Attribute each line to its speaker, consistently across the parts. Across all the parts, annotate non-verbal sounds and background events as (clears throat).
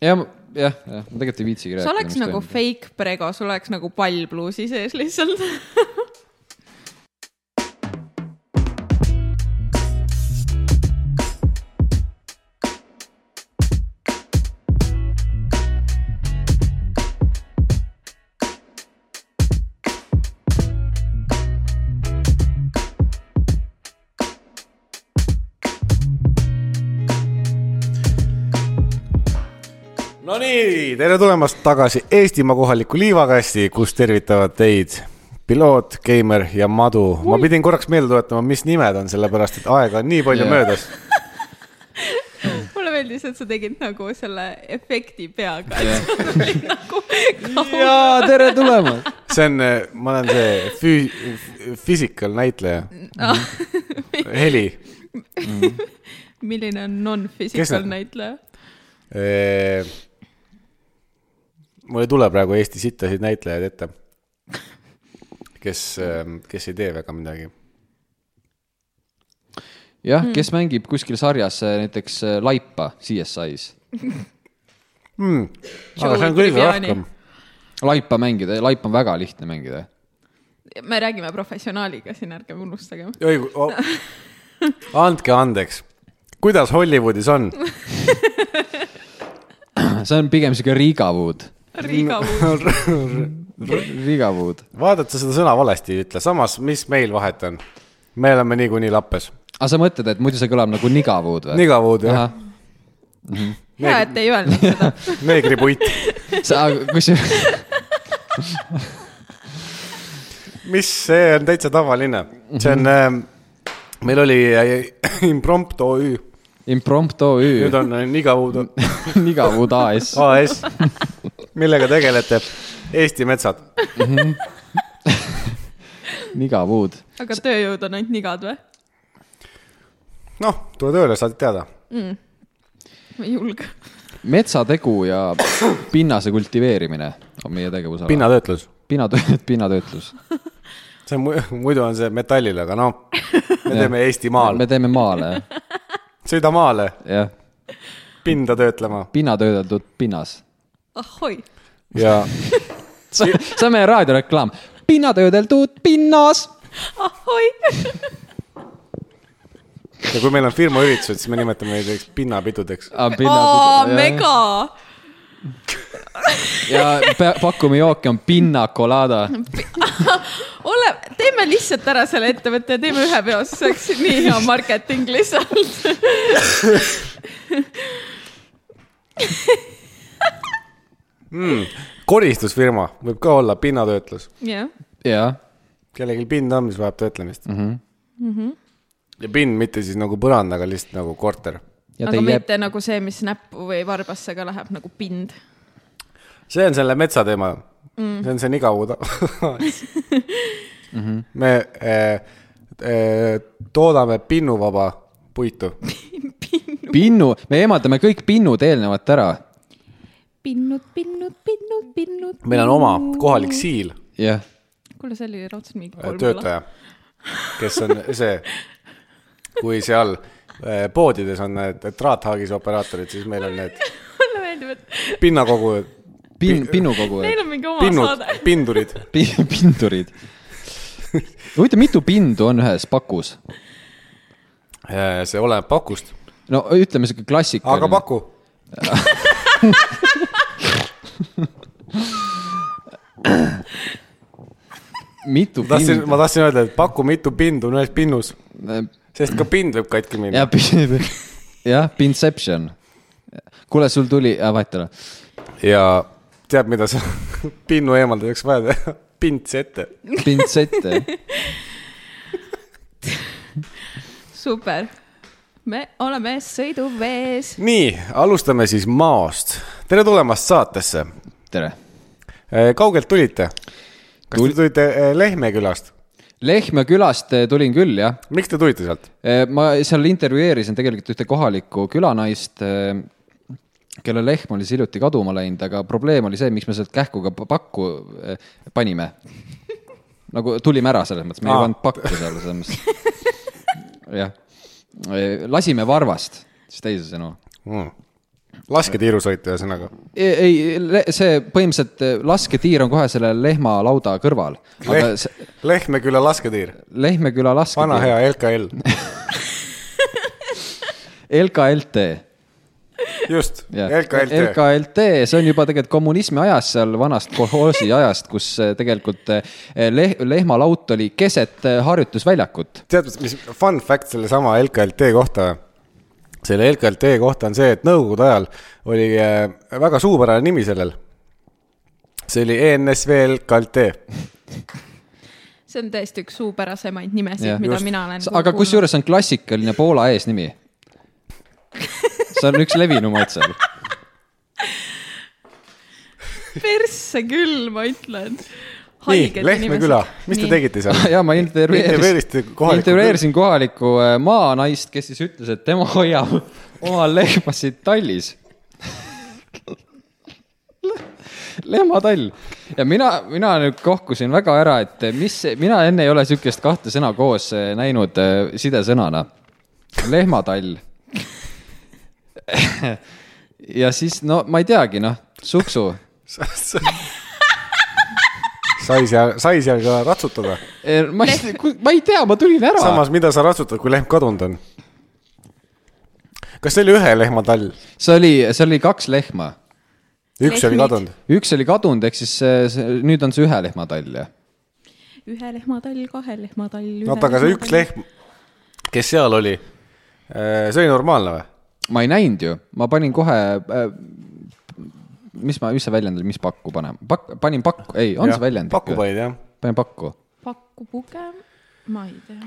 Speaker 1: jah , jah , jah , ma tegelikult ei viitsigi
Speaker 2: sa
Speaker 1: rääkida .
Speaker 2: oleks nagu fake prego , sul oleks nagu pall pluusi sees lihtsalt .
Speaker 3: Nonii , tere tulemast tagasi Eestimaa kohaliku liivakasti , kus tervitavad teid piloot , geimer ja madu . ma pidin korraks meelde tuletama , mis nimed on , sellepärast et aega on nii palju
Speaker 1: Jah.
Speaker 3: yeah. möödas .
Speaker 2: mulle meeldis , et sa tegid nagu selle efekti peaga , et
Speaker 1: Jah.
Speaker 2: sul oli nagu kaua .
Speaker 1: jaa , tere tulemast .
Speaker 2: (laughs)
Speaker 3: see on , ma olen see füü- , physical näitleja ,
Speaker 2: Ah,
Speaker 3: heli .
Speaker 2: milline on
Speaker 3: Kes
Speaker 2: non-physical
Speaker 3: need-
Speaker 2: näitleja ?
Speaker 3: Eh, mul ei tule praegu Eesti sittasid näitlejaid ette , kes , kes ei tee väga midagi .
Speaker 2: Mm.
Speaker 1: jah , kes mängib kuskil sarjas äh, näiteks äh, laipa CSI-s ?
Speaker 3: Hmm. aga see on kõige rohkem .
Speaker 1: laipa mängida , laipa on väga lihtne mängida . (clears throat)
Speaker 2: me räägime professionaaliga siin , ärgem unustagem .
Speaker 3: õigu- oh. , andke andeks , kuidas Hollywoodis on ?
Speaker 1: see on pigem sihuke Riigawood ,
Speaker 2: Riiga puhul ,
Speaker 1: Riigawood .
Speaker 3: vaata , et sa seda sõna valesti ei ütle , samas , mis meil vahet on ? me oleme niikuinii lappes .
Speaker 1: aga sa mõtled , et muidu see kõlab nagu Nigavood või ?
Speaker 3: nigavuud jah ,
Speaker 2: hea , et ei öelnud seda .
Speaker 3: neegripuit .
Speaker 1: sa , kus , (laughs)
Speaker 3: mis , see on täitsa tavaline , see on ähm, , meil oli äh, Imprompt OÜ ,
Speaker 1: Imprompt OÜ
Speaker 3: nüüd , on äh, nigavuud
Speaker 1: (laughs) Nigavood AS .
Speaker 3: AS , millega tegelete ? Eesti metsad .
Speaker 1: Nigavood .
Speaker 2: aga tööjõud on ainult nigad või ?
Speaker 3: noh , tule tööle , saad teada .
Speaker 2: ma ei julge .
Speaker 1: metsategu ja pinnase kultiveerimine on meie tegevusala .
Speaker 3: pinnatöötlus ,
Speaker 1: pinnatöö , pinnatöötlus .
Speaker 3: see on mu- muidu on see metallil , aga noh , me teeme Eestimaal
Speaker 1: me , teeme maale ,
Speaker 3: sõida maale
Speaker 1: jah ,
Speaker 3: pinda töötlema
Speaker 1: pinnatöödeldud pinnas .
Speaker 2: ahoi ,
Speaker 3: ja
Speaker 1: see see on meie raadioreklaam , pinnatöödeldud pinnas .
Speaker 2: ahoi .
Speaker 3: ja kui meil on firmaüritused , siis me nimetame neid näiteks pinnapidudeks .
Speaker 1: Ah,
Speaker 2: mega .
Speaker 1: ja pea- pakume jooki on pinna colada ,
Speaker 2: ole , teeme lihtsalt ära selle ettevõtte ja teeme ühe peo , siis oleks nii hea marketing lihtsalt . (laughs)
Speaker 3: koristusfirma võib ka olla pinnatöötlus ,
Speaker 2: jah ,
Speaker 1: jah .
Speaker 3: kellelgi pind on , mis vajab töötlemist mm . -hmm. ja pind mitte siis nagu põrand , aga lihtsalt nagu korter .
Speaker 1: ja
Speaker 2: aga
Speaker 1: teie ,
Speaker 2: mitte nagu see , mis näppu või varbasse ka läheb nagu pind .
Speaker 3: see on selle metsa teema mm. , see on see nigavu ta- me eh, eh, toodame pinnuvaba puitu ,
Speaker 1: pinnu , me eemaldame kõik pinnud eelnevalt ära ,
Speaker 2: pinnud , pinnud , pinnud , pinnud .
Speaker 3: meil on oma kohalik siil ,
Speaker 1: jah .
Speaker 2: kuule , see oli raudselt mingi kolm
Speaker 3: töötaja , kes on see , kui seal eh, poodides on need traathaagise operaatorid , siis meil on need
Speaker 2: (laughs) mulle meeldib , et
Speaker 3: pinnakogujad ,
Speaker 1: Pin- , pinnukogujad
Speaker 2: neil , on mingi oma
Speaker 3: pinnud
Speaker 2: saade ., (laughs)
Speaker 3: pindurid .
Speaker 1: pindurid . huvitav , mitu pindu on ühes pakus ?
Speaker 3: Eh, see oleneb pakust .
Speaker 1: no ütleme sihuke klassikaline .
Speaker 3: aga paku .
Speaker 1: mitu
Speaker 3: ma tahtsin ,
Speaker 1: pindu
Speaker 3: ma tahtsin öelda , et paku mitu pindu on ühes pinnus , sest ka pind võib katki minna .
Speaker 1: jah , (laughs) jah , Pinception . kuule , sul tuli , vahet ei ole .
Speaker 3: ja tead , mida sa (laughs) pinnu eemaldamiseks vaja teha ? pints ette .
Speaker 1: pintsette .
Speaker 2: super , me oleme sõiduvees .
Speaker 3: nii , alustame siis maost . tere tulemast saatesse .
Speaker 1: tere .
Speaker 3: Äh, kaugelt tulite ? kas
Speaker 1: Tul-
Speaker 3: te tulite eh, Lehme külast ?
Speaker 1: Lehtme külast eh, tulin küll , jah .
Speaker 3: miks te tulite sealt ?
Speaker 1: ma seal intervjueerisin tegelikult ühte kohalikku külanaist , kelle lehm oli siis hiljuti kaduma läinud , aga probleem oli see , miks me sealt kähkuga pa- pakku eh, panime . nagu tulime ära selles mõttes , me ei
Speaker 3: Aa.
Speaker 1: pannud pakku seal selles mõttes . Eh, jah , lasime varvast , siis teisisõnu
Speaker 3: Mm. lasketiirusõit , ühesõnaga .
Speaker 1: Eh, ei , see põhimõtteliselt eh, lasketiir on kohe selle lehma lauda kõrval . aga
Speaker 3: Lehm,
Speaker 1: see-
Speaker 3: Lehmeküla lasketiir ,
Speaker 1: Lehmeküla
Speaker 3: vana
Speaker 1: lasketiir ,
Speaker 3: hea
Speaker 1: (laughs)
Speaker 3: LKL ,
Speaker 1: LKLT .
Speaker 3: just , LKLT .
Speaker 1: LKLT , see on juba tegelikult kommunismi ajast , seal vanast kolhoosi ajast , kus eh, tegelikult eh, leh- , lehmalaut oli keset eh, harjutusväljakut .
Speaker 3: tead , mis fun fact sellesama LKLT kohta , selle LKLT kohta on see , et nõukogude ajal oli äh, väga suupärane nimi sellel . see oli E ENSV LKLT ,
Speaker 2: see on tõesti üks suupärasemaid nimesid
Speaker 1: Jah. ,
Speaker 2: mida
Speaker 3: Just.
Speaker 2: mina olen .
Speaker 1: aga . kusjuures see on klassikaline Poola eesnimi . see on üks levinumaid seal .
Speaker 2: persse küll , ma ütlen .
Speaker 3: nii , Lehtme küla , mis te ? tegite seal ?
Speaker 1: (laughs) ja ma intervjueerisin
Speaker 3: Intervjueerisite kohalikku-
Speaker 1: intervjueerisin kohalikku eh, maanaist , kes siis ütles , et tema hoiab oma lehmasid tallis . (laughs) lehmatall ja mina , mina nüüd kohkusin väga ära , et mis , mina enne ei ole sihukest kahte sõna koos eh, näinud eh, sidesõnana . lehmatall . (laughs) ja siis no ma ei teagi , noh , suksu
Speaker 3: sai (laughs) seal , sai seal ka ratsutada .
Speaker 1: Eh, ma ei , ma ei tea , ma tulin ära .
Speaker 3: samas , mida sa ratsutad , kui lehm kadunud on ? kas see oli ühe lehma tall ?
Speaker 1: see oli , see oli kaks lehma ,
Speaker 3: üks oli
Speaker 2: Lehmid.
Speaker 3: kadunud .
Speaker 1: üks oli kadunud , ehk siis see, see, nüüd on see ühe lehma tall ja .
Speaker 2: ühe lehmatall , kahe lehmatall .
Speaker 3: oota , aga see üks . lehm , kes seal oli , see oli normaalne või ?
Speaker 1: ma ei näinud ju , ma panin kohe äh, . mis ma , mis see väljend oli , mis pakku panen , pakk , panin pakku , ei , on ja, see väljend ?
Speaker 3: paku panid jah ?
Speaker 1: panin pakku ,
Speaker 2: pakku pugem , ma ei tea .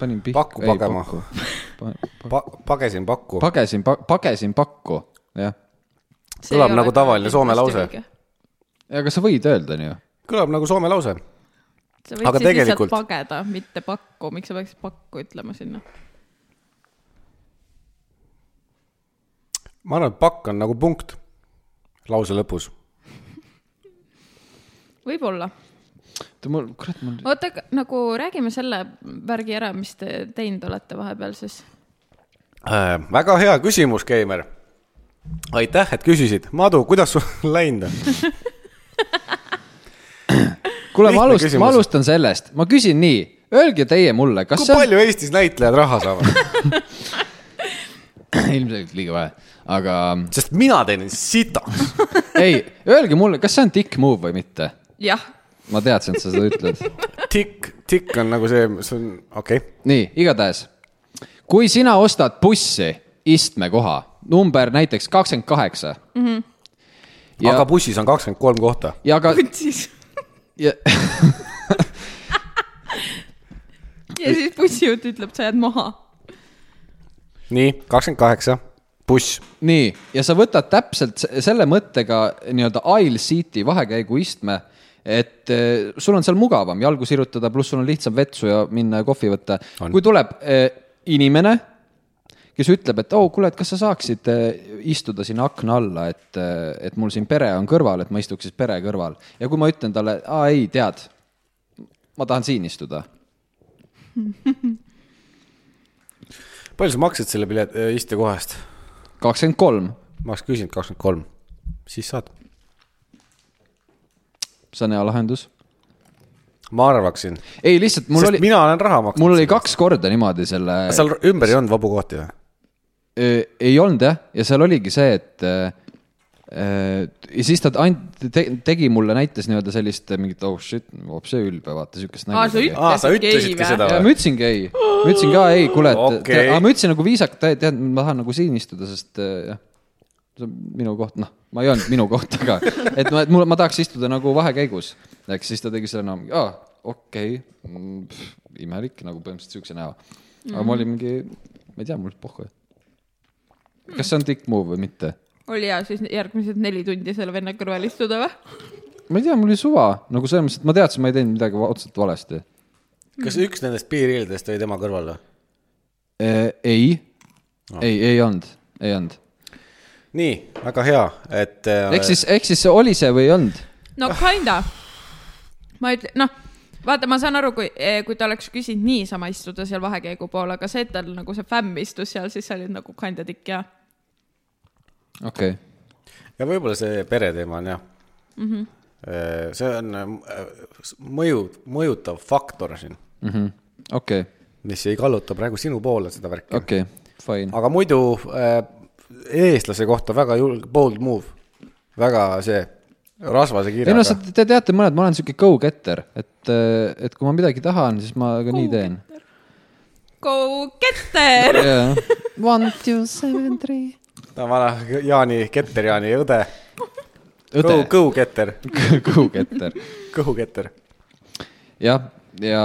Speaker 1: panin pihku .
Speaker 3: Pakku pagema. . Pa- , pagesin pakku .
Speaker 1: pagesin , pagesin pakku , jah .
Speaker 3: Kõlab nagu tavaline soome lause.
Speaker 1: aga sa võid öelda nii ju .
Speaker 3: kõlab nagu soome lause .
Speaker 2: sa
Speaker 3: Aga
Speaker 2: võid siis
Speaker 3: tegelikult-
Speaker 2: lihtsalt pageda , mitte pakku , miks sa peaksid pakku ütlema sinna ?
Speaker 3: ma arvan , et pakk on nagu punkt lause lõpus .
Speaker 2: võib-olla
Speaker 1: oota , mul , kurat , mul .
Speaker 2: oota , nagu räägime selle värgi ära , mis te teinud olete vahepeal siis .
Speaker 3: Äh, väga hea küsimus , Keimer . aitäh , et küsisid . Madu , kuidas sul (laughs) läinud on ?
Speaker 1: kuule , ma
Speaker 3: Lihtne
Speaker 1: alustan , ma
Speaker 3: küsimus.
Speaker 1: alustan sellest , ma küsin nii , öelge teie mulle , kas
Speaker 3: kui
Speaker 1: see on
Speaker 3: palju Eestis näitlejad raha saavad ?
Speaker 1: (laughs) ilmselgelt liiga vähe , aga
Speaker 3: sest mina teen sitaks .
Speaker 1: ei , öelge mulle , kas see on dick move või mitte ?
Speaker 2: jah ,
Speaker 1: ma teadsin , et sa seda ütled .
Speaker 3: tikk , tikk on nagu see , see on , okei okay. .
Speaker 1: nii , igatahes , kui sina ostad bussi istmekoha , number näiteks kakskümmend kaheksa .
Speaker 3: Ja...
Speaker 1: ja
Speaker 3: aga , bussis on kakskümmend kolm kohta .
Speaker 1: ja aga ,
Speaker 2: putsis .
Speaker 1: ja
Speaker 2: ja siis bussijuht ütleb , sa jääd maha .
Speaker 3: nii , kakskümmend kaheksa , buss .
Speaker 1: nii , ja sa võtad täpselt se- selle mõttega nii-öelda aisle seat'i vahekäiguistme , et eh, sul on seal mugavam jalgu sirutada , pluss sul on lihtsam vetsu ja minna ja kohvi võtta .
Speaker 3: On.
Speaker 1: kui tuleb eh, inimene , kes ütleb , et oo oh, , kuule , et kas sa saaksid eh, istuda sinna akna alla , et , et mul siin pere on kõrval , et ma istuks siis pere kõrval ja kui ma ütlen talle , aa ei , tead , ma tahan siin istuda .
Speaker 3: palju sa maksid selle pilet , istekoha eest ?
Speaker 1: kakskümmend kolm ,
Speaker 3: ma oleks küsinud kakskümmend kolm , siis saad .
Speaker 1: see on hea lahendus .
Speaker 3: ma arvaksin ,
Speaker 1: ei , lihtsalt mul
Speaker 3: sest
Speaker 1: Sest oli ,
Speaker 3: mina olen raha maksnud .
Speaker 1: mul oli kaks korda niimoodi selle .
Speaker 3: seal ümber ei olnud vabu kohti või ?
Speaker 1: Ö, Äh, ei olnud jah , ja seal oligi see , et äh, äh, ja siis ta and- , tegi mulle , näitas nii-öelda sellist mingit oh shit , hoopis see ülbe , vaata siukest
Speaker 2: aa , sa
Speaker 1: nägu .
Speaker 3: Nagu Aa, sa
Speaker 2: ütlesid
Speaker 3: ütlesidki seda
Speaker 1: ja
Speaker 3: või?
Speaker 1: ma ütlesingi ei , ma ütlesin ka ei , kuule , et
Speaker 3: Okei.
Speaker 1: okay. , aga ma ütlesin nagu viisakalt , et tead , ma tahan nagu siin istuda , sest äh, jah , see on minu koht , noh , ma ei öelnud minu koht , aga et ma , et mul , ma tahaks istuda nagu vahekäigus . eks siis ta tegi selle näo , aa , okei okay. , imelik nagu põhimõtteliselt siukse näo . aga ma olin mingi , ma ei tea , mul pohhu . kas see on dick move või mitte ?
Speaker 2: oli hea siis järgmised neli tundi selle venna kõrval istuda või ?
Speaker 1: ma ei tea , mul oli suva nagu selles mõttes , et ma teadsin , ma ei teinud midagi otseselt valesti .
Speaker 3: kas üks nendest piiriildest oli tema kõrval või ?
Speaker 1: Äh, ei , ei , ei olnud , ei olnud .
Speaker 3: nii , väga hea , et äh,
Speaker 1: ehk siis , ehk siis see oli see või ei olnud
Speaker 2: no kinda . ma ütlen , noh , vaata , ma saan aru , kui , kui ta oleks küsinud niisama istuda seal vahekäigu pool , aga see , et tal nagu see fämm istus seal , siis sa olid nagu kinda tikk ja .
Speaker 1: okei okay. ,
Speaker 3: ja võib-olla see pereteema on jah mm .
Speaker 1: Mhm.
Speaker 3: -hmm. see on äh, s- mõju , mõjutav faktor siin ,
Speaker 1: Mhm. okei ,
Speaker 3: mis ei kalluta praegu sinu poole seda värki okay. .
Speaker 1: okei , fine ,
Speaker 3: aga muidu äh, eestlase kohta väga julge , bold move , väga see rasvase
Speaker 1: ei no
Speaker 3: kirjaga
Speaker 1: sa , te teate mõned , ma olen sihuke go-getter , et , et kui ma midagi tahan , siis ma ka nii teen .
Speaker 2: Go getter .
Speaker 1: Yeah. One , two , seven , three .
Speaker 3: ta on vana Jaani , Keter Jaani õde .
Speaker 1: õde ,
Speaker 3: Go-Getter ,
Speaker 1: (laughs) go-getter ,
Speaker 3: Go-Getter .
Speaker 1: jah , ja ,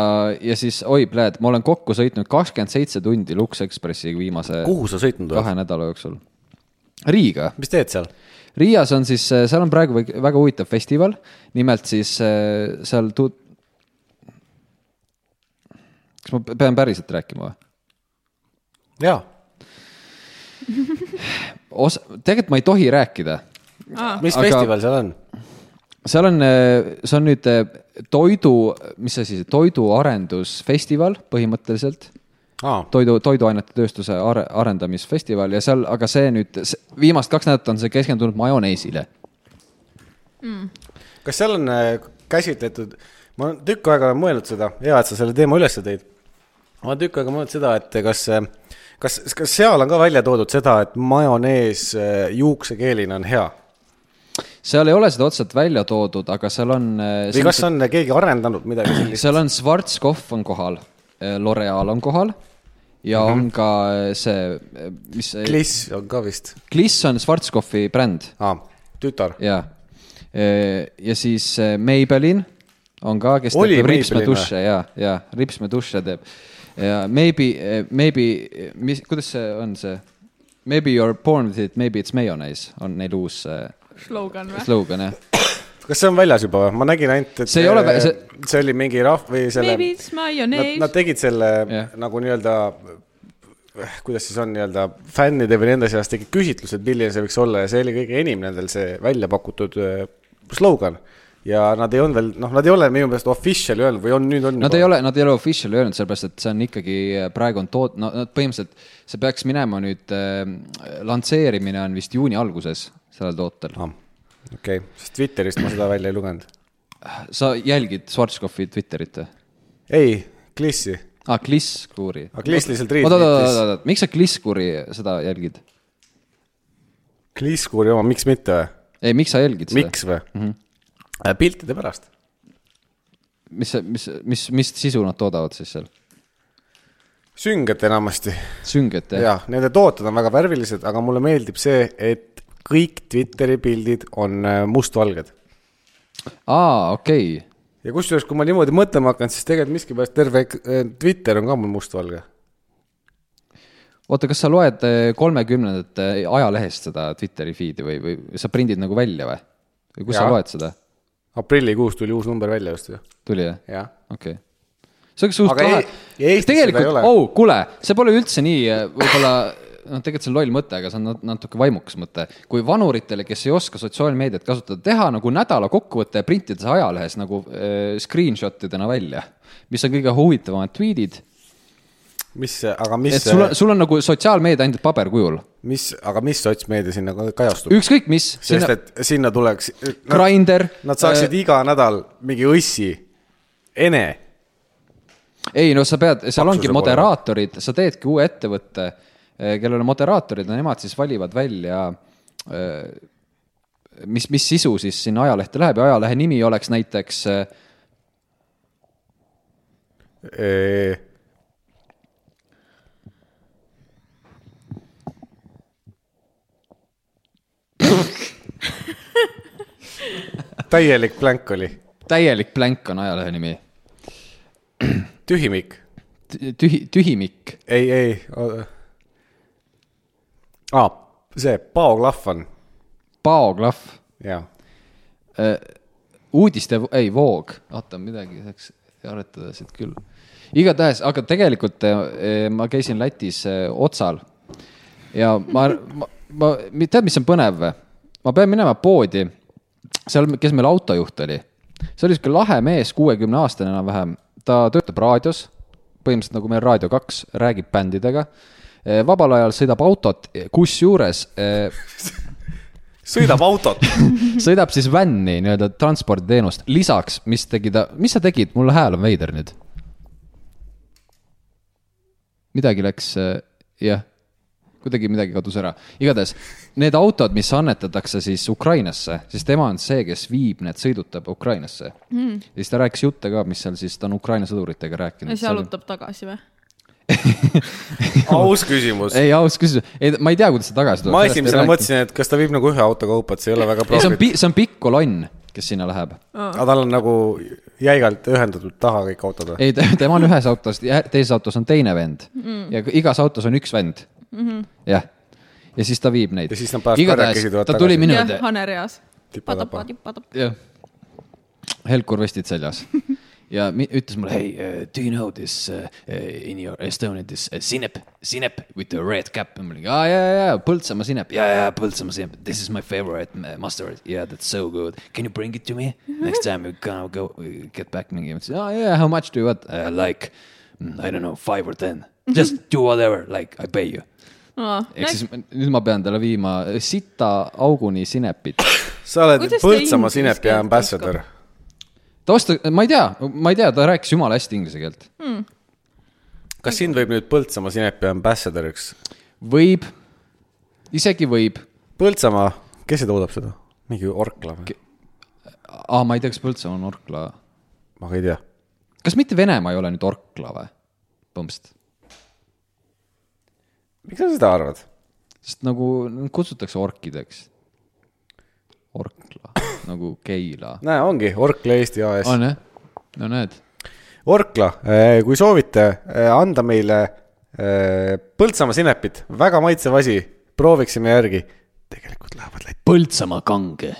Speaker 1: ja siis oi , pläät , ma olen kokku sõitnud kakskümmend seitse tundi Lux Expressiga viimase
Speaker 3: kuhu sa sõitnud oled ?
Speaker 1: kahe nädala jooksul . Riiga
Speaker 3: mis teed seal ?
Speaker 1: Riias on siis , seal on praegu väik- väga huvitav festival , nimelt siis eh, seal tu- . kas ma pe- pean päriselt rääkima või ?
Speaker 3: jaa .
Speaker 1: osa , tegelikult ma ei tohi rääkida ,
Speaker 3: mis
Speaker 1: Aga-
Speaker 3: aga... festival seal on ?
Speaker 1: seal on , see on nüüd eh, toidu , mis asi see , toiduarendusfestival põhimõtteliselt
Speaker 3: aa ,
Speaker 1: toidu , toiduainete tööstuse are, arendamisfestival ja seal , aga see nüüd , viimast kaks nädalat on see keskendunud majoneesile .
Speaker 3: kas seal on äh, käsitletud , ma olen tükk aega olen mõelnud seda , hea , et sa selle teema üles tõid . ma olen tükk aega mõelnud seda , et äh, kas , kas , kas seal on ka välja toodud seda , et majonees äh, juuksekeelina on hea ?
Speaker 1: seal ei ole seda otseselt välja toodud , aga seal on .
Speaker 3: või kas on äh, keegi arendanud
Speaker 1: (clears throat)
Speaker 3: midagi sellist ?
Speaker 1: seal on Schwarzkopf on kohal , L'Oreal on kohal ja mm -hmm.
Speaker 3: Mhm.
Speaker 1: on ka see , mis see
Speaker 3: Kliss on ka vist .
Speaker 1: Kliss on Schwarzkopfi bränd
Speaker 3: aa , tütar .
Speaker 1: ja , ja siis eh, Maybelline on ka , kes
Speaker 3: Oli
Speaker 1: teeb
Speaker 3: Maybelline
Speaker 1: ripsmeduše ja , ja ripsmeduše teeb ja maybe , maybe , mis , kuidas see on see ? Maybe you are born with it , maybe it's mayonnaise on neil uus eh,
Speaker 2: slogan või ?
Speaker 1: slogan jah .
Speaker 3: kas see on väljas juba või ? ma nägin ainult , et
Speaker 1: See ei ole vä-
Speaker 3: see...
Speaker 1: see-
Speaker 3: see oli mingi rahv- või selle
Speaker 2: Maybe it's
Speaker 3: Nad, nad
Speaker 2: mayonnaise .
Speaker 3: tegid selle
Speaker 1: Jah.
Speaker 3: yeah. nagu nii-öelda , kuidas siis on nii-öelda fännide või nende seas tegid küsitlused , milline see võiks olla ja see oli kõige enim nendel see välja pakutud öö, slogan . ja nad ei olnud veel , noh , nad ei ole minu meelest official öelnud või on nüüd on .
Speaker 1: Nad ei . ole , nad ei ole official öelnud , sellepärast et see on ikkagi praegu on tood- , no nad põhimõtteliselt , see peaks minema nüüd äh, , lansseerimine on vist juuni alguses sellel tootel .
Speaker 3: Ah, okei , sest Twitterist ma seda välja ei lugenud .
Speaker 1: sa jälgid Schwarzkopfi Twitterit või ?
Speaker 3: ei , Klissi ,
Speaker 1: aa , Glisskuuri .
Speaker 3: aga Ah, Kliss lihtsalt
Speaker 1: oot , oot , oot ,
Speaker 3: riidis .
Speaker 1: oot , oot , miks sa Glisskuuri seda jälgid ?
Speaker 3: Kliss kuuri oma , miks mitte või ?
Speaker 1: ei , miks sa jälgid seda ?
Speaker 3: miks või mm ?
Speaker 1: Mhm.
Speaker 3: -hmm. piltide pärast .
Speaker 1: mis , mis , mis , mis sisu nad toodavad siis seal ?
Speaker 3: sünged enamasti
Speaker 1: sünget jah ?
Speaker 3: jah , nende tooted on väga värvilised , aga mulle meeldib see , et kõik Twitteri pildid on äh, mustvalged .
Speaker 1: aa , okei okay. .
Speaker 3: ja kusjuures , kui ma niimoodi mõtlema hakkan , siis tegelikult miskipärast terve ek- äh, Twitter on ka mul mustvalge .
Speaker 1: oota , kas sa loed äh, kolmekümnendate ajalehest seda Twitteri feed'i või , või sa prindid nagu välja või ? või kus ja. sa
Speaker 3: Jaa.
Speaker 1: loed seda ?
Speaker 3: aprillikuus tuli uus number välja just ju .
Speaker 1: tuli jah ?
Speaker 3: jah .
Speaker 1: okei okay. . see oleks suht
Speaker 3: Aga
Speaker 1: lahe
Speaker 3: ei- ja . Eestis seda ei
Speaker 1: tegelikult
Speaker 3: ole. ,
Speaker 1: oh kuule , see pole üldse nii eh, võib-olla , noh , tegelikult see on loll mõte , aga see on nat- natuke vaimukas mõte . kui vanuritele , kes ei oska sotsiaalmeediat kasutada , teha nagu nädala kokkuvõte ja printida see ajalehes nagu äh, screenshot idena välja , mis on kõige huvitavamad tweet'id .
Speaker 3: mis , aga mis äh,
Speaker 1: et , sul on , sul on nagu sotsiaalmeedia ainult paberkujul ,
Speaker 3: mis , aga mis sotsmeedia sinna ka- kajastub ?
Speaker 1: ükskõik mis ,
Speaker 3: sest
Speaker 1: sinna ,
Speaker 3: et sinna tuleks .
Speaker 1: Grindr . äh,
Speaker 3: Nad saaksid iga nädal mingi õssi , ene
Speaker 1: ei no sa pead , seal ongi
Speaker 3: Paksuse poole.
Speaker 1: moderaatorid , sa teedki uue ettevõtte , kellel on moderaatorid ja nemad siis valivad välja , mis , mis sisu siis sinna ajalehte läheb ja ajalehe nimi oleks näiteks eh,
Speaker 3: Ee... täielik blank oli ,
Speaker 1: täielik blank on ajalehe nimi ,
Speaker 3: tühimik ,
Speaker 1: tühi , tühimik .
Speaker 3: ei , ei . aa , see paoklahv on ,
Speaker 1: Paoklahv ,
Speaker 3: jaa .
Speaker 1: uudiste , ei , voog , oota midagi saaks aretada siit küll . igatahes , aga tegelikult eh, eh, ma käisin Lätis eh, Otsal ja ma, ma , ma , tead , mis on põnev või ? ma pean minema poodi , seal , kes meil autojuht oli , see oli sihuke lahe mees , kuuekümne aastane enam-vähem , ta töötab raadios , põhimõtteliselt nagu meil Raadio kaks , räägib bändidega , vabal ajal sõidab autot , kusjuures eh,
Speaker 3: sõidab
Speaker 1: (laughs)
Speaker 3: autot .
Speaker 1: sõidab siis vänni nii-öelda transporditeenust , lisaks , mis tegi ta , mis sa tegid , mul hääl on veider nüüd . midagi läks , jah , kuidagi midagi kadus ära , igatahes need autod , mis annetatakse siis Ukrainasse , siis tema on see , kes viib need , sõidutab Ukrainasse mm. . ja siis ta rääkis jutte ka , mis seal siis ta on Ukraina sõduritega rääkinud .
Speaker 2: ja see jalutab tagasi või ?
Speaker 3: aus küsimus .
Speaker 1: ei , aus küsimus , ei , ma ei tea , kuidas ta tagasi tuleb .
Speaker 3: ma esimesena . mõtlesin , et kas ta viib nagu ühe auto kaupa , et see ei ole väga
Speaker 1: ei , see on
Speaker 3: profit .
Speaker 1: pi- , see on pikk kolonn , kes sinna läheb
Speaker 3: aga tal on nagu jäigalt ühendatud taha kõik autod või ?
Speaker 1: ei , tema on ühes autos , teises autos on teine vend mm. ja k- igas autos on üks vend mm -hmm. . jah , ja siis ta viib neid .
Speaker 3: Ja siis nad pärast karjakesi tulevad
Speaker 1: ta tuli
Speaker 3: tagasi.
Speaker 1: minu
Speaker 2: jah ,
Speaker 1: juurde ,
Speaker 2: hanereas .
Speaker 3: Tipa-tapa.
Speaker 1: jah , helkurvestid seljas ja mi- ütles mulle , hey uh, , do you know this uh, uh, in your Estonian this uh, sinep , sinep with the red cap . ma olin , aa ja , ja , ja Põltsamaa sinep , ja , ja Põltsamaa sinep , this is my favorite uh, mustard , yeah that's so good . Can you bring it to me next time you can go uh, get back mingi , ma ütlesin , aa ja , how much do you want uh, ? Like mm, I don't know , five or ten , just do whatever , like I pay you . ehk siis ma- nüüd ma pean talle viima sita auguni sinepit
Speaker 3: sa oled
Speaker 2: Kuidas ta
Speaker 3: Põltsamaa
Speaker 2: inglise
Speaker 3: sinepi
Speaker 2: keelt
Speaker 3: ambassador .
Speaker 1: ta osta- , ma ei tea , ma ei tea , ta rääkis jumala hästi inglise keelt .
Speaker 3: kas sind võib nüüd Põltsamaa sinepi ambassadoriks ?
Speaker 1: võib , isegi võib .
Speaker 3: Põltsamaa , kes see toodab seda ? mingi Orkla või ?
Speaker 1: aa , ma ei tea , kas Põltsamaa on Orkla .
Speaker 3: ma ka ei tea .
Speaker 1: kas mitte Venemaa ei ole nüüd Orkla või ? põhimõtteliselt ,
Speaker 3: miks sa seda arvad ?
Speaker 1: sest nagu nad kutsutakse orkideks . Orkla nagu Keila .
Speaker 3: näe , ongi Orkla Eesti AS .
Speaker 1: on jah ? no näed ,
Speaker 3: Orkla , kui soovite eh, anda meile eh, Põltsamaa sinepit , väga maitsev asi , prooviksime järgi . tegelikult lähevad Lätti .
Speaker 1: Põltsamaa kange .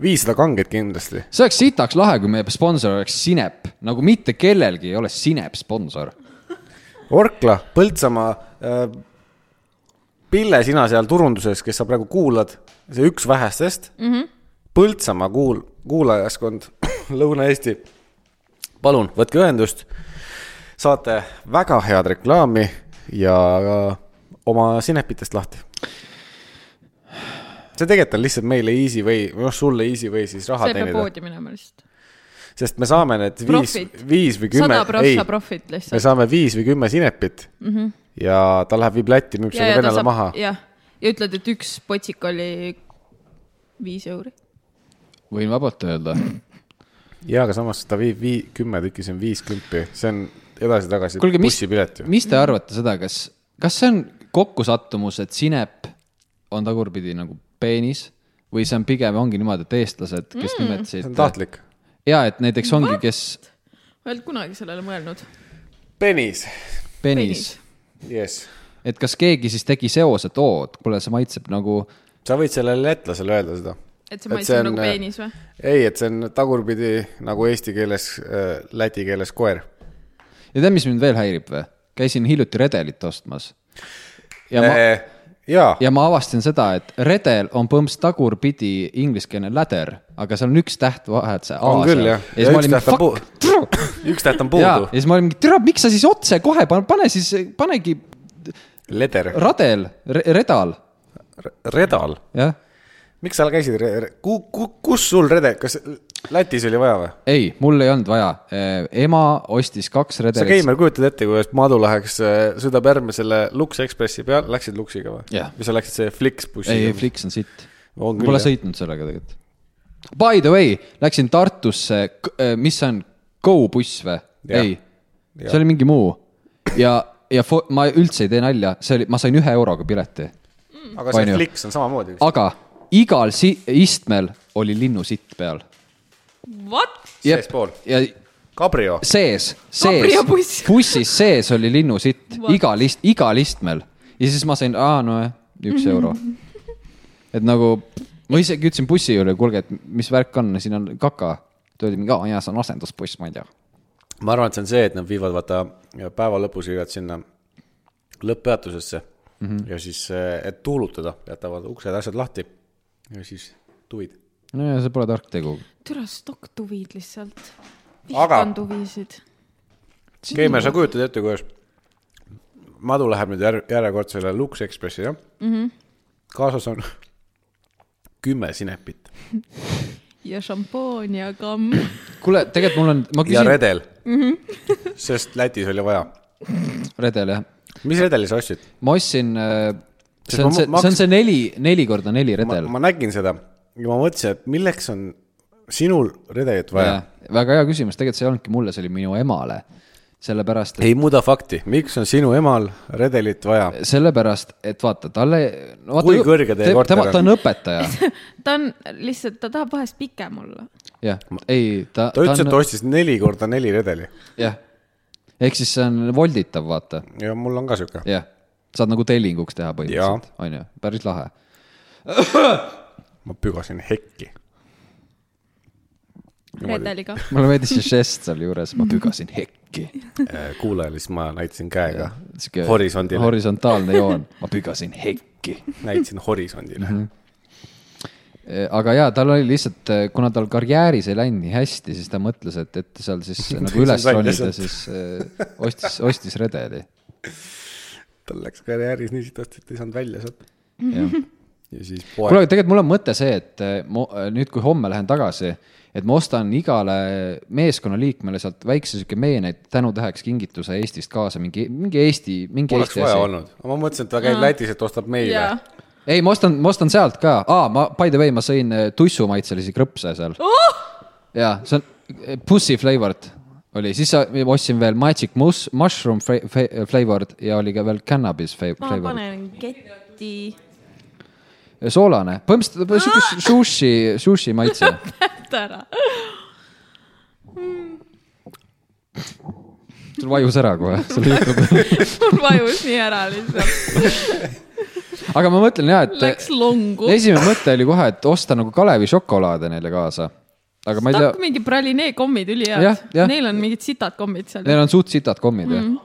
Speaker 3: viissada kanget kindlasti .
Speaker 1: see oleks sitaks lahe , kui meie sponsor oleks Sinep , nagu mitte kellelgi ei ole Sinep sponsor .
Speaker 3: Orkla , Põltsamaa , Pille , sina seal turunduses , kes sa praegu kuulad , see üks vähestest mm .
Speaker 2: Mhm.
Speaker 3: -hmm. Põltsamaa kuul- , kuulajaskond , (coughs) Lõuna-Eesti . palun , võtke ühendust , saate väga head reklaami ja ka oma sinepitest lahti . see tegelikult on lihtsalt meile easy way , noh sulle easy way siis raha
Speaker 2: see peab
Speaker 3: teenida ,
Speaker 2: poodi minema lihtsalt .
Speaker 3: sest me saame need viis
Speaker 2: Profit. ,
Speaker 3: viis või kümme
Speaker 2: sada , prossa profit
Speaker 3: me
Speaker 2: lihtsalt .
Speaker 3: saame viis või kümme sinepit mm
Speaker 2: Mhm.
Speaker 3: -hmm. ja ta läheb , viib Lätti , müüb selle venele maha .
Speaker 2: jah , ja ütled , et üks potsik oli viis euri .
Speaker 1: võin vabalt öelda ,
Speaker 3: ja aga samas ta viib vii- , kümme tükki , see on viis klümpi , see on edasi-tagasi
Speaker 1: Kuulge, mis-
Speaker 3: bussipilet ju .
Speaker 1: mis te arvate seda , kas , kas see on kokkusattumus , et sinep on tagurpidi nagu peenis või see on pigem ongi niimoodi , et eestlased , kes mm.
Speaker 3: see on
Speaker 1: nimetasid .
Speaker 3: tahtlik .
Speaker 1: ja et näiteks ongi , kes
Speaker 2: ma ei olnud kunagi sellele mõelnud .
Speaker 3: penis .
Speaker 1: peenis,
Speaker 2: Peenis.
Speaker 1: peenis. ,
Speaker 3: jess .
Speaker 1: et kas keegi siis tegi seose , et oo , et kuule , see maitseb nagu
Speaker 3: sa võid sellele lätlasele öelda seda .
Speaker 2: et see maitseb
Speaker 3: äh,
Speaker 2: nagu peenis või ?
Speaker 3: ei , et see on tagurpidi nagu eesti keeles äh, , läti keeles koer .
Speaker 1: ja tead , mis mind veel häirib või ? käisin hiljuti redelit ostmas . ja
Speaker 3: Äh.
Speaker 1: ma ,
Speaker 3: jaa ,
Speaker 1: ja ma avastasin seda , et redel on põhimõtteliselt tagurpidi ingliskeelne läder , aga seal on üks täht vahet , see A
Speaker 3: on küll jah .
Speaker 1: ja siis ma olin , fuck ,
Speaker 3: puudu . üks täht on
Speaker 1: jaa ,
Speaker 3: puudu
Speaker 1: ja . siis ma olin mingi , tere , miks sa siis otse kohe , pane siis , panegi
Speaker 3: leder ,
Speaker 1: radel re, , redal ,
Speaker 3: redal .
Speaker 1: jah .
Speaker 3: miks sa käisid , ku- , ku- , kus sul redel , kas Lätis oli vaja või ?
Speaker 1: ei , mul ei olnud vaja , ema ostis kaks
Speaker 3: sa
Speaker 1: redelit .
Speaker 3: Keimer , kujutad ette , kuidas Madu läheks , sõidab järgmisele Lux Ekspressi peal , läksid Luxiga või
Speaker 1: Jah.
Speaker 3: või sa läksid see
Speaker 1: ei ,
Speaker 3: Flixbussiga ?
Speaker 1: Flix on sitt .
Speaker 3: On küll,
Speaker 1: Pole
Speaker 3: jah.
Speaker 1: sõitnud sellega tegelikult . By the way , läksin Tartusse , mis see on , Go buss või ?
Speaker 3: Jah.
Speaker 1: ei , see oli mingi muu ja , ja fo- ma üldse ei tee nalja , see oli , ma sain ühe euroga pileti ,
Speaker 3: aga see
Speaker 1: on ju.
Speaker 3: Flix on samamoodi vist .
Speaker 1: aga igal si- istmel oli linnusitt peal .
Speaker 2: What ?
Speaker 3: Seespool.
Speaker 1: ja
Speaker 3: Cabrio ,
Speaker 1: sees ,
Speaker 2: Cabrio
Speaker 1: sees
Speaker 2: buss. ,
Speaker 1: (laughs) bussis sees oli linnusitt
Speaker 2: What?
Speaker 1: igal ist- , igal istmel ja siis ma sain , aa nojah , üks euro . et nagu ma isegi ütlesin bussijuhile , kuulge , et mis värk on , siin on kaka . ta oli mingi , aa jaa , see on asendusbuss , ma ei tea .
Speaker 3: ma arvan , et see on see , et nad viivad vaata päeva lõpus viivad sinna lõpppeatusesse mm
Speaker 1: Mhm.
Speaker 3: -hmm. ja siis , et tuulutada , jätavad uksed , asjad lahti ja siis tuvid .
Speaker 1: nojah , see pole tark tegu .
Speaker 2: türa stokktuvid lihtsalt .
Speaker 3: Aga-
Speaker 2: vihkan tuvisid .
Speaker 3: Keimer , sa kujutad ette , kuidas Madu
Speaker 1: Mhm.
Speaker 3: läheb nüüd jär- , järjekordsele Lux Ekspressi , jah mm -hmm. ? kaasas on (laughs) kümme sinepit
Speaker 2: ja šampoon ja kamm .
Speaker 1: kuule , tegelikult mul on , ma
Speaker 3: ja
Speaker 1: küsin , Mhm.
Speaker 3: redel . (laughs) sest Lätis oli vaja .
Speaker 1: redel jah ,
Speaker 3: mis redeli sa ostsid ?
Speaker 1: ma ostsin , see
Speaker 3: ma
Speaker 1: on see ,
Speaker 3: maks-
Speaker 1: see on see neli , neli korda neli
Speaker 3: ma,
Speaker 1: redel .
Speaker 3: ma nägin seda ja ma mõtlesin , et milleks on sinul redelit vaja
Speaker 1: Jaa. . väga hea küsimus , tegelikult see ei olnudki mulle , see oli minu emale . sellepärast ,
Speaker 3: ei muuda fakti , miks on sinu emal redelit vaja ?
Speaker 1: et , sellepärast , et vaata , talle no, .
Speaker 3: Kui kõrge teie korter
Speaker 1: on ?
Speaker 3: on?
Speaker 1: ta on
Speaker 3: (laughs)
Speaker 1: õpetaja ,
Speaker 2: ta on lihtsalt , ta tahab vahest pikem olla .
Speaker 1: jah , ei ta .
Speaker 3: ta ütles , et ta ostis neli korda neli redeli
Speaker 1: jah , ehk siis see on volditav , vaata ,
Speaker 3: ja mul on ka sihuke .
Speaker 1: jah . saad nagu tellinguks teha põhimõtteliselt , on ju , päris lahe .
Speaker 3: ma pügasin hekki .
Speaker 2: redeliga .
Speaker 1: mulle meeldis see žest sealjuures , ma pügasin hekki .
Speaker 3: Äh, kuulajale , siis ma näitasin käega
Speaker 1: Sihuke
Speaker 3: horisondile Hori... ,
Speaker 1: horisontaalne joon , ma pügasin hekki .
Speaker 3: näitasin horisondile
Speaker 1: Mhm.
Speaker 3: mm . -hmm.
Speaker 1: E, aga jaa , tal oli lihtsalt , kuna tal karjääris ei läinud nii hästi , siis ta mõtles , et , et seal
Speaker 3: (laughs)
Speaker 1: siis nagu üles
Speaker 3: välja
Speaker 1: ronida
Speaker 3: sealt. ,
Speaker 1: siis eh, ostis , ostis redeli .
Speaker 3: tal läks karjääris nii sitasti , et ei saanud välja sealt .
Speaker 1: jah
Speaker 3: ja siis
Speaker 1: kuule ,
Speaker 3: poeg ,
Speaker 1: aga tegelikult mul on mõte see , et eh, ma eh, nüüd , kui homme lähen tagasi , et ma ostan igale meeskonnaliikmele sealt väikse sihuke meene tänutäheks kingituse Eestist kaasa mingi , mingi Eesti , mingi
Speaker 3: poleks
Speaker 1: Eesti
Speaker 3: vaja
Speaker 1: asi .
Speaker 3: olnud . ma mõtlesin , et ta käib Lätis , et ostab meile .
Speaker 2: jaa .
Speaker 1: ei , ma ostan , ma ostan sealt ka , aa , ma by the way , ma sõin eh, tussumaitselisi krõpse seal
Speaker 2: oh ,
Speaker 1: ja see on eh, pussy flavored oli , siis sa- ma ostsin veel magic mus- , mushroom fra- fa- flavored ja oli ka veel cannabis fa-
Speaker 2: ma
Speaker 1: flavored .
Speaker 2: panen ketti .
Speaker 1: soolane , põhimõtteliselt sihuke sushi , sushi maitse
Speaker 2: lõpeta ära . (laughs)
Speaker 1: sul vajus ära kohe , sul juhtub
Speaker 2: mul vajus nii ära lihtsalt .
Speaker 1: aga ma mõtlen ja , et
Speaker 2: Läks longu .
Speaker 1: esimene mõte oli kohe , et osta nagu Kalevi šokolaade neile kaasa . aga ma ei
Speaker 2: tahab
Speaker 1: tea ,
Speaker 2: mingi pralinee kommid
Speaker 1: Jah,
Speaker 2: ülihead .
Speaker 1: jah.
Speaker 2: Neil on mingid sitad kommid seal .
Speaker 1: neil on suht sitad kommid
Speaker 2: Mhm.
Speaker 1: või ,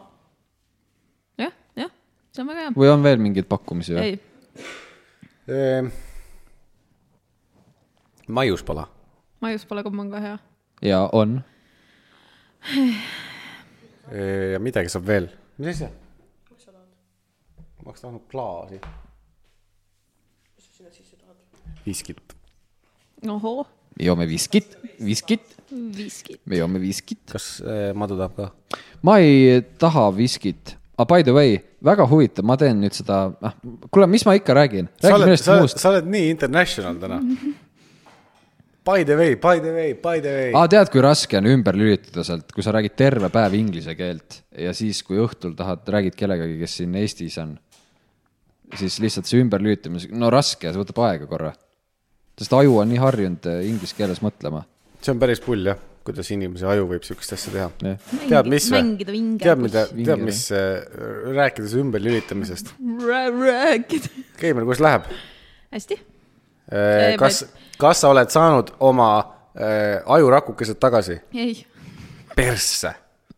Speaker 2: jah , jah , see on väga hea .
Speaker 1: või on veel mingeid pakkumisi või ?
Speaker 2: ei ,
Speaker 3: Ehm. maiuspala .
Speaker 2: maius pole komm on ka hea .
Speaker 1: ja on ,
Speaker 3: Ehm, ja midagi saab veel . mis asja ? ma oleks tahtnud klaasi . viskit .
Speaker 2: ohoo ,
Speaker 1: me joome viskit , viskit ,
Speaker 2: viskid .
Speaker 1: me joome viskit .
Speaker 3: kas äh, madu tahab ka ?
Speaker 1: ma ei taha viskit , aga by the way , väga huvitav , ma teen nüüd seda , noh , kuule , mis ma ikka räägin ,
Speaker 3: sa
Speaker 1: räägin
Speaker 3: oled ,
Speaker 1: millestki
Speaker 3: sa oled ,
Speaker 1: muust .
Speaker 3: sa oled nii international täna . By the way , by the way , by the way .
Speaker 1: aa , tead , kui raske on ümber lülitada sealt , kui sa räägid terve päev inglise keelt ja siis , kui õhtul tahad , räägid kellegagi , kes siin Eestis on , siis lihtsalt see ümberlülitamise , no raske , see võtab aega korra . sest aju on nii harjunud eh, inglise keeles mõtlema .
Speaker 3: see on päris pull jah , kuidas inimese aju võib siukest asja teha .
Speaker 1: jah ,
Speaker 3: tead , mis
Speaker 2: mängida
Speaker 3: või ?
Speaker 2: vinge-
Speaker 3: tead , mida ,
Speaker 1: vinge-
Speaker 3: tead , mis äh, , rääkides ümberlülitamisest .
Speaker 2: rääkida .
Speaker 3: Keimar , kuidas läheb ?
Speaker 2: hästi . Eh,
Speaker 3: Äh, kas , kas sa oled saanud oma äh, ajurakukesed tagasi ?
Speaker 2: ei ,
Speaker 3: persse .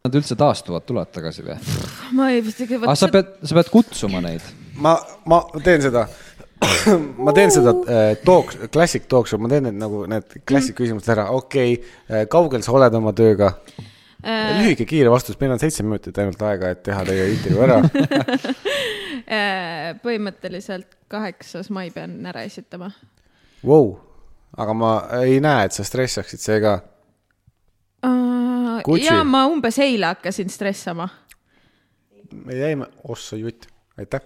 Speaker 1: nad üldse taastuvad , tulevad tagasi või ?
Speaker 2: ma ei , tegelikult
Speaker 1: aa , Ah, sa pead , sa pead kutsuma neid .
Speaker 3: ma , ma teen seda , (clears throat) ma teen seda äh, talk , klassik talk show , ma teen need nagu need klassik küsimused ära , okei okay, , kaugel sa oled oma tööga ?
Speaker 2: äh,
Speaker 3: lühike kiire vastus , meil on seitse minutit ainult aega , et teha teie intervjuu ära .
Speaker 2: äh, põhimõtteliselt kaheksas mai pean ära esitama .
Speaker 3: Vau , aga ma ei näe , et sa stressaksid seega . Gucci.
Speaker 2: ja Äh, ma umbes eile hakkasin stressama .
Speaker 3: me jäime , ossa jutt , aitäh .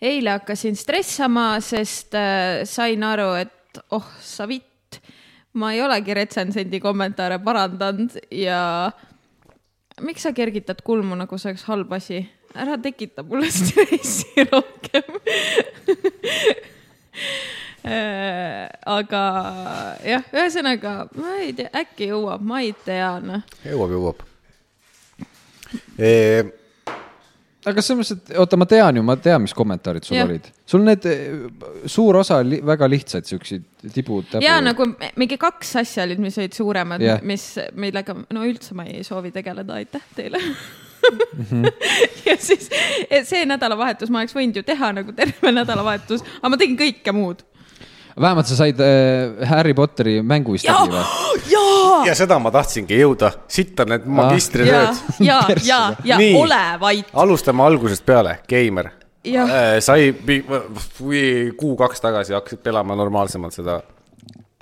Speaker 2: eile hakkasin stressama , sest äh, sain aru , et oh sa vitt , ma ei olegi retsensendi kommentaare parandanud ja miks sa kergitad kulmu , nagu see oleks halb asi ? ära tekita mulle (laughs) stressi rohkem . (laughs) Äh, aga jah , ühesõnaga ma ei tea , äkki jõuab , ma ei tea noh .
Speaker 3: jõuab , jõuab .
Speaker 1: aga selles mõttes , et oota , ma tean ju , ma tean , mis kommentaarid sul
Speaker 2: Jah.
Speaker 1: olid . sul need , suur osa oli väga lihtsaid siukseid tibud .
Speaker 2: ja nagu m- mingi kaks asja olid , mis olid suuremad
Speaker 1: Jah.
Speaker 2: yeah. , mis , millega , no üldse ma ei soovi tegeleda , aitäh teile . (laughs) ja siis et see nädalavahetus ma oleks võinud ju teha nagu terve nädalavahetus , aga ma tegin kõike muud .
Speaker 1: vähemalt sa said äh, Harry Potteri mängu vist läbi või ?
Speaker 2: jaa ,
Speaker 3: (laughs) ja seda ma tahtsingi jõuda , sitt on
Speaker 2: Ah.
Speaker 3: need magistritööd
Speaker 2: ja , ja , ja
Speaker 3: Nii. ,
Speaker 2: ole vait .
Speaker 3: alustame algusest peale , Keimer ,
Speaker 2: jah ,
Speaker 3: sai pi- kui kuu-kaks tagasi hakkasid elama normaalsemalt seda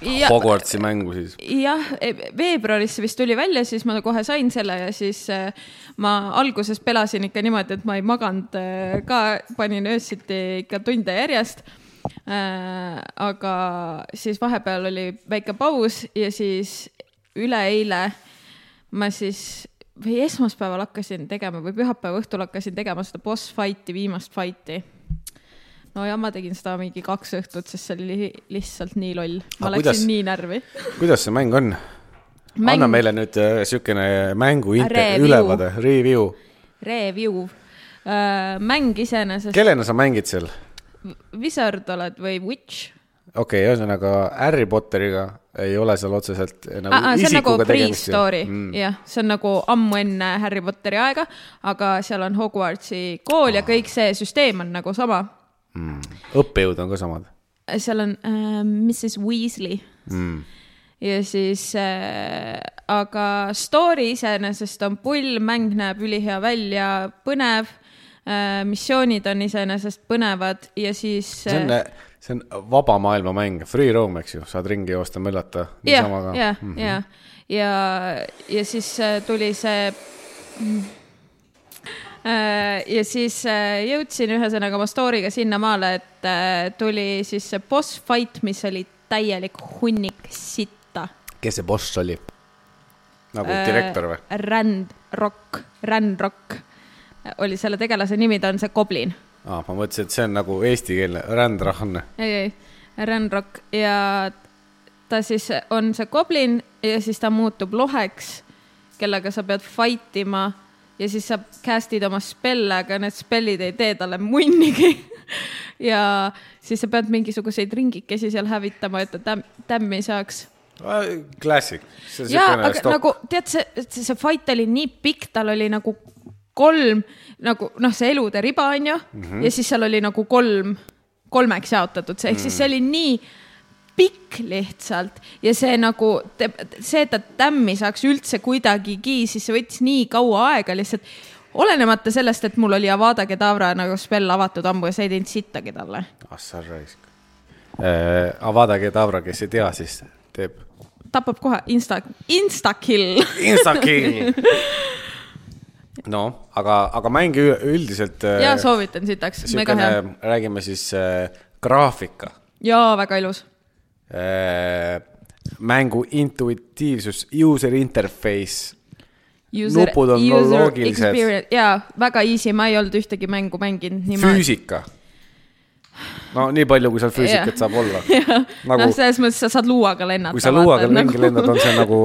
Speaker 2: jah ,
Speaker 3: Hogwartsi mängu siis .
Speaker 2: jah , veebruaris see vist tuli välja , siis ma kohe sain selle ja siis äh, ma alguses pelasin ikka niimoodi , et ma ei maganud äh, ka , panin öösiti ikka tunde järjest . aga siis vahepeal oli väike paus ja siis üleeile ma siis või esmaspäeval hakkasin tegema või pühapäeva õhtul hakkasin tegema seda boss fight'i , viimast fight'i no ja ma tegin seda mingi kaks õhtut , sest see oli li- lihtsalt nii loll , ma
Speaker 3: Aga
Speaker 2: läksin
Speaker 3: kuidas-
Speaker 2: nii närvi
Speaker 3: kuidas see mäng on ?
Speaker 2: Mäng-
Speaker 3: anna meile nüüd äh, siukene mängu inte-
Speaker 2: Review.
Speaker 3: ülevaade , review .
Speaker 2: review . mäng iseenesest Kel ,
Speaker 3: kellena sa mängid seal ?
Speaker 2: Wizard oled või Witch ?
Speaker 3: okei okay, , ühesõnaga Harry Potteriga ei ole seal otseselt nagu
Speaker 2: Ah, ah, see on nagu
Speaker 3: isikuga tegemist Mm. ju.
Speaker 2: pre-story , jah , see on nagu ammu enne Harry Potteri aega , aga seal on Hogwartsi kool ja
Speaker 3: Ah.
Speaker 2: kõik see süsteem on nagu sama .
Speaker 3: mm. . õppejõud on ka samad
Speaker 2: seal on äh, Mrs Weasley
Speaker 3: mm. .
Speaker 2: ja siis äh, , aga story iseenesest on pull , mäng näeb ülihea välja , põnev äh, , missioonid on iseenesest põnevad ja siis äh,
Speaker 3: see on , see on vaba maailma mäng , free roam , eks ju , saad ringi joosta , möllata .
Speaker 2: jah , jah ,
Speaker 3: Mhm.
Speaker 2: ja , ja , ja siis äh, tuli see . ja siis äh, jõudsin ühesõnaga oma story'ga sinnamaale , et äh, tuli siis see boss fight , mis oli täielik hunnik sitta .
Speaker 3: kes see boss oli ? nagu äh... direktor või ??
Speaker 2: Rändrock , Rändrock oli selle tegelase nimi , ta on see goblin
Speaker 3: aa , ma mõtlesin , et see on nagu eestikeelne rändrahn .
Speaker 2: ei , ei , Renrock ja ta siis on see goblin ja siis ta muutub loheks , kellega sa pead fight ima ja siis sa cast'id oma spelle , aga need spellid ei tee talle munnigi . (laughs) ja siis sa pead mingisuguseid ringikesi seal hävitama , et ta täm- , tämmi saaks .
Speaker 3: Classic . see on
Speaker 2: ja , aga
Speaker 3: siukene
Speaker 2: stop.
Speaker 3: stopp nagu...
Speaker 2: nagu tead , see , see , see fight oli nii pikk , tal oli nagu kolm nagu noh , see elude riba on ju mm ,
Speaker 3: Mhm.
Speaker 2: -hmm. ja siis seal oli nagu kolm , kolmeks jaotatud see , ehk siis
Speaker 3: Mhm.
Speaker 2: see oli nii pikk lihtsalt ja see nagu , see , et ta tämmi saaks üldse kuidagigi , siis see võttis nii kaua aega lihtsalt olenemata sellest , et mul oli Avada Kedavra nagu spell avatud ammu ja see ei teinud sittagi talle .
Speaker 3: ah sa raisk äh, . Avada Kedavra , kes ei tea , siis teeb
Speaker 2: tapab kohe insta , instakill . (laughs)
Speaker 3: instakill . no aga , aga mäng ü- üldiselt .
Speaker 2: ja soovitan sitaks , mega hea .
Speaker 3: siukene , räägime siis äh, graafika
Speaker 2: jaa , väga ilus
Speaker 3: äh, , mängu intuitiivsus , user interface .
Speaker 2: User-
Speaker 3: Nupud on
Speaker 2: user
Speaker 3: loogilised.
Speaker 2: experience- jaa , väga easy , ma ei olnud ühtegi mängu mänginud niimoodi .
Speaker 3: füüsika . no nii palju , kui seal füüsikat
Speaker 2: (laughs) Jah.
Speaker 3: saab olla .
Speaker 2: (laughs) noh ,
Speaker 3: nagu ,
Speaker 2: selles mõttes sa saad luuaga lennata .
Speaker 3: kui sa luuaga ringi lendad , on see nagu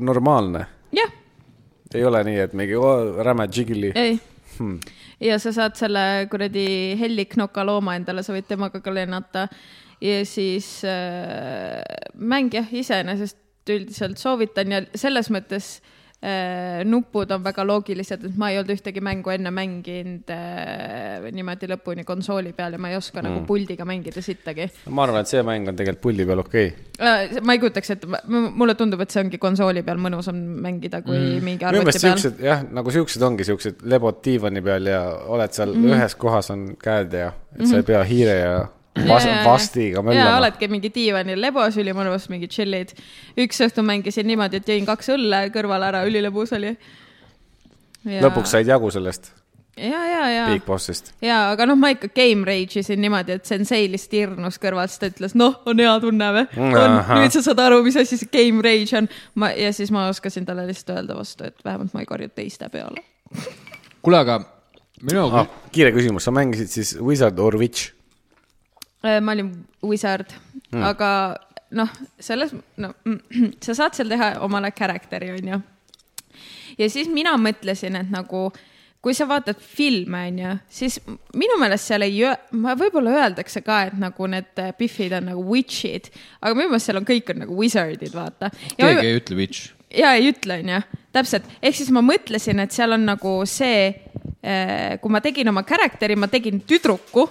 Speaker 3: normaalne .
Speaker 2: (laughs) jah ,
Speaker 3: ei ole nii , et mingi oo, räme džigili .
Speaker 2: ei hmm. . ja sa saad selle kuradi helliknoka looma endale , sa võid temaga ka lennata . ja siis äh, mäng jah , iseenesest üldiselt soovitan ja selles mõttes äh, nupud on väga loogilised , et ma ei olnud ühtegi mängu enne mänginud äh, niimoodi lõpuni konsooli peal ja ma ei
Speaker 3: Hmm.
Speaker 2: oska mm. nagu puldiga mängida sittagi
Speaker 3: ma arvan , et see mäng on tegelikult puldi peal okei okay. .
Speaker 2: Äh, ma ei kujutaks ette , mulle tundub , et see ongi konsooli peal mõnusam mängida kui mm. mingi
Speaker 3: Hmm. minu
Speaker 2: arvuti
Speaker 3: meelest
Speaker 2: peal .
Speaker 3: siuksed jah , nagu siuksed ongi siuksed lebod diivani peal ja oled seal
Speaker 2: Mhm.
Speaker 3: mm -hmm. ühes kohas on käed ja , et sa ei pea hiire ja vas yeah. vastiga
Speaker 2: jaa ,
Speaker 3: möllama .
Speaker 2: oledki mingi diivanil lebos , ülimõnus , mingid tšillid . üks õhtu mängisin niimoodi , et jõin kaks õlle kõrvale ära , ülilõbus oli .
Speaker 3: lõpuks said jagu sellest
Speaker 2: ja , ja , ja
Speaker 3: Big Bossist .
Speaker 2: ja , aga noh , ma ikka game rage isin niimoodi , et sensei lihtsalt irnus kõrvalt , siis ta ütles , noh , on hea tunne või ? on ,
Speaker 3: Ahah.
Speaker 2: nüüd sa saad aru , mis asi see game rage on . ma , ja siis ma oskasin talle lihtsalt öelda vastu , et vähemalt ma ei karju teiste peale .
Speaker 1: kuule , aga minu
Speaker 3: Ah,
Speaker 1: ah. ,
Speaker 3: kiire küsimus , sa mängisid siis Wizard or Witch ?
Speaker 2: Äh, ma olin wizard
Speaker 1: Hmm.
Speaker 2: mm. , aga noh , selles , no (clears throat) mm, sa saad seal teha omale character'i , onju . ja siis mina mõtlesin , et nagu kui sa vaatad filme , onju , siis minu meelest seal ei , ma võib-olla öeldakse ka , et nagu need Biffid on nagu witch'id , aga minu meelest seal on kõik on nagu wizard'id , vaata .
Speaker 1: keegi ei ütle witch .
Speaker 2: ja ei ütle , onju , täpselt , ehk siis ma mõtlesin , et seal on nagu see , kui ma tegin oma character'i , ma tegin tüdruku .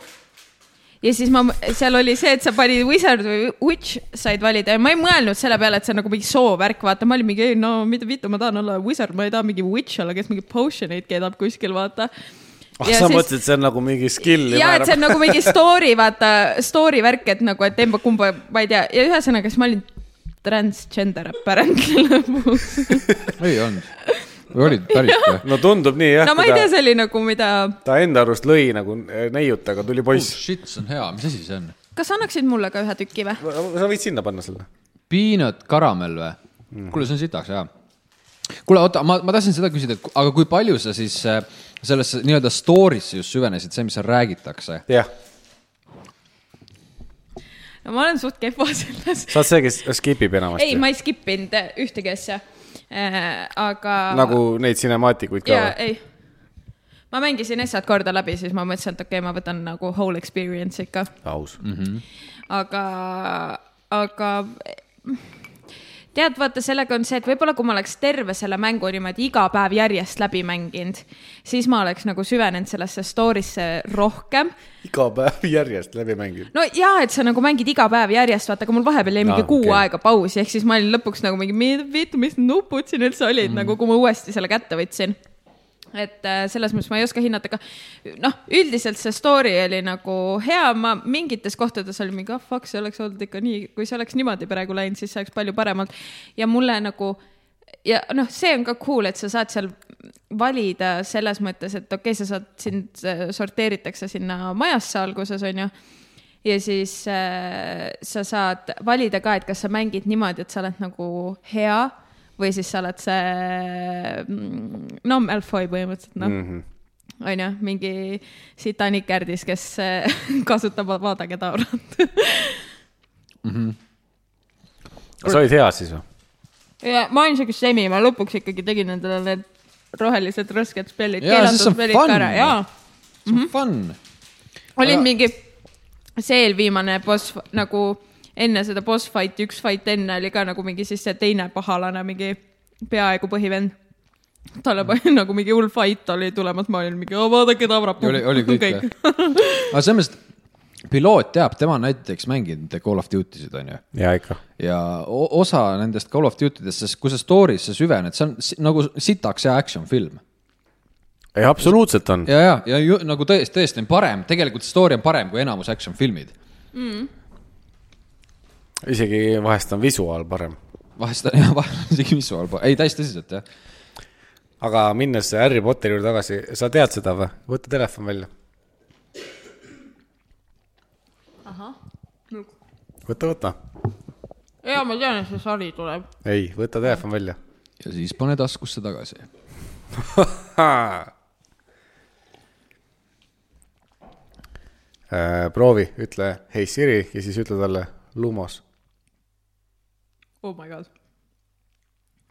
Speaker 2: ja siis ma , seal oli see , et sa panid wizard või witch said valida ja ma ei mõelnud selle peale , et see on nagu mingi soovärk , vaata , ma olin mingi , ei no mida vittu , ma tahan olla wizard , ma ei taha mingi witch olla , kes mingeid potion eid keedab kuskil , vaata .
Speaker 3: ah, sa siis... mõtlesid , see on nagu mingi skill
Speaker 2: ja et see on nagu mingi story , vaata story värk , et nagu , et emba kumba , ma ei tea , ja ühesõnaga siis ma olin transgender apparently lõpuks .
Speaker 1: ei olnud . või olid päris või ?
Speaker 3: no tundub nii jah
Speaker 2: no ma ei tea , see oli nagu , mida ,
Speaker 3: ta enda arust lõi nagu neiut , aga tuli
Speaker 1: oh
Speaker 3: poiss .
Speaker 1: shit , see on hea , mis asi see on ?
Speaker 2: kas annaksid mulle ka ühe tüki või ?
Speaker 3: sa võid sinna panna selle .
Speaker 1: Peanut karamell või mm. ? kuule , see on sitaks hea . kuule , oota , ma , ma tahtsin seda küsida , et ku- aga kui palju sa siis äh, sellesse nii-öelda story'sse just süvenesid , see , mis seal räägitakse ?
Speaker 3: jah ,
Speaker 2: no ma olen suht kehva selles .
Speaker 3: sa oled see , kes skip ib
Speaker 2: ei ,
Speaker 3: enamasti .
Speaker 2: ma ei skip inud ühtegi asja äh, , aga .
Speaker 3: nagu neid cinemaatikuid ka
Speaker 2: jaa ,
Speaker 3: või ?
Speaker 2: ei . ma mängisin essad korda läbi , siis ma mõtlesin , et okei okay, , ma võtan nagu whole experience ikka ,
Speaker 3: aus .
Speaker 2: aga , aga tead , vaata , sellega on see , et võib-olla kui ma oleks terve selle mängu niimoodi iga päev järjest läbi mänginud , siis ma oleks nagu süvenenud sellesse story'sse rohkem
Speaker 3: iga päev järjest läbi mängib .
Speaker 2: no ja , et sa nagu mängid iga päev järjest , vaata , aga mul vahepeal jäi mingi
Speaker 3: Aa,
Speaker 2: kuu
Speaker 3: okei.
Speaker 2: okay. aega pausi , ehk siis ma olin lõpuks nagu mingi , mida vittu , mis nupud siin üldse olid mm. nagu , kui ma uuesti selle kätte võtsin . et äh, selles mõttes ma ei oska hinnata , aga noh , üldiselt see story oli nagu hea , ma mingites kohtades olin mingi , ah oh, fuck , see oleks olnud ikka nii , kui see oleks niimoodi praegu läinud , siis see oleks palju parem olnud ja mulle nagu ja noh , see on ka cool , et sa saad seal valida selles mõttes , et okei okay, , sa saad sind , sorteeritakse sinna majasse alguses , onju ja siis äh, sa saad valida ka , et kas sa mängid niimoodi , et sa oled nagu hea või siis sa oled see mm, no Malfoy põhimõtteliselt noh mm
Speaker 1: Mhm.
Speaker 2: -hmm. onju , mingi sitani kärdis , kes (laughs) äh, kasutab vaadaketaurat .
Speaker 3: sa olid hea siis või ?
Speaker 2: (laughs) ja ma olin siuke semi , ma lõpuks ikkagi tegin endale need rohelised rasked spellid ,
Speaker 1: Jaa, siis on
Speaker 2: keelatud spellid ka
Speaker 1: fun.
Speaker 2: ära , jaa
Speaker 1: see on fun .
Speaker 2: olin
Speaker 1: Aga-
Speaker 2: mingi , see eelviimane boss f- nagu enne seda boss fight'i , üks fight enne oli ka nagu mingi siis see teine pahalane , mingi peaaegu põhivend . talle
Speaker 1: Mm.
Speaker 2: pani (laughs) nagu mingi hull fight oli tulemas , ma olin mingi , vaadake tabrab .
Speaker 1: oli , oli kõik või ?
Speaker 2: (laughs)
Speaker 1: aga selles mõttes , piloot teab , tema on näiteks mänginud Call of Duty sid , onju .
Speaker 3: jaa , ikka .
Speaker 1: ja o- osa nendest Call of Duty dest , sest kui sa story'sse süvened , see on si- nagu sitaks hea action film
Speaker 3: ei , absoluutselt on .
Speaker 1: ja , ja , ja ju, nagu tõesti , tõesti on parem , tegelikult story on parem kui enamus action filmid .
Speaker 3: isegi vahest on visuaal parem .
Speaker 1: vahest on (laughs) jah , vahel on isegi visuaal , ei täiesti tõsiselt jah .
Speaker 3: aga minnes Harry Potteri juurde tagasi , sa tead seda või ? võta telefon välja . võta , võta .
Speaker 2: ja ma tean , et see sari tuleb .
Speaker 3: ei , võta telefon välja .
Speaker 1: ja siis pane taskusse tagasi .
Speaker 3: Äh, proovi , ütle hei Siri ja siis ütle talle Lumos .
Speaker 2: oh my god .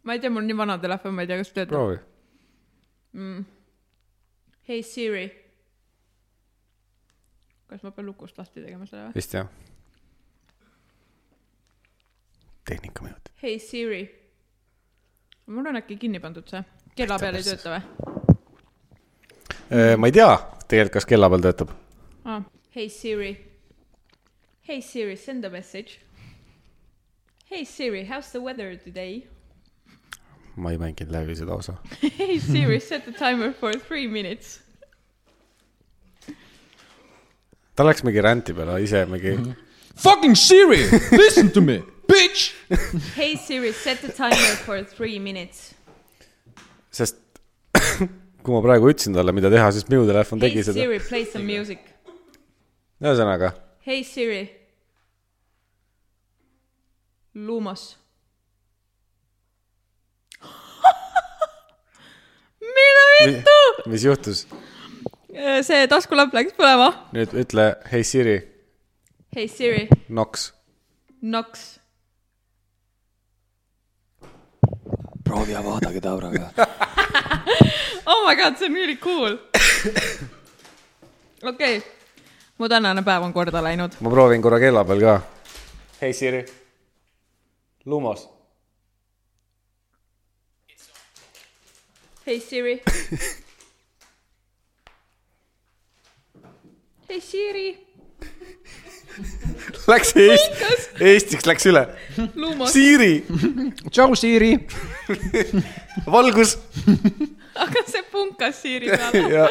Speaker 2: ma ei tea , mul on nii vana telefon , ma ei tea , kas töötab .
Speaker 3: proovi .
Speaker 2: hei Siri . kas ma pean lukust lahti tegema selle või ?
Speaker 3: vist jah . tehnikaminutid .
Speaker 2: hei Siri . mul on äkki kinni pandud see , kella peal ei tööta või ?
Speaker 3: Äh, ma ei tea tegelikult , kas kella peal töötab .
Speaker 2: Ah. Hey Siri. Hey Siri, send a message. Hey Siri, how's the weather today?
Speaker 3: ma ei mänginud läbi seda osa .
Speaker 2: (laughs) Hey Siri, set the timer for three minutes.
Speaker 3: ta läks mingi ränti peale ise mingi ,
Speaker 1: Fucking Siri , listen to me , bitch .
Speaker 2: Hey Siri, set the timer for three minutes.
Speaker 3: sest (coughs) kui ma praegu ütlesin talle , mida teha , siis minu telefon
Speaker 2: Hey
Speaker 3: tegi seda .
Speaker 2: Siri, play some music.
Speaker 3: ühesõnaga ,
Speaker 2: Hey Siri. Lumos. mida vittu ?
Speaker 3: mis juhtus ?
Speaker 2: see taskulapp läks põlema .
Speaker 3: nüüd ütle , hei Siri ,
Speaker 2: Hey Siri,
Speaker 3: Nox .
Speaker 2: Nox
Speaker 1: proovi ja vaadake Tauraga .
Speaker 2: oh my god , see on really (laughs) cool . okei okay. , mu tänane päev on korda läinud .
Speaker 3: ma proovin korra kella peal ka . hei Siri , Lumos .
Speaker 2: Hey Siri . (laughs) Hey Siri ,
Speaker 3: (laughs) Läks Eest- , Eestiks läks üle .
Speaker 2: Lumos .
Speaker 3: Siri ,
Speaker 1: tšau , Siri .
Speaker 3: valgus .
Speaker 2: (laughs) aga see punkas siiri
Speaker 3: (laughs)
Speaker 2: peal .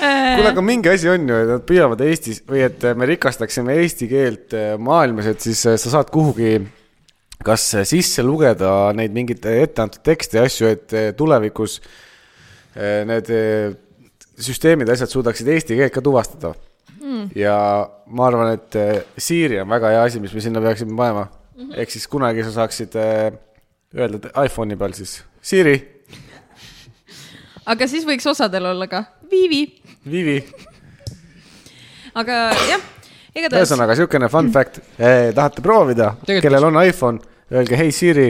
Speaker 3: kuule , aga mingi asi on ju , et nad püüavad Eestis või et me rikastaksime eesti keelt eh, maailmas , et siis eh, sa saad kuhugi kas äh, sisse lugeda neid mingeid äh, etteantud tekste ja asju , et eh, tulevikus eh, need eh, süsteemid , asjad suudaksid eesti keelt ka tuvastada mm. . ja ma arvan , et eh, Siiri on väga hea asi , mis me sinna peaksime panema mm -hmm. . ehk siis kunagi sa saaksid eh, öelda et iPhone'i peal siis Siiri ,
Speaker 2: aga siis võiks osadel olla ka Viivi ,
Speaker 3: Vivi
Speaker 2: aga jah , igatahes
Speaker 3: ühesõnaga siukene fun fact eh, , tahate proovida ,
Speaker 1: Tegelikult-
Speaker 3: kellel on iPhone , öelge hei Siri ,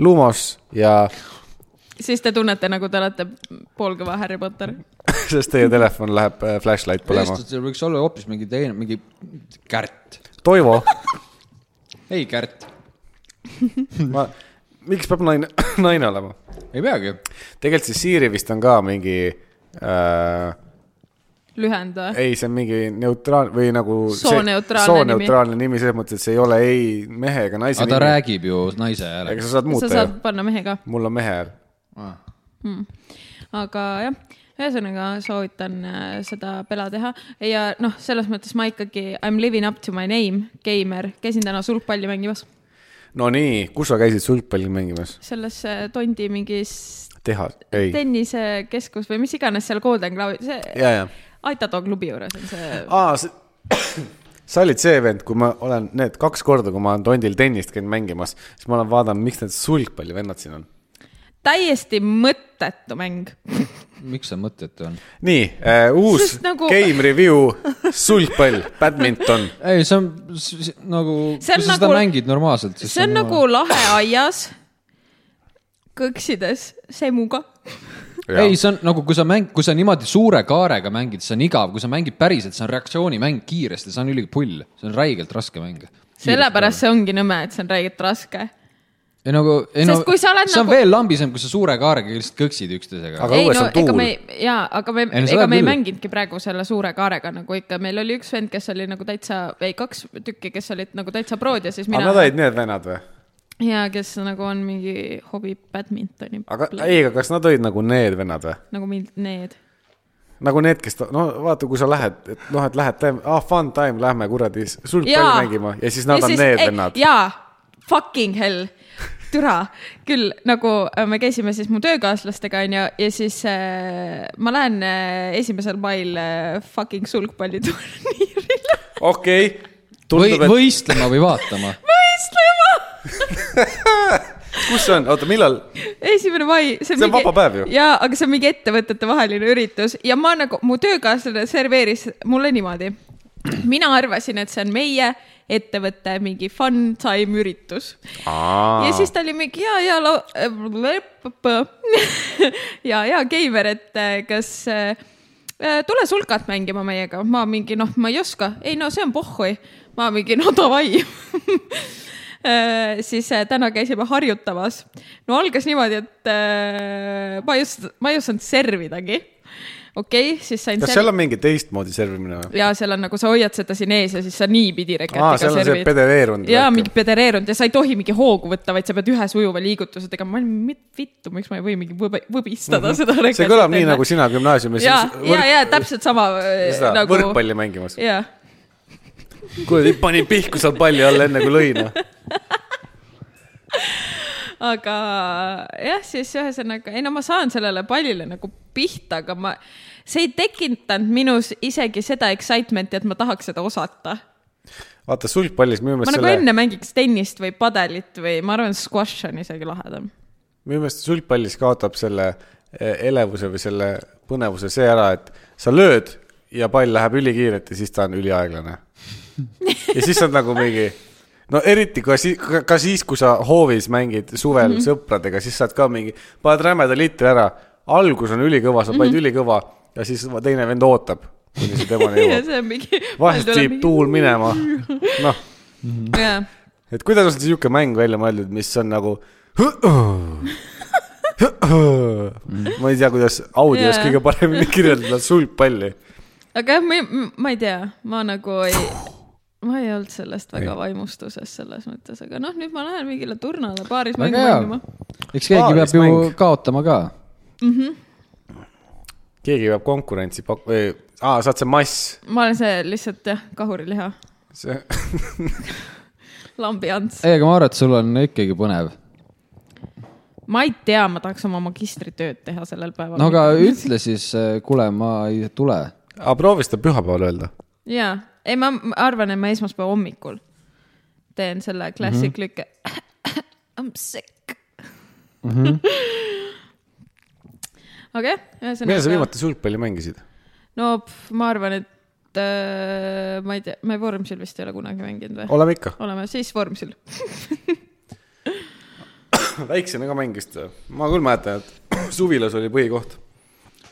Speaker 3: Lumos ja (laughs)
Speaker 2: siis te tunnete , nagu te olete poolkõva Harry Potter .
Speaker 3: sest teie telefon läheb eh, flashlight põlema .
Speaker 1: eestlastel võiks olla hoopis mingi teine , mingi Kärt .
Speaker 3: Toivo ,
Speaker 1: ei Kärt ,
Speaker 3: ma , miks peab naine , (laughs) naine olema ?
Speaker 1: ei peagi .
Speaker 3: tegelikult see Siri vist on ka mingi äh, ,
Speaker 2: lühend või ?
Speaker 3: ei , see on mingi neutraal või nagu .
Speaker 2: Sooneutraalne
Speaker 3: sooneutraalne nimi selles mõttes , et see ei ole ei mehe ega naise
Speaker 1: aga ta
Speaker 3: nimi .
Speaker 1: räägib ju naise häälega . Ah,
Speaker 3: ega sa saad
Speaker 2: sa
Speaker 3: muuta
Speaker 2: saad
Speaker 3: ju ,
Speaker 2: panna mehe ka ,
Speaker 3: mul on mehe hääl .
Speaker 2: aga jah , ühesõnaga soovitan äh, seda pela teha ja noh , selles mõttes ma ikkagi I m living up to my name , geimer , käisin täna sulgpalli mängimas
Speaker 3: Nonii , kus sa käisid sulgpalli mängimas ?
Speaker 2: selles äh, Tondi mingis
Speaker 3: tehas , ei ,
Speaker 2: tennisekeskus või mis iganes seal Golden Globe , see
Speaker 3: ja , ja
Speaker 2: Aitato klubi juures on see .
Speaker 3: aa , sa , sa olid see vend , kui ma olen need kaks korda , kui ma olen tondil tennist käinud mängimas , siis ma olen vaadanud , miks need sulgpallivennad siin on .
Speaker 2: täiesti mõttetu mäng .
Speaker 1: miks see mõttetu on ?
Speaker 3: nii äh, , uus
Speaker 2: Sest nagu-
Speaker 3: nagu... game review , sulgpall , badminton .
Speaker 1: ei , see on s- s- nagu , kui
Speaker 2: See
Speaker 1: sa
Speaker 2: on
Speaker 1: seda
Speaker 2: nagu-
Speaker 1: mängid normaalselt , siis
Speaker 2: see on nagu lahe aias , kõksides semuga .
Speaker 1: ei , see on nagu , kui sa mäng , kui sa niimoodi suure kaarega mängid , see on igav , kui sa mängid päriselt , see on reaktsioonimäng kiiresti , see on ülipull , see on räigelt raske mäng .
Speaker 2: sellepärast see ongi nõme , et see on räigelt raske .
Speaker 1: ei nagu , ei
Speaker 2: Sest
Speaker 1: no
Speaker 2: kui sa oled
Speaker 1: see on
Speaker 2: nagu-
Speaker 1: veel lambisem , kui sa suure kaarega lihtsalt kõksid üksteisega .
Speaker 3: Aga õues on tuul.
Speaker 2: jaa , aga me ,
Speaker 1: no seda
Speaker 2: ega me ei
Speaker 1: küll.
Speaker 2: mänginudki praegu selle suure kaarega nagu ikka , meil oli üks vend , kes oli nagu täitsa , ei kaks tükki , kes olid nagu täitsa prood ja siis
Speaker 3: aga
Speaker 2: mina
Speaker 3: nad olid need vennad või ?
Speaker 2: ja kes nagu on mingi hobi badmintoni
Speaker 3: aga ei , aga kas nad olid nagu need vennad või ?
Speaker 2: nagu mind , need
Speaker 3: nagu need , kes , no vaata , kui sa lähed , et noh , et lähed , ah fun time , lähme kuradi s- sulgpalli
Speaker 2: Jaa.
Speaker 3: mängima ja siis nad ja on siis, need
Speaker 2: ei-
Speaker 3: ei, vennad .
Speaker 2: jaa , fucking hell , türa küll , nagu äh, me käisime siis mu töökaaslastega onju ja siis äh, ma lähen äh, esimesel mail äh, fucking sulgpalliturniirile
Speaker 3: okei okay. ,
Speaker 1: või
Speaker 3: tundub , et või...
Speaker 1: võistlema või
Speaker 2: (laughs)
Speaker 1: vaatama .
Speaker 2: võistlema .
Speaker 3: kus see on , oota , millal ?
Speaker 2: esimene mai , see on,
Speaker 3: See on vaba päev ju.
Speaker 2: jaa , aga see on mingi ettevõtetevaheline üritus ja ma nagu , mu töökaaslane serveeris mulle niimoodi . mina arvasin , et see on meie ettevõtte mingi fun time üritus ja siis ta oli mingi ja , ja lau- , (laughs) ja , ja Keiver , et äh, kas äh, äh, tule sulkat mängima meiega , ma mingi noh , ma ei oska , ei no see on pohhui , ma mingi no davai . (laughs) siis äh, täna käisime harjutamas , no algas niimoodi , et äh, ma just , ma ei osanud servidagi . okei okay, , siis sain
Speaker 3: kas seal on mingi teistmoodi servimine või ?
Speaker 2: ja seal on nagu sa hoiad seda siin ees ja siis sa niipidi reketiga
Speaker 3: Aa, seal on see pedereerunud
Speaker 2: ja
Speaker 3: värk.
Speaker 2: mingi pedereerunud ja sa ei tohi mingi hoogu võtta , vaid sa pead ühe sujuva liigutuse tegema . ma olin , mit- vittu , miks ma ei või mingi võbe- võbistada seda reketit .
Speaker 3: Mhm. see kõlab nii , nagu sina gümnaasiumis
Speaker 2: ja , ja ,
Speaker 3: võrk-
Speaker 2: ja täpselt sama äh,
Speaker 3: seda nagu...
Speaker 2: nagu .
Speaker 3: võrkpalli mängimas .
Speaker 2: ja ,
Speaker 3: kuradi panin pihku seal palli all enne kui lõin . noh.
Speaker 2: aga jah , siis ühesõnaga , ei no ma saan sellele pallile nagu pihta , aga ma , see ei tekitanud minus isegi seda excitement'i , et ma tahaks seda osata
Speaker 3: vaata sulgpallis minu
Speaker 2: ma
Speaker 3: meelest
Speaker 2: nagu
Speaker 3: selle
Speaker 2: enne mängiks tennist või padelit või ma arvan , squash on isegi lahedam .
Speaker 3: minu meelest sulgpallis kaotab selle eh, elevuse või selle põnevuse see ära , et sa lööd ja pall läheb ülikiirelt ja siis ta on üliaeglane . ja siis sa oled nagu mingi , no eriti ka siis , ka siis , kui sa hoovis mängid suvel mm -hmm. sõpradega , siis saad ka mingi , paned rämeda litri ära , algus on ülikõva , sa paned mm -hmm. ülikõva ja siis teine vend ootab , kuni see temani
Speaker 2: ja
Speaker 3: jõuab .
Speaker 2: see on mingi .
Speaker 3: vahest viib tuul . minema , noh
Speaker 2: jaa ,
Speaker 3: et kuidas on niisugune mäng välja mõeldud , mis on (laughs) nagu . ma ei tea , kuidas audios
Speaker 2: Jaa.
Speaker 3: kõige paremini kirjeldada sulgpalli .
Speaker 2: aga jah , ma ei , ma ei tea , ma nagu ei , ma ei olnud sellest väga vaimustuses selles mõttes , aga noh , nüüd ma lähen mingile turnale baaris mängu
Speaker 1: väga hea
Speaker 2: mängima ..
Speaker 1: eks keegi peab ju
Speaker 3: Paarismäng.
Speaker 1: kaotama ka .
Speaker 3: keegi peab konkurentsi pak- , aa , saad see mass ,
Speaker 2: ma olen see lihtsalt jah , kahuriliha ,
Speaker 3: see
Speaker 2: lambi ants .
Speaker 1: ei , aga ma arvan , et sul on ikkagi põnev .
Speaker 2: ma ei tea , ma tahaks oma magistritööd teha sellel päeval .
Speaker 1: no aga ütle siis , kuule , ma ei tule .
Speaker 3: (laughs) aga proovi seda pühapäeval öelda .
Speaker 2: jaa , ei ma ma arvan , et ma esmaspäeva hommikul teen selle klassik lükke (coughs) mm . -hmm. I m sick mm (laughs) -hmm. . okei okay, ,
Speaker 3: millal sa
Speaker 2: ühesõnaga .
Speaker 3: viimati sulgpalli mängisid ?
Speaker 2: no pff, ma arvan , et äh, ma ei tea , me Vormsil vist ei ole kunagi mänginud või ?
Speaker 3: oleme ikka ,
Speaker 2: oleme siis Vormsil .
Speaker 3: väiksena ka mängisid . ma küll mäletan , et (clears throat) suvilas oli põhikoht .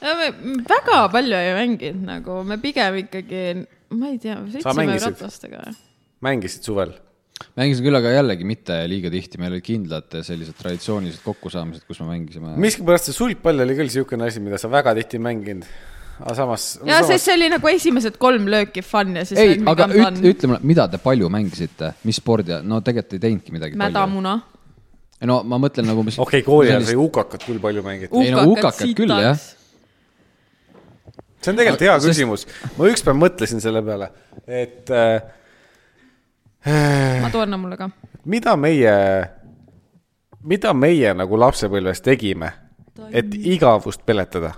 Speaker 2: me väga palju ei mänginud nagu , me pigem ikkagi , ma ei tea , sõitsime
Speaker 3: mängisid?
Speaker 2: ratastega .
Speaker 3: mängisid suvel ?
Speaker 1: mängisin küll , aga jällegi mitte liiga tihti , meil olid kindlad äh, sellised traditsioonilised kokkusaamised , kus me mängisime .
Speaker 3: miskipärast see sulgpall oli küll niisugune asi , mida sa väga tihti ei mänginud . aga samas .
Speaker 2: ja siis see oli nagu esimesed kolm lööki fun ja siis .
Speaker 1: ei , aga üt, ütle mulle , mida te palju mängisite , mis spordi , no tegelikult ei teinudki midagi palju .
Speaker 2: mädamuna
Speaker 1: no ma mõtlen nagu , mis .
Speaker 3: okei okay, , kooli ajal sai hukakat küll palju mängiti .
Speaker 1: Ei, no ukakad küll, jah.
Speaker 3: see on tegelikult hea
Speaker 1: Aga- sest-
Speaker 3: küsimus . ma ükspäev mõtlesin selle peale , et äh,
Speaker 2: ma toon mulle ka .
Speaker 3: mida meie , mida meie nagu lapsepõlves tegime , et igavust peletada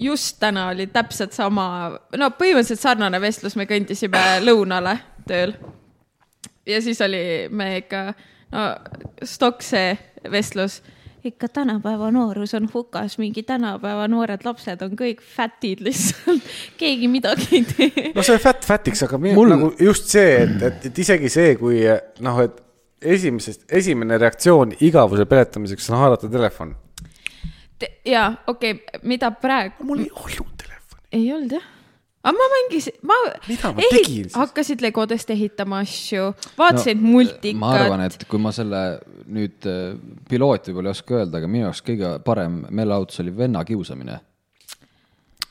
Speaker 2: just täna oli täpselt sama , no põhimõtteliselt sarnane vestlus , me kõndisime lõunale tööl . ja siis oli me ikka , no stokk see vestlus . ikka tänapäeva noorus on hukas , mingi tänapäeva noored lapsed on kõik fätid lihtsalt , (laughs) keegi midagi ei tee .
Speaker 3: no see fat fat'iks , aga minu,
Speaker 1: Mul-
Speaker 3: Mul... nagu just see , et , et , et isegi see , kui noh , et esimesest , esimene reaktsioon igavuse peletamiseks on haarata telefon .
Speaker 2: ja okei okay, , mida praegu ,
Speaker 3: mul ei olnud telefoni .
Speaker 2: ei olnud jah aga ma mängisin , ma,
Speaker 3: Mida ma tegin siis?
Speaker 2: hakkasid legodest ehitama asju , vaatasin no,
Speaker 1: ma arvan ,
Speaker 2: multikat ,
Speaker 1: et kui ma selle nüüd äh, piloot võib-olla ei oska öelda , aga minu jaoks kõige parem meeleahutus oli venna kiusamine .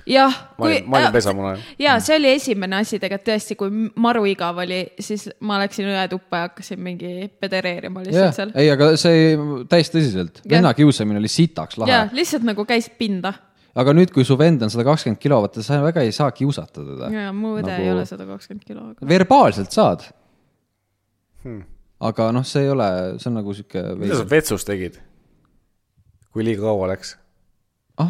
Speaker 2: jah . äh,
Speaker 3: ma olin , ma olin pesamuna .
Speaker 2: ja see oli esimene asi tegelikult tõesti , kui maru igav oli , siis ma läksin õetuppa ja hakkasin mingi pedereerima
Speaker 1: jah
Speaker 2: lihtsalt seal ,
Speaker 1: ei , aga see täiesti tõsiselt ,
Speaker 2: Jah.
Speaker 1: venna kiusamine oli sitaks lahe
Speaker 2: ja . lihtsalt nagu käis pinda .
Speaker 1: aga nüüd , kui su vend on sada kakskümmend kilo , vaata sa väga ei saa kiusata
Speaker 3: Ah,
Speaker 1: teda .
Speaker 2: ja mu õde nagu... ei ole sada kakskümmend kilo , aga
Speaker 1: verbaalselt saad hmm. . aga noh , see ei ole , see on nagu sihuke
Speaker 3: Hmm. mida
Speaker 1: veider
Speaker 3: sa . vetsus tegid ? kui liiga kaua läks ?
Speaker 1: ah ,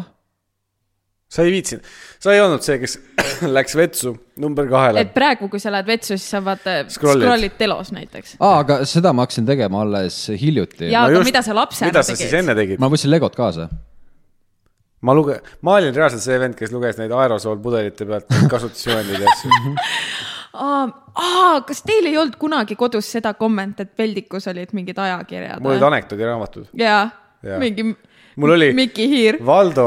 Speaker 3: sa ei viitsinud , sa ei olnud see , kes (coughs) läks vetsu number kahele
Speaker 2: et . praegu , kui sa lähed vetsu , siis sa vaata
Speaker 3: Scrollid.
Speaker 2: scroll'id, scrollid telos näiteks .
Speaker 1: ah, aga seda ma hakkasin tegema alles hiljuti .
Speaker 2: ja no , aga just, mida sa lapsena
Speaker 3: mida sa siis
Speaker 2: tegid ?
Speaker 3: enne tegid ?
Speaker 1: ma võtsin legod kaasa
Speaker 3: ma luge- , ma olin reaalselt see vend , kes luges neid aerosoolpudelite pealt kasutusjuhendeid ja
Speaker 2: (laughs)
Speaker 3: asju .
Speaker 2: Aa, aa, kas teil ei olnud kunagi kodus seda komment , et peldikus olid mingid ajakirjad ?
Speaker 3: mul olid anekdoodiraamatud .
Speaker 2: jaa
Speaker 3: Jaa.
Speaker 2: ja. , mingi
Speaker 3: Mul oli-
Speaker 2: Miki Hiir .
Speaker 3: Valdo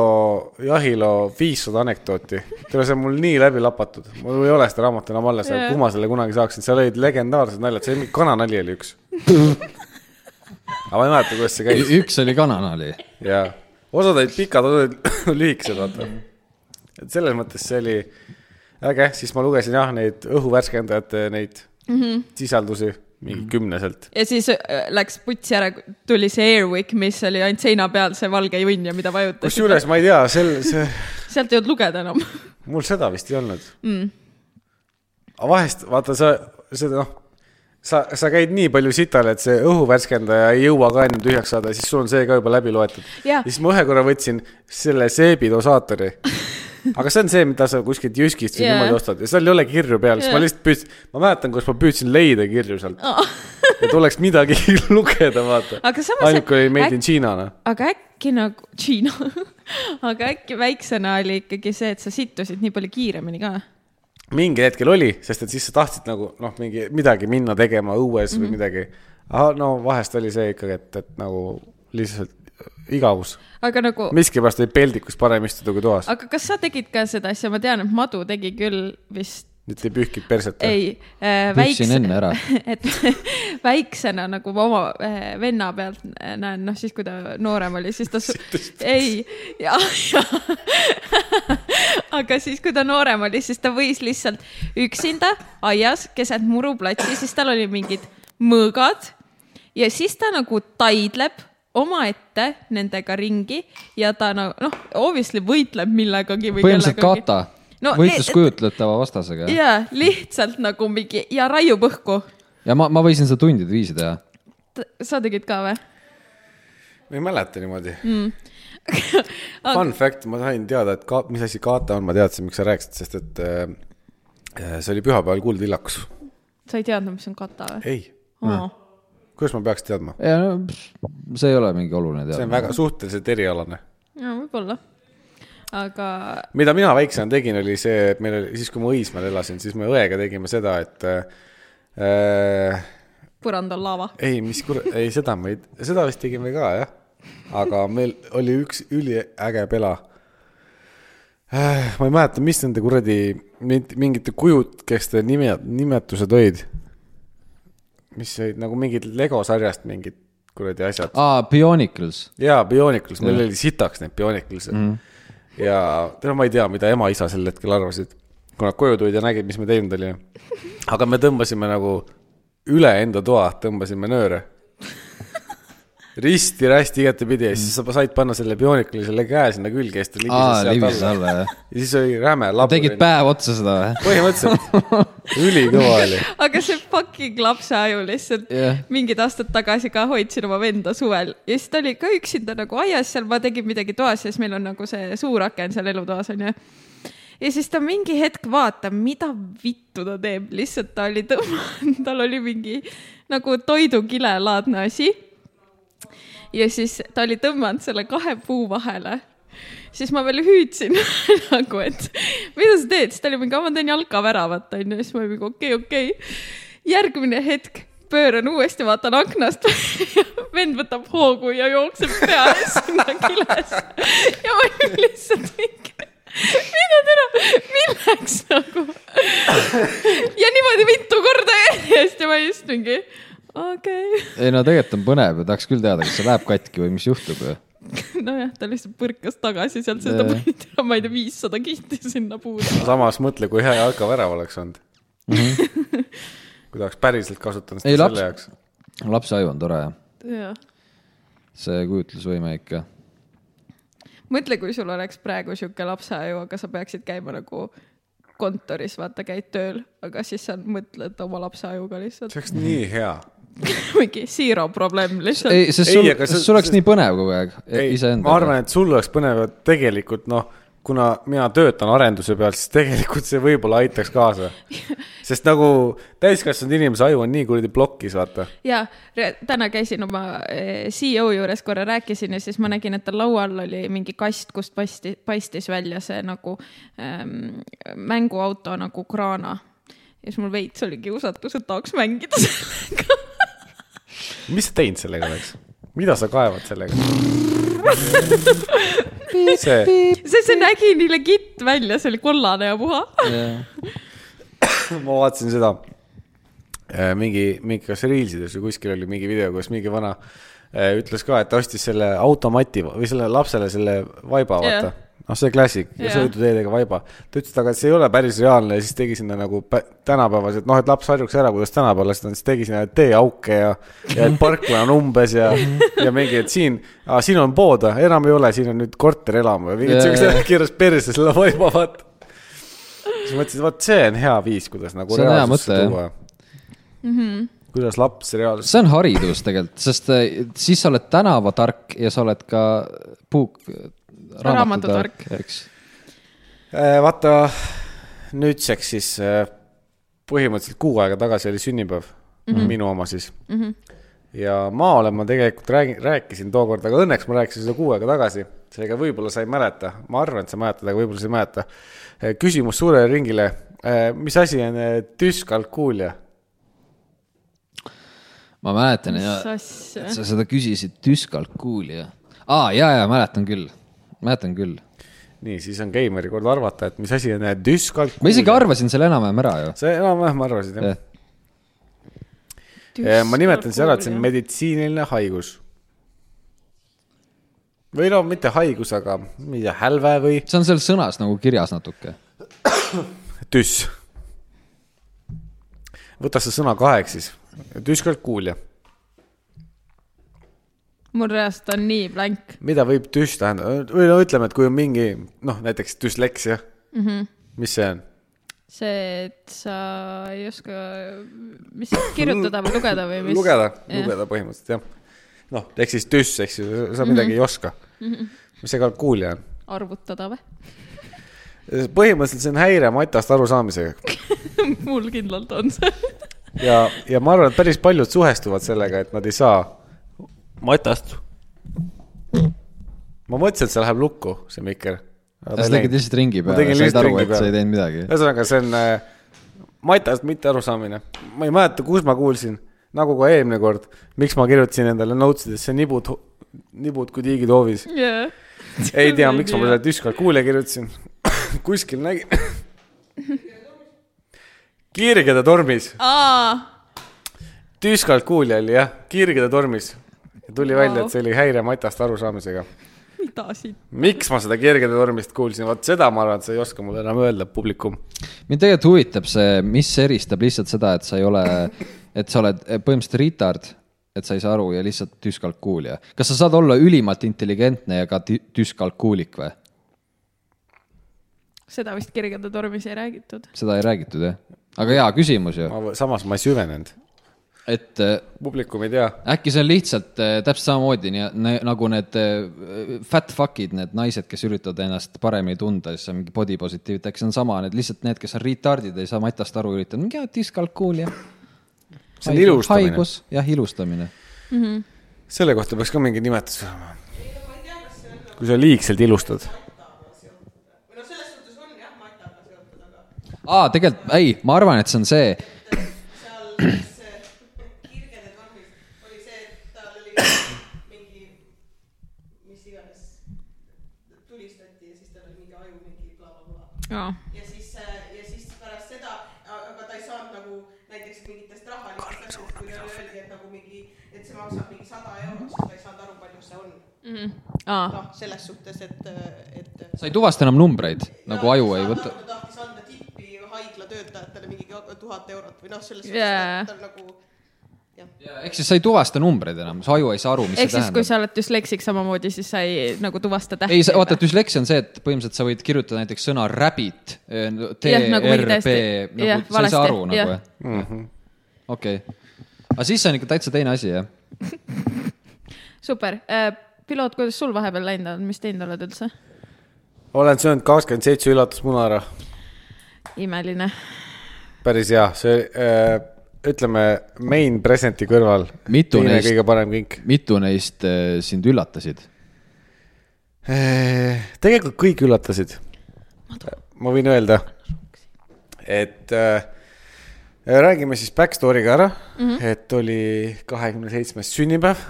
Speaker 3: Jahilo viissada anekdooti , tead , see on mul nii läbi lapatud , mul ei ole seda raamatut enam alles ,
Speaker 2: Jaa.
Speaker 3: kuhu ma selle kunagi saaksin , seal olid legendaarsed naljad , see mingi kananali oli
Speaker 2: (laughs)
Speaker 3: üks . aga ma ei mäleta , kuidas see käis
Speaker 1: Ü- üks oli kananali .
Speaker 3: ja osad olid pikad , osad olid (laughs) lühikesed , vaata . et selles mõttes see oli äge , siis ma lugesin jah , neid õhuvärskendajate neid mm -hmm. sisaldusi mingi kümneselt .
Speaker 2: ja siis äh, läks putsi ära , tuli see Airwick , mis oli ainult seina peal , see valge junn ja mida vajutasid .
Speaker 3: kusjuures ma ei tea , sel , see
Speaker 2: sealt ei olnud lugeda enam .
Speaker 3: mul seda vist ei olnud mm. . aga vahest vaata sa seda noh , sa , sa käid nii palju sital , et see õhuvärskendaja ei jõua ka enne tühjaks saada , siis sul on see ka juba läbi loetud .
Speaker 2: Jaa.
Speaker 3: siis ma ühe korra võtsin selle
Speaker 2: (laughs)
Speaker 3: seebidosaatori . aga see on see , mida sa kuskilt Jyskist või
Speaker 2: Jaa.
Speaker 3: niimoodi ostad ja seal ei ole kirju peal , siis ma
Speaker 2: Jaa.
Speaker 3: lihtsalt püüdsin , ma mäletan , kuidas ma püüdsin leida kirju sealt , et oleks midagi (laughs) lugeda , vaata .
Speaker 2: Aga samas
Speaker 3: ainuke oli Made
Speaker 2: äk-
Speaker 3: in China , noh .
Speaker 2: (laughs) aga äkki nagu , Tšiina , (laughs) aga äkki väiksena oli ikkagi see , et sa sittusid nii palju kiiremini ka .
Speaker 3: mingil hetkel oli , sest et siis sa tahtsid nagu noh , mingi midagi minna tegema õues mm
Speaker 2: Mhm.
Speaker 3: -hmm. või midagi . ahah , no vahest oli see ikkagi , et , et nagu lihtsalt äh, igavus .
Speaker 2: aga nagu ,
Speaker 3: miskipärast oli peldikus parem istuda kui toas ,
Speaker 2: aga kas sa tegid ka seda asja , ma tean , et Madu tegi küll vist
Speaker 3: nüüd ei pühkinud perset .
Speaker 2: ei äh, ,
Speaker 1: Püüdsin
Speaker 2: väikse
Speaker 1: enne ära. ,
Speaker 2: (laughs) et (laughs) väiksena nagu ma oma äh, venna pealt näen , noh siis kui ta noorem oli , siis ta
Speaker 1: (laughs)
Speaker 2: su- , ei , (laughs) ja , ja (laughs) aga siis , kui ta noorem oli , siis ta võis lihtsalt üksinda aias keset muruplatsi , siis tal oli mingid mõõgad ja siis ta nagu taidleb omaette nendega ringi ja ta nagu noh , obviously võitleb millegagi või
Speaker 1: põhimõtteliselt kata no, , võitlus
Speaker 2: need-
Speaker 1: kujutletava vastasega ja,
Speaker 2: jaa , lihtsalt nagu mingi ja raiub õhku .
Speaker 1: ja ma , ma võisin seda tundide viisi teha .
Speaker 2: sa tegid ka või ?
Speaker 3: ma ei mäleta niimoodi mm. . Fun fact , ma sain teada , et ka, mis asi kaata on , ma teadsin , miks sa rääkisid , sest et äh, see oli pühapäeval kuuldillakus .
Speaker 2: sa ei teadnud , mis on kata või ?
Speaker 3: ei ,
Speaker 2: Oh.
Speaker 3: kuidas ma peaks teadma ?
Speaker 1: ja no pff, see ei ole mingi oluline
Speaker 3: see
Speaker 1: teada .
Speaker 3: on väga suhteliselt erialane .
Speaker 2: no võib-olla , aga
Speaker 3: mida mina väiksena tegin , oli see , et meil oli , siis kui ma Õismäel elasin , siis me õega tegime seda , et äh,
Speaker 2: põrand on laava .
Speaker 3: ei , mis kur- , ei seda me ei , seda vist tegime ka jah . aga meil oli üks üliäge pela . ma ei mäleta , mis nende kuradi mind- mingite kujukeste nime , nimetused olid . mis olid nagu mingid Lego sarjast mingid kuradi asjad .
Speaker 1: aa , Bionicles .
Speaker 3: jaa , Bionicles , meil oli sitaks need Bionicles mm. .
Speaker 1: Mhm.
Speaker 3: ja no ma ei tea , mida ema-isa sel hetkel arvasid , kui nad koju tulid ja nägid , mis me teinud olime . aga me tõmbasime nagu üle enda toa , tõmbasime nööre . risti-rästi igatepidi ja siis sa said panna selle Bionicle'i selle käe sinna külge ja siis ta
Speaker 1: aa ,
Speaker 3: libises
Speaker 1: libises
Speaker 3: sealt
Speaker 1: alla
Speaker 3: alla .
Speaker 1: jah .
Speaker 3: ja siis oli räme labür .
Speaker 1: tegid päev otsa seda või ? (laughs)
Speaker 3: põhimõtteliselt , ülikõva oli .
Speaker 2: aga see fucking lapse aju lihtsalt
Speaker 1: Jah.
Speaker 2: yeah. mingid aastad tagasi ka hoidsin oma venda suvel ja siis ta oli ka üksinda nagu aias seal , ma tegin midagi toas ja siis meil on nagu see suur aken seal elutoas onju . ja siis ta mingi hetk vaatab , mida vittu ta teeb , lihtsalt ta oli tõmmanud , (laughs) tal oli mingi nagu toidukilelaadne asi . ja siis ta oli tõmmanud selle kahe puu vahele siis ma veel hüüdsin (laughs) nagu , et mida sa teed , siis ta oli mingi , ma teen jalkaväravat onju , siis ma olin mingi okei , okei . järgmine hetk pööran uuesti , vaatan aknast (laughs) vend võtab hoogu ja jookseb pea ees (laughs) sinna kilesse ja ma olin lihtsalt mingi , mida täna , milleks nagu . (laughs) ja niimoodi mitu korda järjest ja ma just mingi okei okay. ,
Speaker 1: ei no tegelikult on põnev ja tahaks küll teada , kas see läheb katki või mis juhtub ju .
Speaker 2: (laughs) nojah , ta lihtsalt põrkas tagasi sealt , seda
Speaker 1: Jaa.
Speaker 2: ma ei tea , ma ei tea , viissada kihti sinna puudu .
Speaker 3: samas mõtle , kui hea jalkavärav oleks olnud . kui ta oleks päriselt kasutanud
Speaker 1: Mhm. Ei,
Speaker 3: seda
Speaker 1: laps-
Speaker 3: selle jaoks .
Speaker 1: lapse aju on tore jah ,
Speaker 2: jah ,
Speaker 1: see kujutlusvõime ikka .
Speaker 2: mõtle , kui sul oleks praegu sihuke lapseaju , aga sa peaksid käima nagu kontoris , vaata , käid tööl , aga siis sa mõtled oma lapseajuga lihtsalt
Speaker 3: see oleks nii hea
Speaker 2: (laughs) mingi siiro probleem lihtsalt .
Speaker 1: ei , sest
Speaker 3: Ei,
Speaker 1: sul ,
Speaker 3: aga see-
Speaker 1: sul oleks
Speaker 3: see-
Speaker 1: nii põnev kogu aeg
Speaker 3: ei ,
Speaker 1: E, iseenda .
Speaker 3: ma arvan , et sul oleks põnev , et tegelikult noh , kuna mina töötan arenduse peal , siis tegelikult see võib-olla aitaks kaasa . sest nagu täiskasvanud inimese aju on nii kuradi plokis , vaata .
Speaker 2: ja re- täna käisin oma eh, CEO juures korra rääkisin ja siis ma nägin , et tal laua all oli mingi kast , kust paisti- , paistis välja see nagu ähm, mänguauto nagu kraana . ja siis mul veits oli kiusatus , et tahaks mängida sellega . (laughs)
Speaker 3: mis sa teinud sellega oleks ? mida sa kaevad sellega ? see ,
Speaker 2: see , see nägi nii legit välja , see oli kollane ja puha .
Speaker 1: et .
Speaker 3: (laughs) ma vaatasin seda äh, mingi , mingi kas Reelsides või kuskil oli mingi video , kus mingi vana äh, ütles ka , et ta ostis selle automati või selle lapsele selle vaiba , vaata
Speaker 2: Jah.
Speaker 3: noh , see klassik ja
Speaker 2: Jaa.
Speaker 3: sõiduteedega vaiba . ta ütles , et aga see ei ole päris reaalne ja siis tegi sinna nagu pä- tänapäevased , noh , et laps harjuks ära , kuidas tänapäevased on , siis tegi sinna teeauke ja , ja et parkla on umbes ja , ja mingi , et siin , siin on pood , enam ei ole , siin on nüüd korterelamu ja mingid
Speaker 1: Jaa,
Speaker 3: siuksed (laughs)
Speaker 1: jaa.
Speaker 3: kirjas perse selle vaiba , vaata . siis mõtlesin , et vot see on hea viis , kuidas nagu
Speaker 1: See on hea
Speaker 3: reaalsusse
Speaker 1: mõte,
Speaker 3: tuua . kuidas laps reaalsus ,
Speaker 1: see on haridus tegelikult , sest eh, siis sa oled tänavatark ja sa oled ka puuk , raamatutark , eks .
Speaker 3: Äh, vaata nüüdseks siis äh, põhimõtteliselt kuu aega tagasi oli sünnipäev mm , -hmm. minu oma siis mm . -hmm. ja maaolema ma tegelikult räägin , rääkisin tookord , aga õnneks ma rääkisin seda kuu aega tagasi , seega võib-olla sa ei mäleta , ma arvan , et sa mäletad , aga võib-olla sa ei mäleta . küsimus suurele ringile , mis asi on eh, düskalkuulia ?
Speaker 1: ma mäletan ja
Speaker 2: mis asja
Speaker 1: et ? sa seda küsisid düskalkuuli ja , aa ja , ja mäletan küll , mäletan küll .
Speaker 3: nii , siis on geimeri kord arvata , et mis asi on eh, düskalkuulia .
Speaker 1: ma isegi arvasin selle enam-vähem ära ju .
Speaker 3: sa enam-vähem arvasid jah ja. ? ma nimetan seda , et see on meditsiiniline haigus . või no mitte haigus , aga ma ei tea , hälve või
Speaker 1: see on seal sõnas nagu kirjas natuke .
Speaker 3: tüss . võta see sõna kaheks siis , tüskalkuulia .
Speaker 2: mul reast on nii blank .
Speaker 3: mida võib düs tähendada , või no ütleme , et kui on mingi noh , näiteks düsleksia mm , -hmm. mis see on ?
Speaker 2: see , et sa ei oska , mis see , kirjutada või lugeda või mis ?
Speaker 3: lugeda , lugeda põhimõtteliselt jah . noh , ehk siis düs , ehk siis sa midagi mm -hmm. ei oska mm . -hmm. mis see kalkuulia on ?
Speaker 2: arvutada või ? (laughs)
Speaker 3: põhimõtteliselt see on häire matast arusaamisega
Speaker 2: mul kindlalt on see .
Speaker 3: ja , ja ma arvan , et päris paljud suhestuvad sellega , et nad ei saa matast . ma mõtlesin , et see läheb lukku , see mikker .
Speaker 1: sa tegid lihtsalt ringi
Speaker 3: Ma
Speaker 1: peale ,
Speaker 3: tegin
Speaker 1: said
Speaker 3: lihtsalt
Speaker 1: aru ,
Speaker 3: ringi
Speaker 1: et sa
Speaker 3: peale.
Speaker 1: ei teinud midagi .
Speaker 3: ühesõnaga , see on äh, matast mittearusaamine . ma ei mäleta , kus ma kuulsin , nagu ka eelmine kord , miks ma kirjutasin endale notes idesse nibud , nibud kui tiigid hoovis .
Speaker 2: jaa .
Speaker 3: ei tea , miks ma selle tüskkalkuule kirjutasin . (coughs) kuskil nägin . (coughs) kirgede tormis ,
Speaker 2: aa ,
Speaker 3: tüskkalkuulja oli jah , kirgede tormis . tuli välja ,
Speaker 2: Vau.
Speaker 3: et see oli häire matast arusaamisega .
Speaker 2: mida siit ?
Speaker 3: miks ma seda kirgede tormist kuulsin , vot seda ma arvan , et sa ei oska mulle enam öelda , publikum .
Speaker 1: mind tegelikult huvitab see , mis eristab lihtsalt seda , et sa ei ole , et sa oled põhimõtteliselt retard , et sa ei saa aru ja lihtsalt tüskalkuulja . kas sa saad olla ülimalt intelligentne ja ka tü- tüskalkuulik või ?
Speaker 2: seda vist kirgade tormis ei räägitud .
Speaker 1: seda ei räägitud jah ? aga hea küsimus ju ,
Speaker 3: ma , samas ma ei süvenenud .
Speaker 1: et äh,
Speaker 3: publikum ei tea
Speaker 1: äkki see on lihtsalt äh, täpselt samamoodi nii, nii, nagu need äh, fat fuck'id , need naised , kes üritavad ennast paremini tunda , siis on mingi body positivity , äkki see on sama , need lihtsalt need , kes on retard'id , ei saa matast aru , üritavad mingi diskalkuulia .
Speaker 3: See on ilustamine.
Speaker 1: jah , ilustamine .
Speaker 3: selle kohta peaks ka mingi nimetus olema . kui sa liigselt ilustad .
Speaker 1: aa , tegelikult , ei , ma arvan , et see on see ,
Speaker 2: jaa .
Speaker 4: ja siis , ja siis pärast seda , aga ta ei saanud nagu näiteks mingitest rahalistest asjadest , kui talle öeldi , et nagu mingi , et see maksab mingi sada eurot , siis ta ei saanud aru , palju see on .
Speaker 2: aa ,
Speaker 4: noh , selles suhtes , et , et
Speaker 1: sa ei tuvasta enam numbreid , nagu aju ei võta .
Speaker 4: ta tahtis anda tippi haigla töötajatele mingi tuhat eurot või noh , selles suhtes
Speaker 2: Jaa.
Speaker 4: yeah. , et ta nagu
Speaker 1: ehk siis sa ei tuvasta numbreid enam , su aju ei saa aru , mis
Speaker 2: ehk
Speaker 1: see
Speaker 2: siis , kui
Speaker 1: tähendab .
Speaker 2: sa oled düsleksik samamoodi , siis sa ei nagu tuvasta tähti .
Speaker 1: ei , vaata , düsleksia on see , et põhimõtteliselt sa võid kirjutada näiteks sõna rabbit , eh,
Speaker 2: Jah, nagu
Speaker 1: T-R-B
Speaker 2: mingi täiesti- , jah,
Speaker 1: nagu sa ei saa
Speaker 2: valesti,
Speaker 1: aru
Speaker 2: jah.
Speaker 1: nagu jah . okei , aga siis see on ikka täitsa teine asi jah .
Speaker 2: super . piloot , kuidas sul vahepeal läinud on , mis teinud oled üldse ?
Speaker 3: olen söönud kakskümmend seitse üllatusmuna ära .
Speaker 2: imeline .
Speaker 3: päris hea , see äh, ütleme main present'i kõrval .
Speaker 1: Mitu
Speaker 3: teine
Speaker 1: neist-
Speaker 3: kõige parem kink .
Speaker 1: mitu neist äh, sind üllatasid ?
Speaker 3: Äh, tegelikult kõik üllatasid . ma võin öelda , et äh, räägime siis back story'ga ära mm , -hmm. et oli kahekümne seitsmes sünnipäev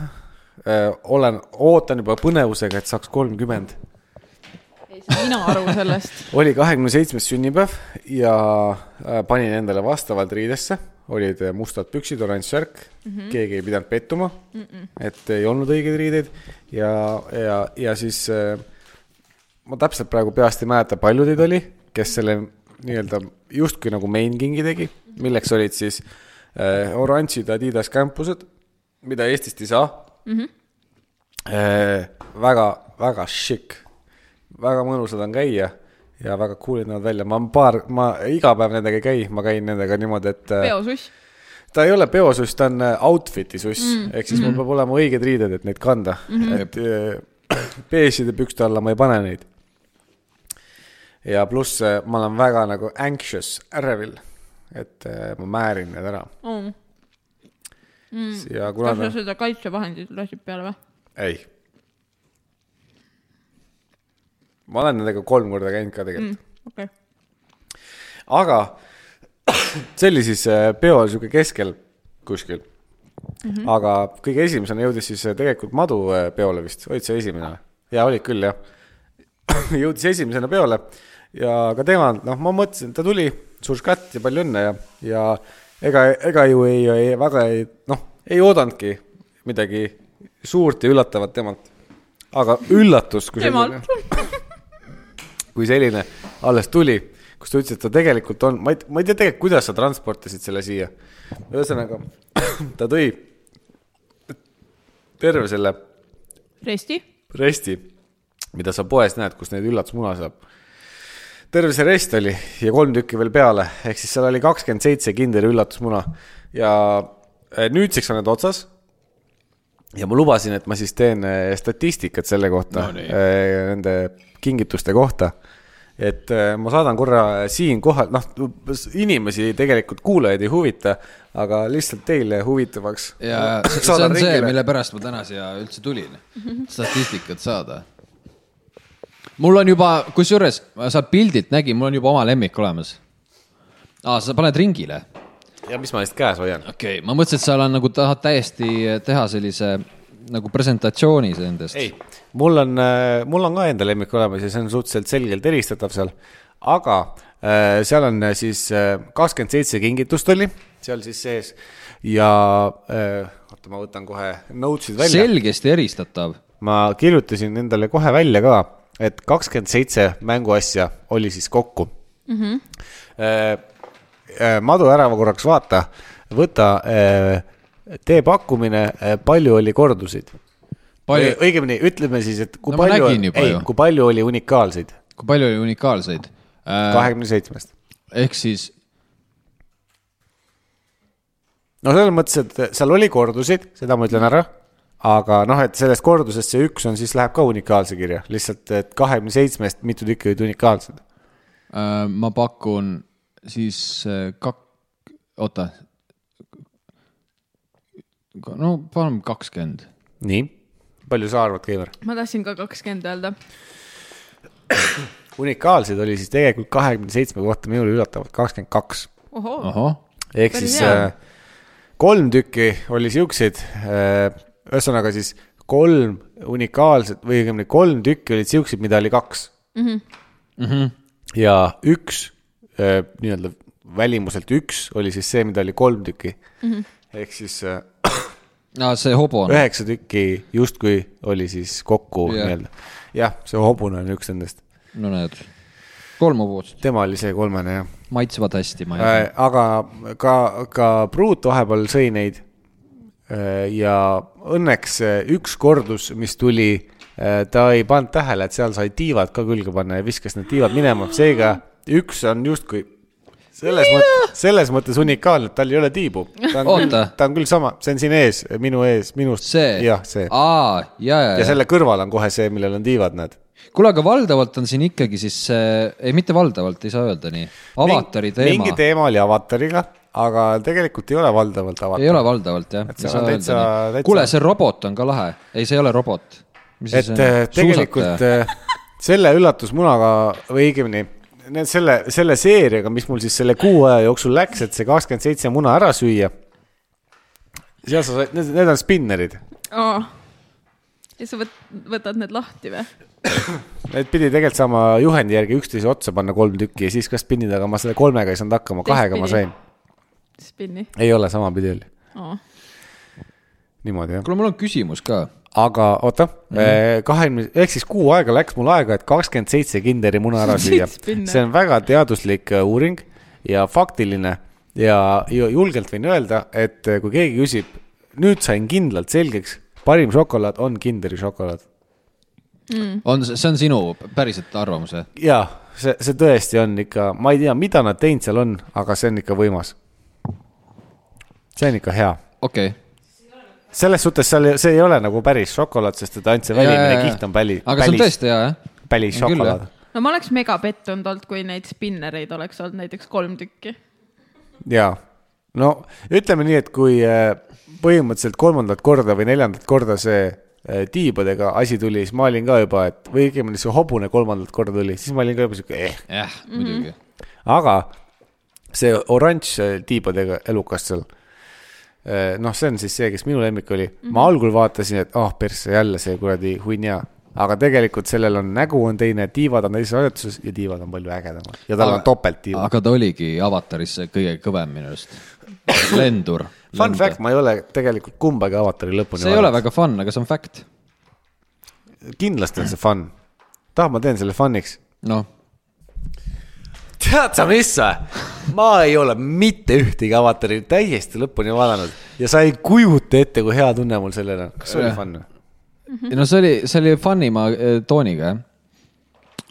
Speaker 3: äh, . olen , ootan juba põnevusega , et saaks kolmkümmend
Speaker 2: ei saa mina aru
Speaker 3: (laughs)
Speaker 2: sellest .
Speaker 3: oli kahekümne seitsmes sünnipäev ja äh, panin endale vastavalt riidesse , olid äh, mustad püksid , oranž särk mm , -hmm. keegi ei pidanud pettuma mm , -mm. et ei olnud õigeid riideid ja , ja , ja siis äh, ma täpselt praegu peast ei mäleta , palju teid oli , kes selle nii-öelda justkui nagu main king'i tegi , milleks olid siis äh, oranžid Adidas kämpused , mida Eestist ei saa mm . -hmm. väga , väga šikk , väga mõnusad on käia ja väga cool'id näevad välja , ma paar , ma iga päev nendega ei käi , ma käin nendega niimoodi , et äh,
Speaker 2: peosuss .
Speaker 3: ta ei ole peosuss , ta on äh, outfit'i suss mm. , ehk siis mm -hmm. mul peab olema õiged riided , et neid kanda mm , -hmm. et äh, (clears throat) beežide pükste alla ma ei pane neid . ja pluss äh, ma olen väga nagu anxious , ärevil , et äh, ma määrin need ära
Speaker 2: kas
Speaker 3: mm. ja (laughs) kuna
Speaker 2: sa
Speaker 3: ta ,
Speaker 2: seda kaitsevahendit lasid peale või ?
Speaker 3: ei . ma olen nendega kolm korda käinud ka tegelikult mm. ,
Speaker 2: okei .
Speaker 3: aga (coughs) see oli siis äh, peo sihuke keskel kuskil mm . -hmm. aga kõige esimesena jõudis siis äh, tegelikult Madu äh, peole vist , olid sa esimene või ? jaa , olid küll jah . (coughs) jõudis esimesena peole ja ka tema , noh , ma mõtlesin , ta tuli , suur skatt ja palju õnne ja , ja ega , ega ju ei, ei , väga ei , noh , ei oodanudki midagi suurt ja üllatavat temalt . aga üllatus , kui
Speaker 2: Temalt.
Speaker 3: kui selline alles tuli , kus ta ütles , et ta tegelikult on , ma ei , ma ei tea tegelikult , kuidas sa transportisid selle siia . (clears throat) ühesõnaga , ta tõi terve selle
Speaker 2: resti .
Speaker 3: resti , mida sa poes näed , kus neid üllatusmuna saab . terve see rest oli ja kolm tükki veel peale , ehk siis seal oli kakskümmend seitse kinder üllatusmuna ja eh, nüüdseks on need otsas . ja ma lubasin , et ma siis teen eh, statistikat selle kohta no, , nende kingituste kohta et eh, ma saadan korra siinkohal , noh , inimesi tegelikult kuulajaid ei huvita , aga lihtsalt teile huvitavaks .
Speaker 1: ja see see on see , mille pärast ma täna siia üldse tulin ,
Speaker 2: Mhm.
Speaker 1: statistikat saada . mul on juba , kusjuures sa pildilt nägid , mul on juba oma lemmik olemas . aa , sa paned ringile ,
Speaker 3: ja mis ma neist käes hoian ?
Speaker 1: okei okay, , ma mõtlesin , et sa oled nagu tahad täiesti teha sellise nagu presentatsiooni nendest .
Speaker 3: ei , mul on , mul on ka enda lemmik olemas ja see on suhteliselt selgelt eristatav seal , aga äh, seal on äh, siis kakskümmend seitse kingitust oli seal siis sees ja äh, oota , ma võtan kohe notes'id välja Sel .
Speaker 1: selgesti eristatav ,
Speaker 3: ma kirjutasin endale kohe välja ka , et kakskümmend seitse mänguasja oli siis kokku mm . -hmm. Madu , ära korraks vaata , võta , tee pakkumine , palju oli kordusid
Speaker 1: palju ,
Speaker 3: õigemini ütleme siis , et kui
Speaker 1: No
Speaker 3: no,
Speaker 1: ma
Speaker 3: palju
Speaker 1: nägin , juba
Speaker 3: ei
Speaker 1: ju. , Äh.
Speaker 3: kui palju oli unikaalseid
Speaker 1: kui palju oli unikaalseid ?
Speaker 3: kahekümne seitsmest ?
Speaker 1: ehk siis
Speaker 3: no selles mõttes , et seal oli kordusid , seda ma ütlen ära , aga noh , et sellest kordusest see üks on , siis läheb ka unikaalse kirja , lihtsalt , et kahekümne seitsmest mitu tükki olid unikaalsed .
Speaker 1: äh, ma pakun siis äh, kak- , oota . no paneme kakskümmend
Speaker 3: nii , palju sa arvad , Keivar ?
Speaker 2: ma tahtsin ka kakskümmend öelda .
Speaker 3: unikaalseid oli siis tegelikult kahekümne seitsme kohta minul üllatavalt kakskümmend kaks Ah.
Speaker 2: ohoo ,
Speaker 1: ahah ,
Speaker 3: ehk
Speaker 2: Päris
Speaker 3: siis
Speaker 2: hea.
Speaker 3: äh, kolm tükki oli siukseid , ühesõnaga siis kolm unikaalset või õigemini kolm tükki olid siukseid , mida oli kaks mm .
Speaker 2: Mhm.
Speaker 3: -hmm. ja üks äh, nii-öelda välimuselt üks oli siis see , mida oli kolm tükki mm .
Speaker 2: Mhm.
Speaker 3: -hmm. ehk siis äh,
Speaker 1: no, see hobune ,
Speaker 3: üheksa tükki justkui oli siis kokku
Speaker 1: Jah.
Speaker 3: yeah. nii-öelda . jah , see hobune on üks nendest ,
Speaker 1: no näed , kolm hobust ,
Speaker 3: tema oli see kolmene jah
Speaker 1: maitsevad hästi , ma ei tea .
Speaker 3: Äh, aga ka , ka Pruut vahepeal sõi neid . ja õnneks äh, üks kordus , mis tuli , ta ei pannud tähele , et seal sai tiivad ka külge panna ja viskas need tiivad minema , seega üks on justkui selles mõttes , selles mõttes unikaalne , et tal ei ole tiibu . ta on küll
Speaker 1: Oota. ,
Speaker 3: ta on küll sama , see on siin ees , minu ees , minust .
Speaker 1: see ,
Speaker 3: jah , see .
Speaker 1: aa , ja , ja ,
Speaker 3: ja
Speaker 1: ja .
Speaker 3: selle kõrval on kohe see , millel on tiivad , näed .
Speaker 1: kuule , aga valdavalt on siin ikkagi siis , ei mitte valdavalt , ei saa öelda nii , avatari teema
Speaker 3: mingi teema oli avatariga , aga tegelikult ei ole valdavalt avatar .
Speaker 1: ei ole valdavalt jah ,
Speaker 3: Et
Speaker 1: ei
Speaker 3: see
Speaker 1: saa
Speaker 3: on
Speaker 1: öelda
Speaker 3: täitsa-
Speaker 1: nii .
Speaker 3: täitsa-
Speaker 1: kuule , see robot on ka lahe , ei , see ei ole robot .
Speaker 3: et äh, tegelikult äh, selle üllatusmunaga või õigemini need selle , selle seeriaga , mis mul siis selle kuu aja jooksul läks , et see kakskümmend seitse muna ära süüa . seal sa said , need on spinnerid ,
Speaker 2: ja sa võt- , võtad need lahti või ?
Speaker 3: need pidi tegelikult saama juhendi järgi üksteise otsa panna kolm tükki ja siis ka spinnida , aga ma selle kolmega ei saanud hakkama , kahega ma
Speaker 2: Teistpidi.
Speaker 3: sain .
Speaker 2: spinni .
Speaker 3: ei ole , samapidi oli , niimoodi jah .
Speaker 1: kuule , mul on küsimus ka
Speaker 3: aga oota ,
Speaker 1: Mhm.
Speaker 3: kahekümne , ehk siis kuu aega läks mul aega , et kakskümmend seitse kinderi muna ära
Speaker 1: (laughs)
Speaker 3: süüa .
Speaker 2: Spinner.
Speaker 3: see on väga teaduslik äh, uuring ja faktiline ja ju- julgelt võin öelda , et äh, kui keegi küsib , nüüd sain kindlalt selgeks , parim šokolaad on kinderi šokolaad .
Speaker 1: on , see on sinu päriselt arvamus või ?
Speaker 3: ja see , see tõesti on ikka , ma ei tea , mida nad teinud seal on , aga see on ikka võimas . see on ikka hea
Speaker 1: okei okay. .
Speaker 3: selles suhtes seal , see ei ole nagu päris šokolaad , sest et ainult see välimine kiht on päli ,
Speaker 1: aga see on
Speaker 3: pälis ,
Speaker 1: tõesti hea jah ?
Speaker 3: pälis
Speaker 1: on küll, jah.
Speaker 3: šokolaad
Speaker 2: no ma oleks mega pettunud olnud , kui neid spinnereid oleks olnud näiteks kolm tükki .
Speaker 3: jaa , no ütleme nii , et kui äh, põhimõtteliselt kolmandat korda või neljandat korda see äh, tiibadega asi tuli , siis ma olin ka juba , et või õigemini see hobune kolmandat korda tuli , siis ma olin ka juba sihuke eh. ,
Speaker 1: jah , muidugi .
Speaker 3: aga see oranž äh, tiibadega elukas seal . noh , see on siis see , kes minu lemmik oli mm , -hmm. ma algul vaatasin , et ah oh, persse jälle see kuradi hunnia , aga tegelikult sellel on nägu on teine , tiivad on teises asetuses ja tiivad on palju ägedamad ja tal aga, on topelttiivad .
Speaker 1: aga ta oligi avataris see kõige kõvem minu arust . lendur .
Speaker 3: Fun fact , ma ei ole tegelikult kumbagi avatari lõpuni
Speaker 1: see ei ole väga fun , aga see on fact .
Speaker 3: kindlasti on see fun . tah , ma teen selle fun'iks .
Speaker 1: noh ,
Speaker 3: tead sa , mis sa ? ma ei ole mitte ühtegi avatari täiesti lõpuni vaadanud ja sa ei kujuta ette , kui hea tunne mul sellel on . kas see oli
Speaker 1: Jah.
Speaker 3: fun ?
Speaker 1: no see oli , see oli fun'ima eh, tooniga , jah .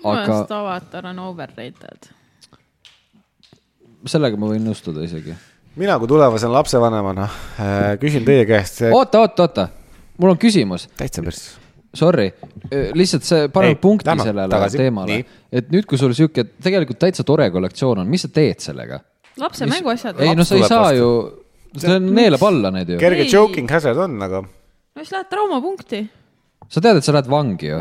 Speaker 2: minu
Speaker 1: aga
Speaker 2: meelest avatar on overrated .
Speaker 1: sellega ma võin nõustuda isegi .
Speaker 3: mina kui tulevase lapsevanemana äh, küsin teie käest ,
Speaker 1: oota , oota , oota , mul on küsimus ,
Speaker 3: täitsa päris .
Speaker 1: sorry , lihtsalt see
Speaker 3: Ei,
Speaker 1: paneb punkti
Speaker 3: lähme
Speaker 1: sellele
Speaker 3: tagasi.
Speaker 1: teemale
Speaker 3: Nii. ,
Speaker 1: et nüüd , kui sul sihuke tegelikult täitsa tore kollektsioon on , mis sa teed sellega ?
Speaker 2: lapse mänguasjad .
Speaker 1: ei no sa ei
Speaker 3: tuleb
Speaker 1: saa
Speaker 3: vastu.
Speaker 1: ju , see on neelab alla need ju ,
Speaker 3: kerge
Speaker 2: Ei.
Speaker 3: joking hazard on , aga
Speaker 2: no siis lähed traumapunkti .
Speaker 1: sa tead , et sa lähed vangi ju ,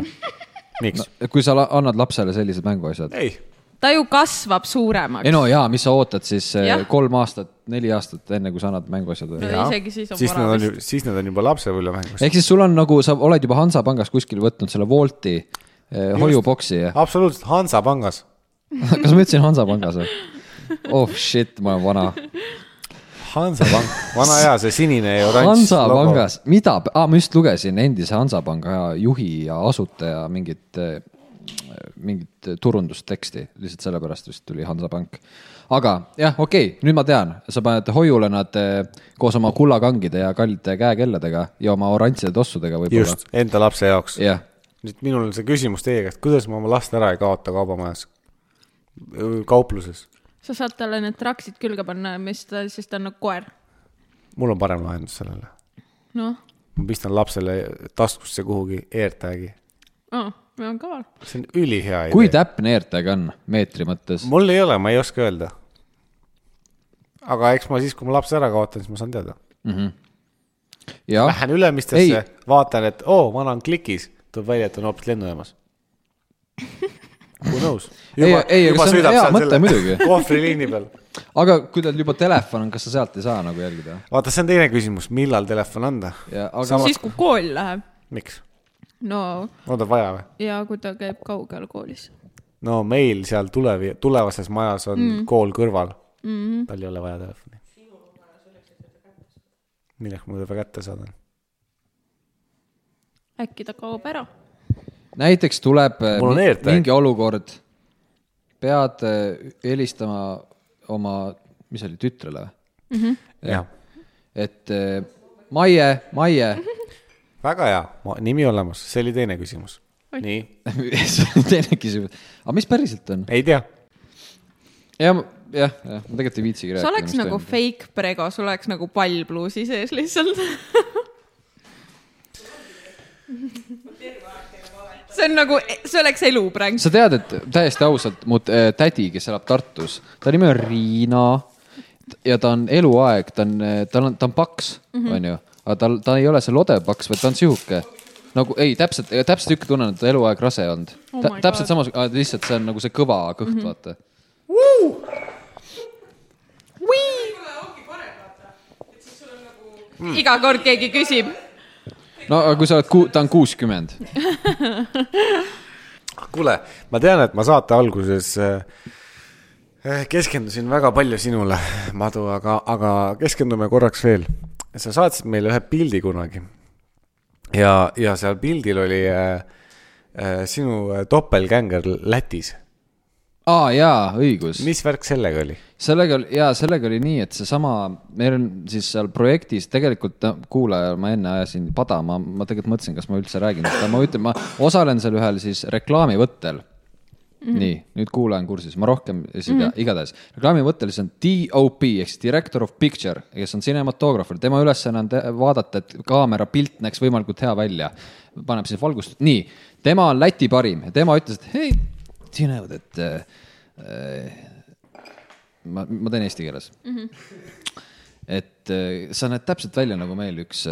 Speaker 3: miks no. ?
Speaker 1: kui sa la- annad lapsele sellised mänguasjad .
Speaker 3: ei ,
Speaker 2: ta ju kasvab suuremaks .
Speaker 1: ei no jaa , mis sa ootad siis eh,
Speaker 2: Jah.
Speaker 1: kolm aastat , neli aastat , enne kui sa annad mänguasjad või ?
Speaker 2: no isegi siis on
Speaker 3: siis nad
Speaker 2: vara
Speaker 3: on ju
Speaker 2: vist .,
Speaker 3: siis nad on juba lapsepõlvemängus .
Speaker 1: ehk siis sul on nagu , sa oled juba Hansapangas kuskil võtnud selle Wolti eh, hoiuboksi ja
Speaker 3: absoluutselt Hansapangas ,
Speaker 1: (laughs) kas ma ütlesin Hansapangas või ? oh shit , ma olen vana .
Speaker 3: Hansapank , vana hea see sinine ja oranž .
Speaker 1: Hansapangas , mida , aa ma just lugesin endise Hansapanga juhi ja asutaja mingit , mingit turundusteksti , lihtsalt sellepärast vist tuli Hansapank . aga jah , okei okay, , nüüd ma tean , sa paned hoiule nad eh, koos oma kullakangide ja kallite käekelladega ja oma oranžide tossudega võib-olla .
Speaker 3: just , enda lapse jaoks .
Speaker 1: jah ,
Speaker 3: nüüd minul on see küsimus teie käest , kuidas ma oma last ära ei kaota kaubamajas , kaupluses ?
Speaker 2: sa saad talle need traksid külge panna , mis ta , siis ta on nagu koer .
Speaker 3: mul on parem lahendus sellele .
Speaker 2: noh ,
Speaker 3: ma pistan lapsele taskusse kuhugi AirTagi ,
Speaker 2: aa , ma olen kaval .
Speaker 3: see on ülihea
Speaker 1: kui
Speaker 3: idee .
Speaker 1: täpne ERTG on meetri mõttes ?
Speaker 3: mul ei ole , ma ei oska öelda . aga eks ma siis , kui ma lapse ära kaotan , siis ma saan teada .
Speaker 1: jah ,
Speaker 3: Lähen Ülemistesse
Speaker 1: Ei. ,
Speaker 3: vaatan , et oo , ma olen klikis , tuleb välja , et on hoopis lennujaamas . Who knows ?
Speaker 1: (laughs) Ei, ei, aga see on hea mõte muidugi.
Speaker 3: (laughs) kohvriliini peal .
Speaker 1: aga kui tal juba telefon on , kas sa sealt ei saa nagu jälgida ?
Speaker 3: vaata , see on teine küsimus , millal telefon anda ?
Speaker 1: aga
Speaker 3: Samas-
Speaker 2: siis , kui kool läheb .
Speaker 3: miks ?
Speaker 2: no
Speaker 3: on ta vaja või ?
Speaker 2: ja kui ta käib kaugel koolis .
Speaker 3: no meil seal tulevi- , tulevases majas on mm. kool kõrval mm . -hmm. tal ei ole vaja telefoni . milleks ma teda kätte saadan ?
Speaker 2: äkki ta kaob ära .
Speaker 1: näiteks tuleb äh,
Speaker 3: Mul on
Speaker 1: mi-
Speaker 3: AirTag.
Speaker 1: mingi olukord , pead äh, helistama oma , mis see oli , tütrele või ?
Speaker 3: jah ,
Speaker 1: et äh, Maie , Maie , (laughs)
Speaker 3: väga hea , nimi olemas , see oli teine küsimus . nii ,
Speaker 1: see on teine küsimus , aga mis päriselt on ?
Speaker 3: ei tea .
Speaker 1: jah , jah , jah , ma tegelikult ei viitsigi
Speaker 2: sa
Speaker 1: rääkida .
Speaker 2: oleks nagu toimub. fake prego , sul oleks nagu pall pluusi sees lihtsalt . see on nagu , see oleks elupräng .
Speaker 1: sa tead , et täiesti ausalt mu t- äh, tädi , kes elab Tartus , ta nimi on Riina ja ta on eluaeg , ta on , tal on , ta on paks ,
Speaker 2: Mhm.
Speaker 1: onju , aga tal , ta ei ole see lodev paks , vaid ta on sihuke nagu ei , täpselt , täpselt niisugune tunne on , et ta eluaeg rase olnud
Speaker 2: Oh
Speaker 1: oh
Speaker 2: my . Mhm.
Speaker 1: täpselt samas , lihtsalt see on nagu see kõva kõht mm , -hmm. vaata . Hmm.
Speaker 2: iga kord keegi küsib .
Speaker 1: no aga kui sa oled ku- , ta on
Speaker 2: (laughs)
Speaker 1: kuuskümmend .
Speaker 3: Ah, kuule , ma tean , et ma saate alguses äh, äh, keskendusin väga palju sinule , Madu , aga , aga keskendume korraks veel . sa saatsid meile ühe pildi kunagi ja , ja seal pildil oli äh, äh, sinu äh, topelgänger Lätis .
Speaker 1: aa jaa , õigus .
Speaker 3: mis värk sellega oli ?
Speaker 1: sellega oli , jaa , sellega oli nii , et seesama , meil on siis seal projektis tegelikult , kuulaja , ma enne ajasin pada , ma , ma tegelikult mõtlesin , kas ma üldse räägin , aga ma ütlen , ma osalen seal ühel siis reklaamivõttel mm . -hmm. nii , nüüd kuulaja on kursis , ma rohkem seda mm -hmm. igatahes , reklaamivõttel siis on DOP ehk siis director of picture , kes on cinematograafer , tema ülesanne on te- vaadata , et kaamera pilt näeks võimalikult hea välja . paneb siis valgust , nii , tema on Läti parim ja tema ütles , et hei , sina näed , et äh, ma , ma teen eesti keeles mm . -hmm. et eh, sa näed täpselt välja nagu meil üks ,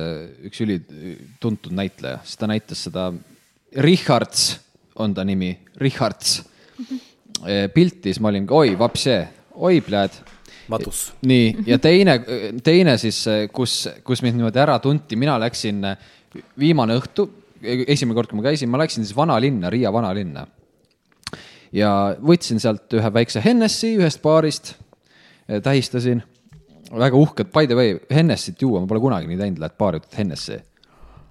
Speaker 1: üks ülituntud näitleja , siis ta näitas seda , Richards on ta nimi , Richards . pilti , siis ma olin , oi , vapsee , oi , pljääd
Speaker 3: Matus .
Speaker 1: nii , ja teine , teine siis , kus , kus mind niimoodi ära tunti , mina läksin viimane õhtu , esimene kord , kui ma käisin , ma läksin siis vanalinna , Riia vanalinna . ja võtsin sealt ühe väikse Hennessy ühest baarist , tähistasin , väga uhked , by the way , Hennessyt juua ma pole kunagi nii teinud , lähed baari , võtad Hennessy .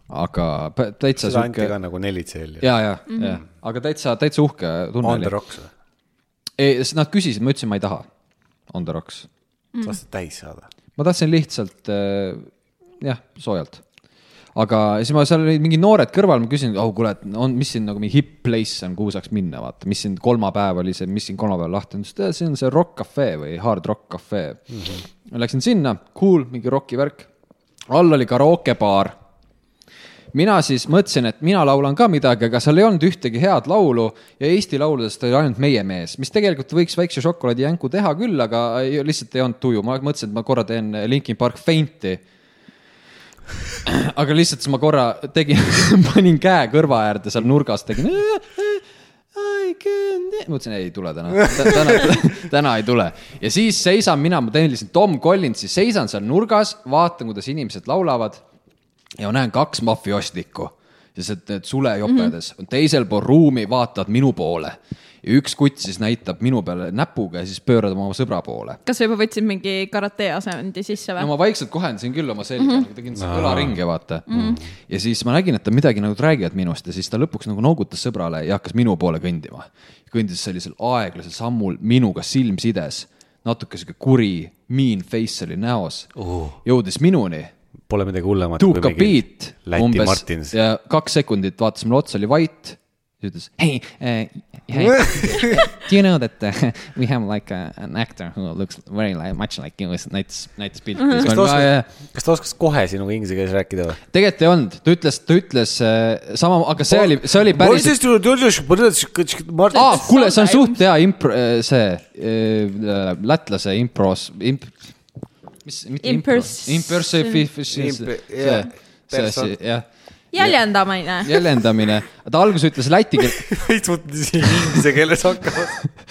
Speaker 1: aga pä- täitsa
Speaker 3: seda anti
Speaker 1: sihuke ,
Speaker 3: ka nagu neli tselli .
Speaker 1: ja , ja , ja , aga täitsa , täitsa uhke tunne
Speaker 3: On the
Speaker 1: oli .
Speaker 3: rocks või ?
Speaker 1: ei , nad küsisid , ma ütlesin , ma ei taha . On the rocks
Speaker 3: tahtsid täis saada ?
Speaker 1: ma tahtsin lihtsalt äh, jah , soojalt . aga siis ma seal olid mingid noored kõrval , ma küsisin , oh kuule , et on , mis siin nagu mingi hip place on , kuhu saaks minna , vaata , mis siin kolmapäev oli see , mis siin kolmapäeval lahti on , ta ütles , et see on see Rock Cafe või Hard Rock Cafe mm . -hmm. ma läksin sinna , cool , mingi roki värk , all oli karookebaar mina siis mõtlesin , et mina laulan ka midagi , aga seal ei olnud ühtegi head laulu ja Eesti lauludest oli ainult Meie mees , mis tegelikult võiks väikse šokolaadijänku teha küll , aga ei- lihtsalt ei olnud tuju , ma mõtlesin , et ma korra teen Linkin Park feinti . aga lihtsalt siis ma korra tegin , (laughs) panin käe kõrva äärde seal nurgas , tegin . I can do , mõtlesin , ei tule täna , täna , täna ei tule . ja siis seisan mina , ma teen lihtsalt Tom Collinsi , seisan seal nurgas , vaatan , kuidas inimesed laulavad ja ma näen kaks mafiostikku , lihtsalt need sulejopedes mm , -hmm. teisel pool ruumi vaatavad minu poole ja üks kutt siis näitab minu peale näpuga ja siis pöörab oma sõbra poole .
Speaker 2: kas sa juba võtsid mingi karate asendi sisse
Speaker 1: no
Speaker 2: või ?
Speaker 1: ma vaikselt kohendasin küll oma selga mm , -hmm. tegin seda kõlaringe , vaata mm . -hmm. ja siis ma nägin , et ta midagi nagu räägivad minust ja siis ta lõpuks nagu noogutas sõbrale ja hakkas minu poole kõndima . kõndis sellisel aeglasel sammul minuga silm sides , natuke sihuke kuri , mean face oli näos
Speaker 3: Oh.
Speaker 1: uh. , jõudis minuni
Speaker 3: Pole midagi hullemat .
Speaker 1: tuukab beat
Speaker 3: Läti umbes... Martins
Speaker 1: umbes . ja kaks sekundit vaatas mulle otsa , oli vait , siis ütles hei
Speaker 3: (laughs)
Speaker 1: hey, , do you know that uh, we have like a, an actor who looks very like, much like you , näitas , näitas pilti mm .
Speaker 3: kas Mhm. ta
Speaker 1: -hmm.
Speaker 3: oskas , kas ta oskas kohe sinuga inglise keeles rääkida või ?
Speaker 1: tegelikult ei olnud , ta ütles , ta ütles äh, sama , aga see oli , see oli päris . aa , kuule , see on suht hea impro , see äh, lätlase impros imp, , mis , mitte impros ,
Speaker 2: Impers-
Speaker 1: impersification
Speaker 3: Imp- , jah,
Speaker 1: see
Speaker 3: perso-
Speaker 1: asi , jah
Speaker 2: jäljendamine .
Speaker 1: jäljendamine , ta alguses ütles läti keeles ,
Speaker 3: (laughs) veits mõtlesin inglise keeles hakkama .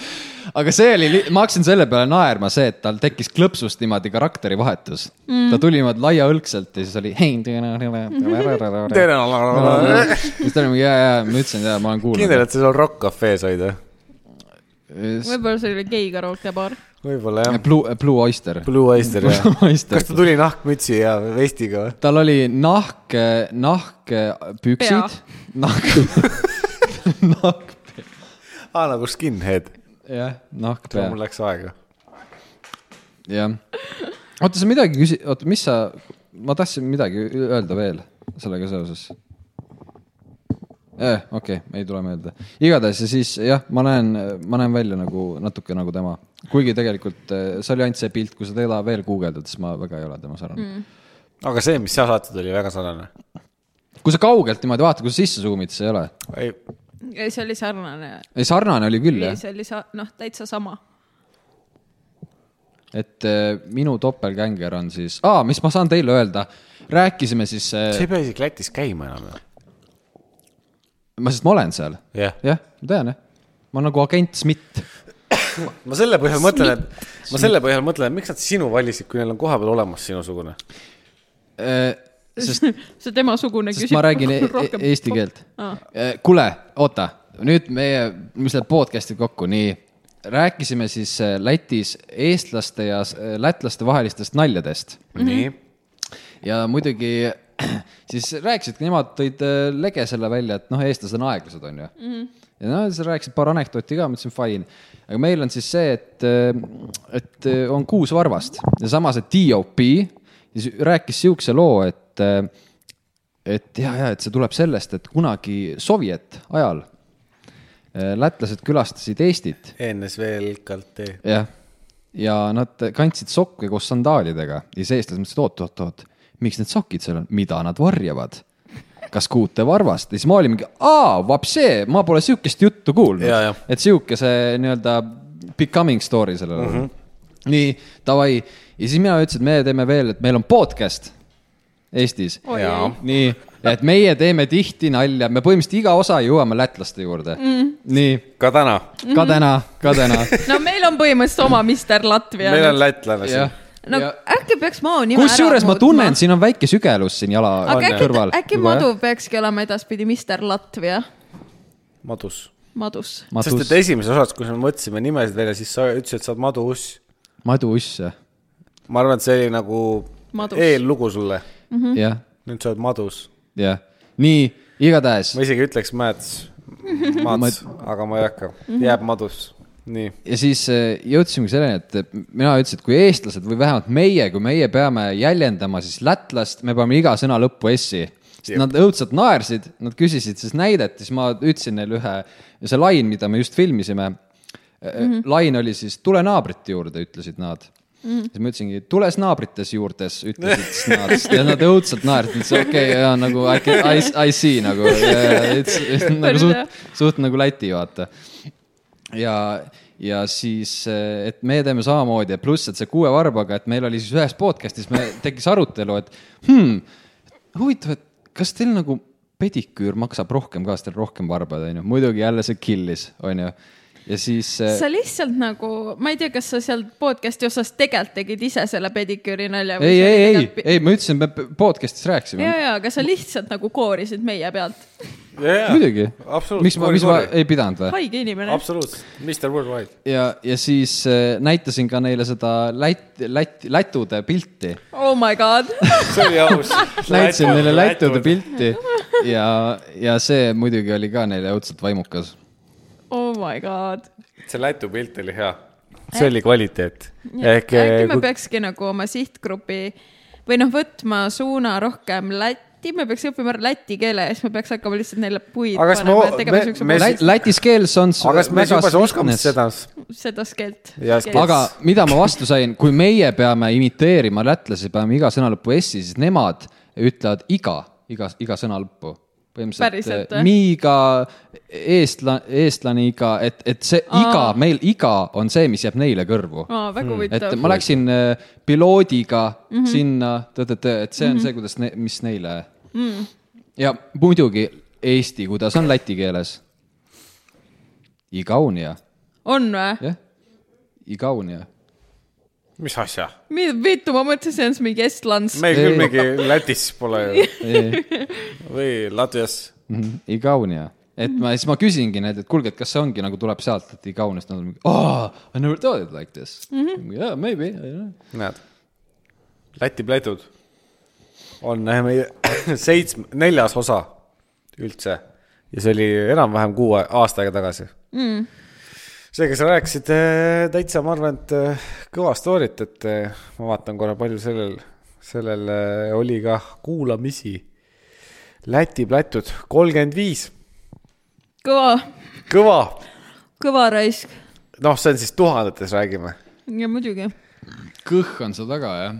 Speaker 1: (laughs) aga see oli , ma hakkasin selle peale naerma , see , et tal tekkis klõpsust niimoodi karakterivahetus mm. . ta tuli niimoodi laiaõlgselt ja siis oli . siis ta oli mingi ja , ja ma ütlesin , ja ma olen
Speaker 3: kindel ,
Speaker 1: kuulnud .
Speaker 3: et sa seal Rock Cafe's olid või ?
Speaker 2: võib-olla see oli gei karookebaar .
Speaker 3: võib-olla jah .
Speaker 1: Blue , Blue Oyster .
Speaker 3: Blue Oyster jah .
Speaker 1: Blue Oyster.
Speaker 3: kas ta tuli nahkmütsi ja vestiga või ?
Speaker 1: tal oli nahk , nahkpüksid , nahk , nahk ,
Speaker 3: aa , nagu skinhead .
Speaker 1: jah , nahkpea
Speaker 3: mul , läks aega .
Speaker 1: jah . oota , sa midagi küsi- , oota , mis sa , ma tahtsin midagi öelda veel sellega seoses eh, . okei okay, , ei tule meelde . igatahes ja siis jah , ma näen , ma näen välja nagu natuke nagu tema , kuigi tegelikult eh, see oli ainult see pilt , kui sa teda veel guugeldad , siis ma väga ei ole tema sarnane mm. .
Speaker 3: aga see , mis sa saatsid , oli väga sarnane .
Speaker 1: kui sa kaugelt niimoodi vaatad , kui sa sisse suumid , siis ei ole .
Speaker 3: ei ,
Speaker 2: ei , see oli sarnane .
Speaker 1: ei , sarnane oli küll
Speaker 2: ei ,
Speaker 1: jah ,
Speaker 2: see oli sa- , noh , täitsa sama .
Speaker 1: et eh, minu topelgänger on siis ah, , mis ma saan teile öelda , rääkisime siis
Speaker 3: sa
Speaker 1: eh, ,
Speaker 3: ei pea isegi Lätis käima enam ju .
Speaker 1: ma , sest ma olen seal
Speaker 3: jah
Speaker 1: jah , ma tean jah , ma olen nagu agent Schmidt .
Speaker 3: ma selle põhjal mõtlen , et ma selle põhjal mõtlen , et miks nad sinu valisid , kui neil on kohapeal olemas sinusugune .
Speaker 1: Äh, sest ,
Speaker 2: (laughs) see temasugune
Speaker 1: sest
Speaker 2: küsib
Speaker 1: ma räägin e
Speaker 2: rohkem- Ah.
Speaker 1: e eesti keelt Äh,
Speaker 2: Aa. .
Speaker 1: kuule , oota , nüüd meie , mis läheb podcast'i kokku , nii . rääkisime siis äh, Lätis eestlaste ja s- äh, lätlaste vahelistest naljadest
Speaker 3: nii .
Speaker 1: ja muidugi (clears throat) siis rääkisidki , nemad tõid äh, lege selle välja , et noh , eestlased on aeglased , on ju mm . -hmm. ja no siis rääkisid paar anekdooti ka , ma ütlesin fine . aga meil on siis see , et , et äh, on kuus varvast ja samas , et DOP siis rääkis siukse loo , et , et ja , ja et see tuleb sellest , et kunagi sovjet ajal äh, lätlased külastasid Eestit
Speaker 3: NSV LKT .
Speaker 1: jah , ja nad kandsid sokke koos sandaalidega ja siis eestlased mõtlesid , oot , oot , oot , miks need sokid seal on , mida nad varjavad ? kas kuute varvast ja siis ma olin mingi , aa , vapsee , ma pole sihukest juttu
Speaker 3: Jaa, jah.
Speaker 1: kuulnud . et sihuke see nii-öelda becoming story sellel
Speaker 3: Mhm.
Speaker 1: mm . -hmm. nii , davai , ja siis mina ütlesin , et me teeme veel , et meil on podcast Eestis .
Speaker 2: Oi,
Speaker 3: Jaa.
Speaker 2: ei.
Speaker 1: nii , et meie teeme tihti nalja , me põhimõtteliselt iga osa jõuame lätlaste juurde
Speaker 2: Mhm.
Speaker 1: mm. . nii ,
Speaker 3: ka täna .
Speaker 1: ka täna , ka
Speaker 2: (laughs)
Speaker 1: täna .
Speaker 2: no meil on põhimõtteliselt oma Mister Latvia .
Speaker 3: meil on lätlane siin
Speaker 1: jah .
Speaker 2: no
Speaker 1: Ja-
Speaker 2: äkki peaks Mao nime
Speaker 1: kusjuures ma tunnen , siin on väike sügelus siin jala
Speaker 2: aga äkki
Speaker 1: kõrval .,
Speaker 2: äkki Madu peakski olema edaspidi Mister Latvia ,
Speaker 3: Madus .
Speaker 2: Madus .
Speaker 3: sest
Speaker 1: Madus
Speaker 3: et , esimeses osas , kus me mõtlesime nimesid välja , siis sa ütlesid , et sa oled Madus .
Speaker 1: Madu Uss , jah
Speaker 3: ma arvan , et see oli nagu
Speaker 2: Madus.
Speaker 3: eellugu sulle .
Speaker 2: Mhm.
Speaker 1: mm. , jah ,
Speaker 3: nüüd sa oled Madus .
Speaker 1: jah , nii , igatahes
Speaker 3: ma isegi ütleks
Speaker 1: (laughs)
Speaker 3: Mäts , Mats , aga ma ei hakka .
Speaker 1: Mhm.
Speaker 3: jääb Madus . nii .
Speaker 1: ja siis eh, jõudsimegi selleni , et mina ütlesin , et kui eestlased või vähemalt meie , kui meie peame jäljendama siis lätlast , me peame iga sõna lõppu S-i . sest nad õudselt naersid , nad küsisid siis näidet , siis ma ütlesin neile ühe , see lain , mida me just filmisime . Mm -hmm. lain oli siis tule naabrite juurde , ütlesid nad mm . -hmm. siis ma ütlesingi , tules naabrites juurdes , ütlesid siis nad ja nad õudselt naersid , ütlesid okei okay, , jaa nagu I, can, I, I see nagu , (laughs) nagu suht , suht nagu Läti vaata ja , ja siis , et me teeme samamoodi ja pluss , et see kuue varbaga , et meil oli siis ühes podcast'is , me tekkis arutelu , et hmm, huvitav , et kas teil nagu pediküür maksab rohkem ka , sest teil rohkem varbad on ju , muidugi jälle see killis , on ju . ja siis eh,
Speaker 2: sa lihtsalt nagu , ma ei tea , kas sa seal podcast'i osas tegelikult tegid ise selle pediküüri nalja .
Speaker 1: ei , ei , ei , ei , ma ütlesin , me podcast'is rääkisime
Speaker 2: ja , ja , aga sa lihtsalt nagu koorisid meie pealt .
Speaker 1: muidugi . miks ma , mis ma
Speaker 3: absoluutselt ,
Speaker 1: ei pidanud või ?
Speaker 2: haige inimene .
Speaker 3: absoluutselt , Mr Worldwide .
Speaker 1: ja , ja siis äh, näitasin ka neile seda lätt , lätt , lätude pilti
Speaker 2: Oh my god . (laughs)
Speaker 3: see oli aus .
Speaker 1: (laughs) näitasin neile lätude . pilti ja , ja see muidugi oli ka neile õudselt vaimukas .
Speaker 2: Oh my god .
Speaker 3: see Lätu pilt oli hea . see oli kvaliteet . ehk eh,
Speaker 2: äkki me
Speaker 3: kui-
Speaker 2: peakski nagu oma sihtgrupi või noh , võtma suuna rohkem Lätti , me peaks õppima läti keele ja siis me peaks hakkama lihtsalt neile puid
Speaker 3: Aga kas
Speaker 2: panema
Speaker 3: me-
Speaker 2: ja tegema
Speaker 3: me-
Speaker 2: siukse
Speaker 3: me-
Speaker 2: me...
Speaker 1: Lät- , lätis keeles on .
Speaker 3: aga kas me juba oskame seda ?
Speaker 2: seda skeelt .
Speaker 3: Ja skeelt.
Speaker 1: aga mida ma vastu sain , kui meie peame imiteerima lätlasi , peame iga sõna lõppu s-i , siis nemad ütlevad iga , iga , iga sõna lõppu .
Speaker 2: Päriselt
Speaker 1: põhimõtteliselt
Speaker 2: või?
Speaker 1: eh, miiga , eestla- , eestlaniga , et , et see iga
Speaker 2: Aa. ,
Speaker 1: meil iga on see , mis jääb neile kõrvu .
Speaker 2: aa , väga
Speaker 1: Hmm, et
Speaker 2: huvitav .
Speaker 1: ma läksin äh, piloodiga mm -hmm. sinna , et see on mm -hmm. see , kuidas ne, , mis neile mm . -hmm. ja muidugi eesti , kuidas on läti keeles ? Igaunia ,
Speaker 2: on või ?
Speaker 1: jah , Igaunia .
Speaker 3: mis asja ?
Speaker 2: vittu , ma mõtlesin , et see on mingi estlans .
Speaker 3: meil küll
Speaker 1: Ei.
Speaker 3: mingi Lätis pole ju või Latvias .
Speaker 1: Mhm, Igaunia , et ma siis ma küsingi neid , et kuulge , et kas see ongi nagu tuleb sealt , et Igauniast nad on mingi , aa , I never thought it like this mm . -hmm. Yeah , maybe , I don't know .
Speaker 3: näed , Läti plätud on eh, meie (clears throat) seitsme , neljas osa üldse ja see oli enam-vähem kuu ae- aasta aega tagasi mm. . seega sa rääkisid eh, täitsa , ma arvan , et eh, kõva story't , et eh, ma vaatan korra , palju sellel , sellel eh, oli ka kuulamisi . Läti plätud kolmkümmend viis ,
Speaker 2: kõva ,
Speaker 3: kõva ,
Speaker 2: kõva raisk .
Speaker 3: noh , see on siis tuhandetes räägime ,
Speaker 2: ja muidugi .
Speaker 1: kõhk on seal taga , jah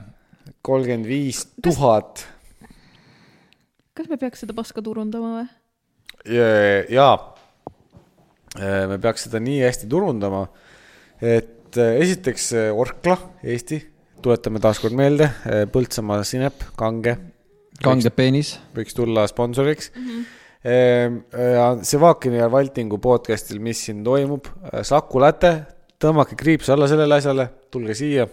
Speaker 3: kolmkümmend viis tuhat
Speaker 2: kas me peaks seda paska turundama või ?
Speaker 3: Ja- jaa , me peaks seda nii hästi turundama , et eh, esiteks eh, Orkla , Eesti , tuletame taaskord meelde , Põltsamaa sinep , kange ,
Speaker 1: kange peenis ,
Speaker 3: võiks tulla sponsoriks mm .
Speaker 1: Mhm.
Speaker 3: -hmm. Sevakini ja Valtingu podcastil , mis siin toimub , Saku Läte , tõmmake kriips alla sellele asjale , tulge siia ,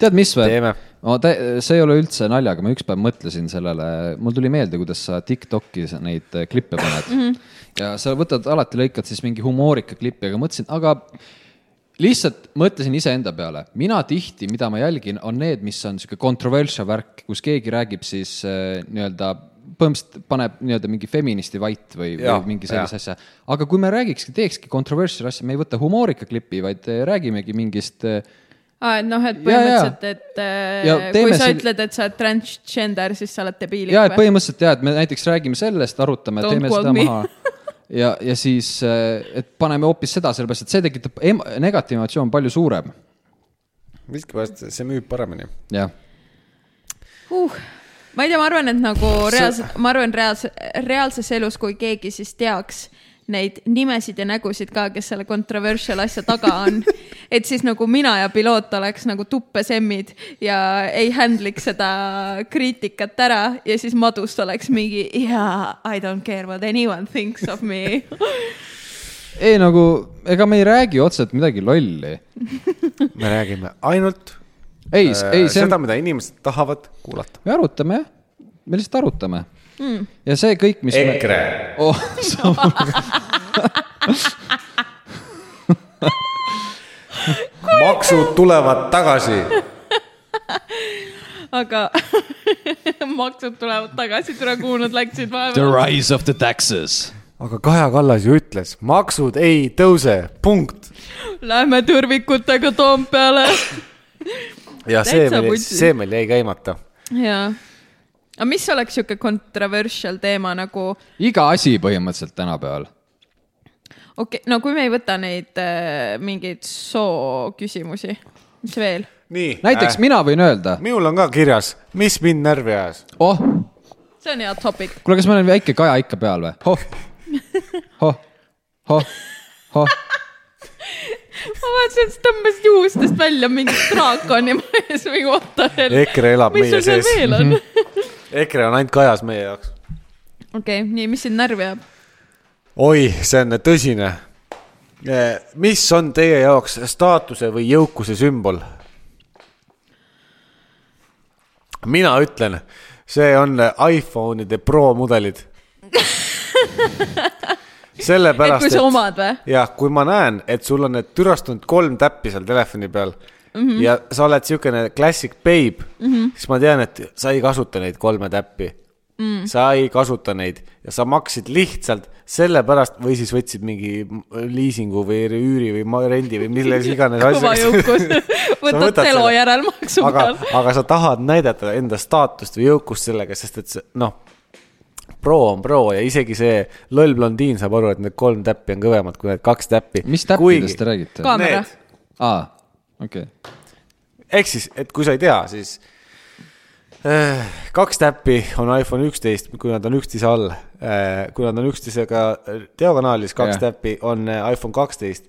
Speaker 1: tead , mis või ?
Speaker 3: teeme .
Speaker 1: ma tä- , see ei ole üldse naljaga , ma üks päev mõtlesin sellele , mul tuli meelde , kuidas sa Tiktokis neid eh, klippe paned mm . -hmm. ja sa võtad alati , lõikad siis mingi humoorika klippi , aga mõtlesin , aga lihtsalt mõtlesin iseenda peale , mina tihti , mida ma jälgin , on need , mis on sihuke controversial värk , kus keegi räägib siis eh, nii-öelda põhimõtteliselt paneb nii-öelda mingi feministi vait või ,
Speaker 3: Jah,
Speaker 1: või mingi
Speaker 3: jah.
Speaker 1: sellise asja . aga kui me räägikski , teekski controversial asja , me ei võta humoorika klippi , vaid eh, räägimegi mingist eh,
Speaker 2: aa , et noh , et
Speaker 1: Ja, ja.
Speaker 2: põhimõtteliselt , et äh,
Speaker 1: Ja
Speaker 2: kui
Speaker 1: teeme
Speaker 2: sa
Speaker 1: sel-
Speaker 2: ütled , et sa oled transgender , siis sa oled debiilik
Speaker 1: ja , et põhimõtteliselt ja , et me näiteks räägime sellest , arutame ,
Speaker 2: Don't
Speaker 1: teeme
Speaker 2: quote
Speaker 1: seda
Speaker 2: me.
Speaker 1: maha ja , ja siis , et paneme hoopis seda , sellepärast et see tekitab em- negatiivne emotsioon palju suurem .
Speaker 3: miskipärast see müüb paremini .
Speaker 1: jah ,
Speaker 2: uh, . ma ei tea , ma arvan , et nagu reaalselt , ma arvan reaalse , reaalses elus , kui keegi siis teaks neid nimesid ja nägusid ka , kes selle controversial asja taga on , et siis nagu mina ja piloot oleks nagu tuppes emmid ja ei handle'iks seda kriitikat ära ja siis madust oleks mingi yeah, I don't care what anyone thinks of me .
Speaker 1: ei nagu , ega me ei räägi otseselt midagi lolli .
Speaker 3: me räägime ainult
Speaker 1: ei , ei
Speaker 3: eh,
Speaker 1: see
Speaker 3: seda ,
Speaker 1: on ,
Speaker 3: mida inimesed tahavad kuulata .
Speaker 1: me arutame jah , me lihtsalt arutame mm. . ja see kõik , mis me... .
Speaker 3: EKRE .
Speaker 1: Oh, (laughs) sa-
Speaker 3: maksud tulevad tagasi .
Speaker 2: aga (laughs) maksud tulevad tagasi , tule kuhu nad läksid
Speaker 1: The
Speaker 2: vahepeal .
Speaker 1: rise of the taxes .
Speaker 3: aga Kaja Kallas ju ütles , maksud ei tõuse , punkt .
Speaker 2: Lähme tõrvikutega Toompeale
Speaker 3: ja see
Speaker 2: Täitsa
Speaker 3: meil ,
Speaker 2: putsi.
Speaker 3: see meil jäi käimata .
Speaker 2: jaa , aga mis oleks sihuke controversial teema nagu ,
Speaker 1: iga asi põhimõtteliselt tänapäeval .
Speaker 2: okei okay, , no kui me ei võta neid äh, mingeid soo küsimusi , mis veel ?
Speaker 3: nii .
Speaker 1: näiteks äh. mina võin öelda ,
Speaker 3: minul on ka kirjas , mis mind närvi ajas .
Speaker 1: oh ,
Speaker 2: see on hea topic .
Speaker 1: kuule , kas ma olen väike kaja ikka peal või ? hoh , (laughs) hoh , hoh , hoh ,
Speaker 2: ma vaatasin , et sa tõmbasid juustest välja mingi draakoni (laughs) ma ees mingi oota veel .
Speaker 3: EKRE elab
Speaker 2: mis
Speaker 3: meie
Speaker 2: sul seal
Speaker 3: sees . Mhm.
Speaker 2: veel on ?
Speaker 3: EKRE on ainult kajas meie jaoks .
Speaker 2: okei , nii , mis sind närvi ajab ?
Speaker 3: oi , see on tõsine . mis on teie jaoks staatuse või jõukuse sümbol ? mina ütlen , see on iPhone'ide Pro
Speaker 2: (laughs)
Speaker 3: mudelid .
Speaker 2: et
Speaker 3: sellepärast ,
Speaker 2: kui sa omad või ?
Speaker 3: jah , kui ma näen , et sul on need türastunud kolm täppi seal telefoni peal mm -hmm. ja sa oled siukene classic babe mm , -hmm. siis ma tean , et sa ei kasuta neid kolme täppi mm. . sa ei kasuta neid ja sa maksid lihtsalt sellepärast või siis võtsid mingi liisingu või üüri või ma- rendi või milles iganes
Speaker 2: kõva
Speaker 3: (laughs)
Speaker 2: jõukus
Speaker 3: asjaga .
Speaker 2: võtad
Speaker 3: võtad
Speaker 2: telo
Speaker 3: selle.
Speaker 2: järelmaksu
Speaker 3: aga
Speaker 2: peal .,
Speaker 3: aga sa tahad näidata enda staatust või jõukust sellega , sest et see- noh , pro on pro ja isegi see loll blondiin saab aru , et need kolm täppi on kõvemad kui need kaks täppi .
Speaker 1: mis täppidest te räägite ?
Speaker 2: Ka- Kaamera.
Speaker 3: Need ,
Speaker 1: aa , okei okay. ,
Speaker 3: ehk siis , et kui sa ei tea , siis äh, kaks täppi on iPhone üksteist , kui nad on üksteise all äh, . kui nad on üksteisega diagonaalis , kaks
Speaker 1: Jah.
Speaker 3: yeah. täppi on äh, iPhone kaksteist .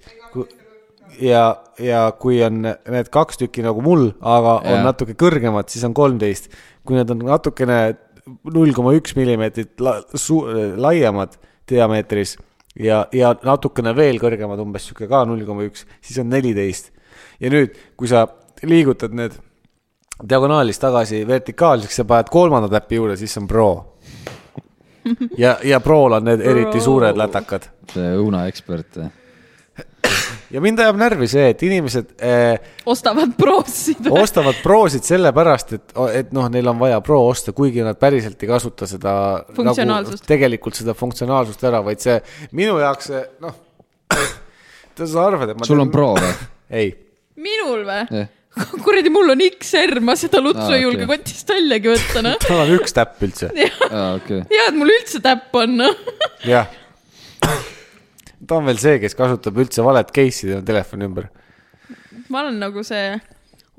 Speaker 3: ja , ja kui on need kaks tükki nagu mul , aga yeah.
Speaker 1: Jah.
Speaker 3: on natuke kõrgemad , siis on kolmteist . kui nad on natukene null koma üks millimeetrit la- su- laiemad diameetris ja , ja natukene veel kõrgemad , umbes sihuke ka null koma üks , siis on neliteist . ja nüüd , kui sa liigutad need diagonaalis tagasi vertikaalseks ja paned kolmanda täpi juurde , siis on Pro . ja , ja Prol on need eriti suured lätakad
Speaker 1: õunaekspert .
Speaker 3: ja mind ajab närvi see , et inimesed eh,
Speaker 2: ostavad proosid .
Speaker 3: (laughs) ostavad Prosid sellepärast , et , et noh , neil on vaja Pro osta , kuigi nad päriselt ei kasuta seda .
Speaker 2: Funktsionaalsust.
Speaker 3: tegelikult seda funktsionaalsust ära , vaid see minu jaoks see noh , sa arvad , et ma .
Speaker 1: sul on pro või ?
Speaker 3: (laughs) ei ,
Speaker 2: minul või
Speaker 1: Jah. ?
Speaker 2: (laughs) kuradi , mul on XR , ma seda lutsu
Speaker 1: Aa,
Speaker 2: ei julge
Speaker 1: okei.
Speaker 2: kotist väljagi võtta , noh .
Speaker 3: tal on üks täpp
Speaker 2: (laughs)
Speaker 3: üldse ,
Speaker 1: aa , okei okay. .
Speaker 2: hea , et mul üldse täpp on , noh . (laughs)
Speaker 3: jah . ta on veel see , kes kasutab üldse valet case'i tema telefoni ümber
Speaker 2: ma olen nagu see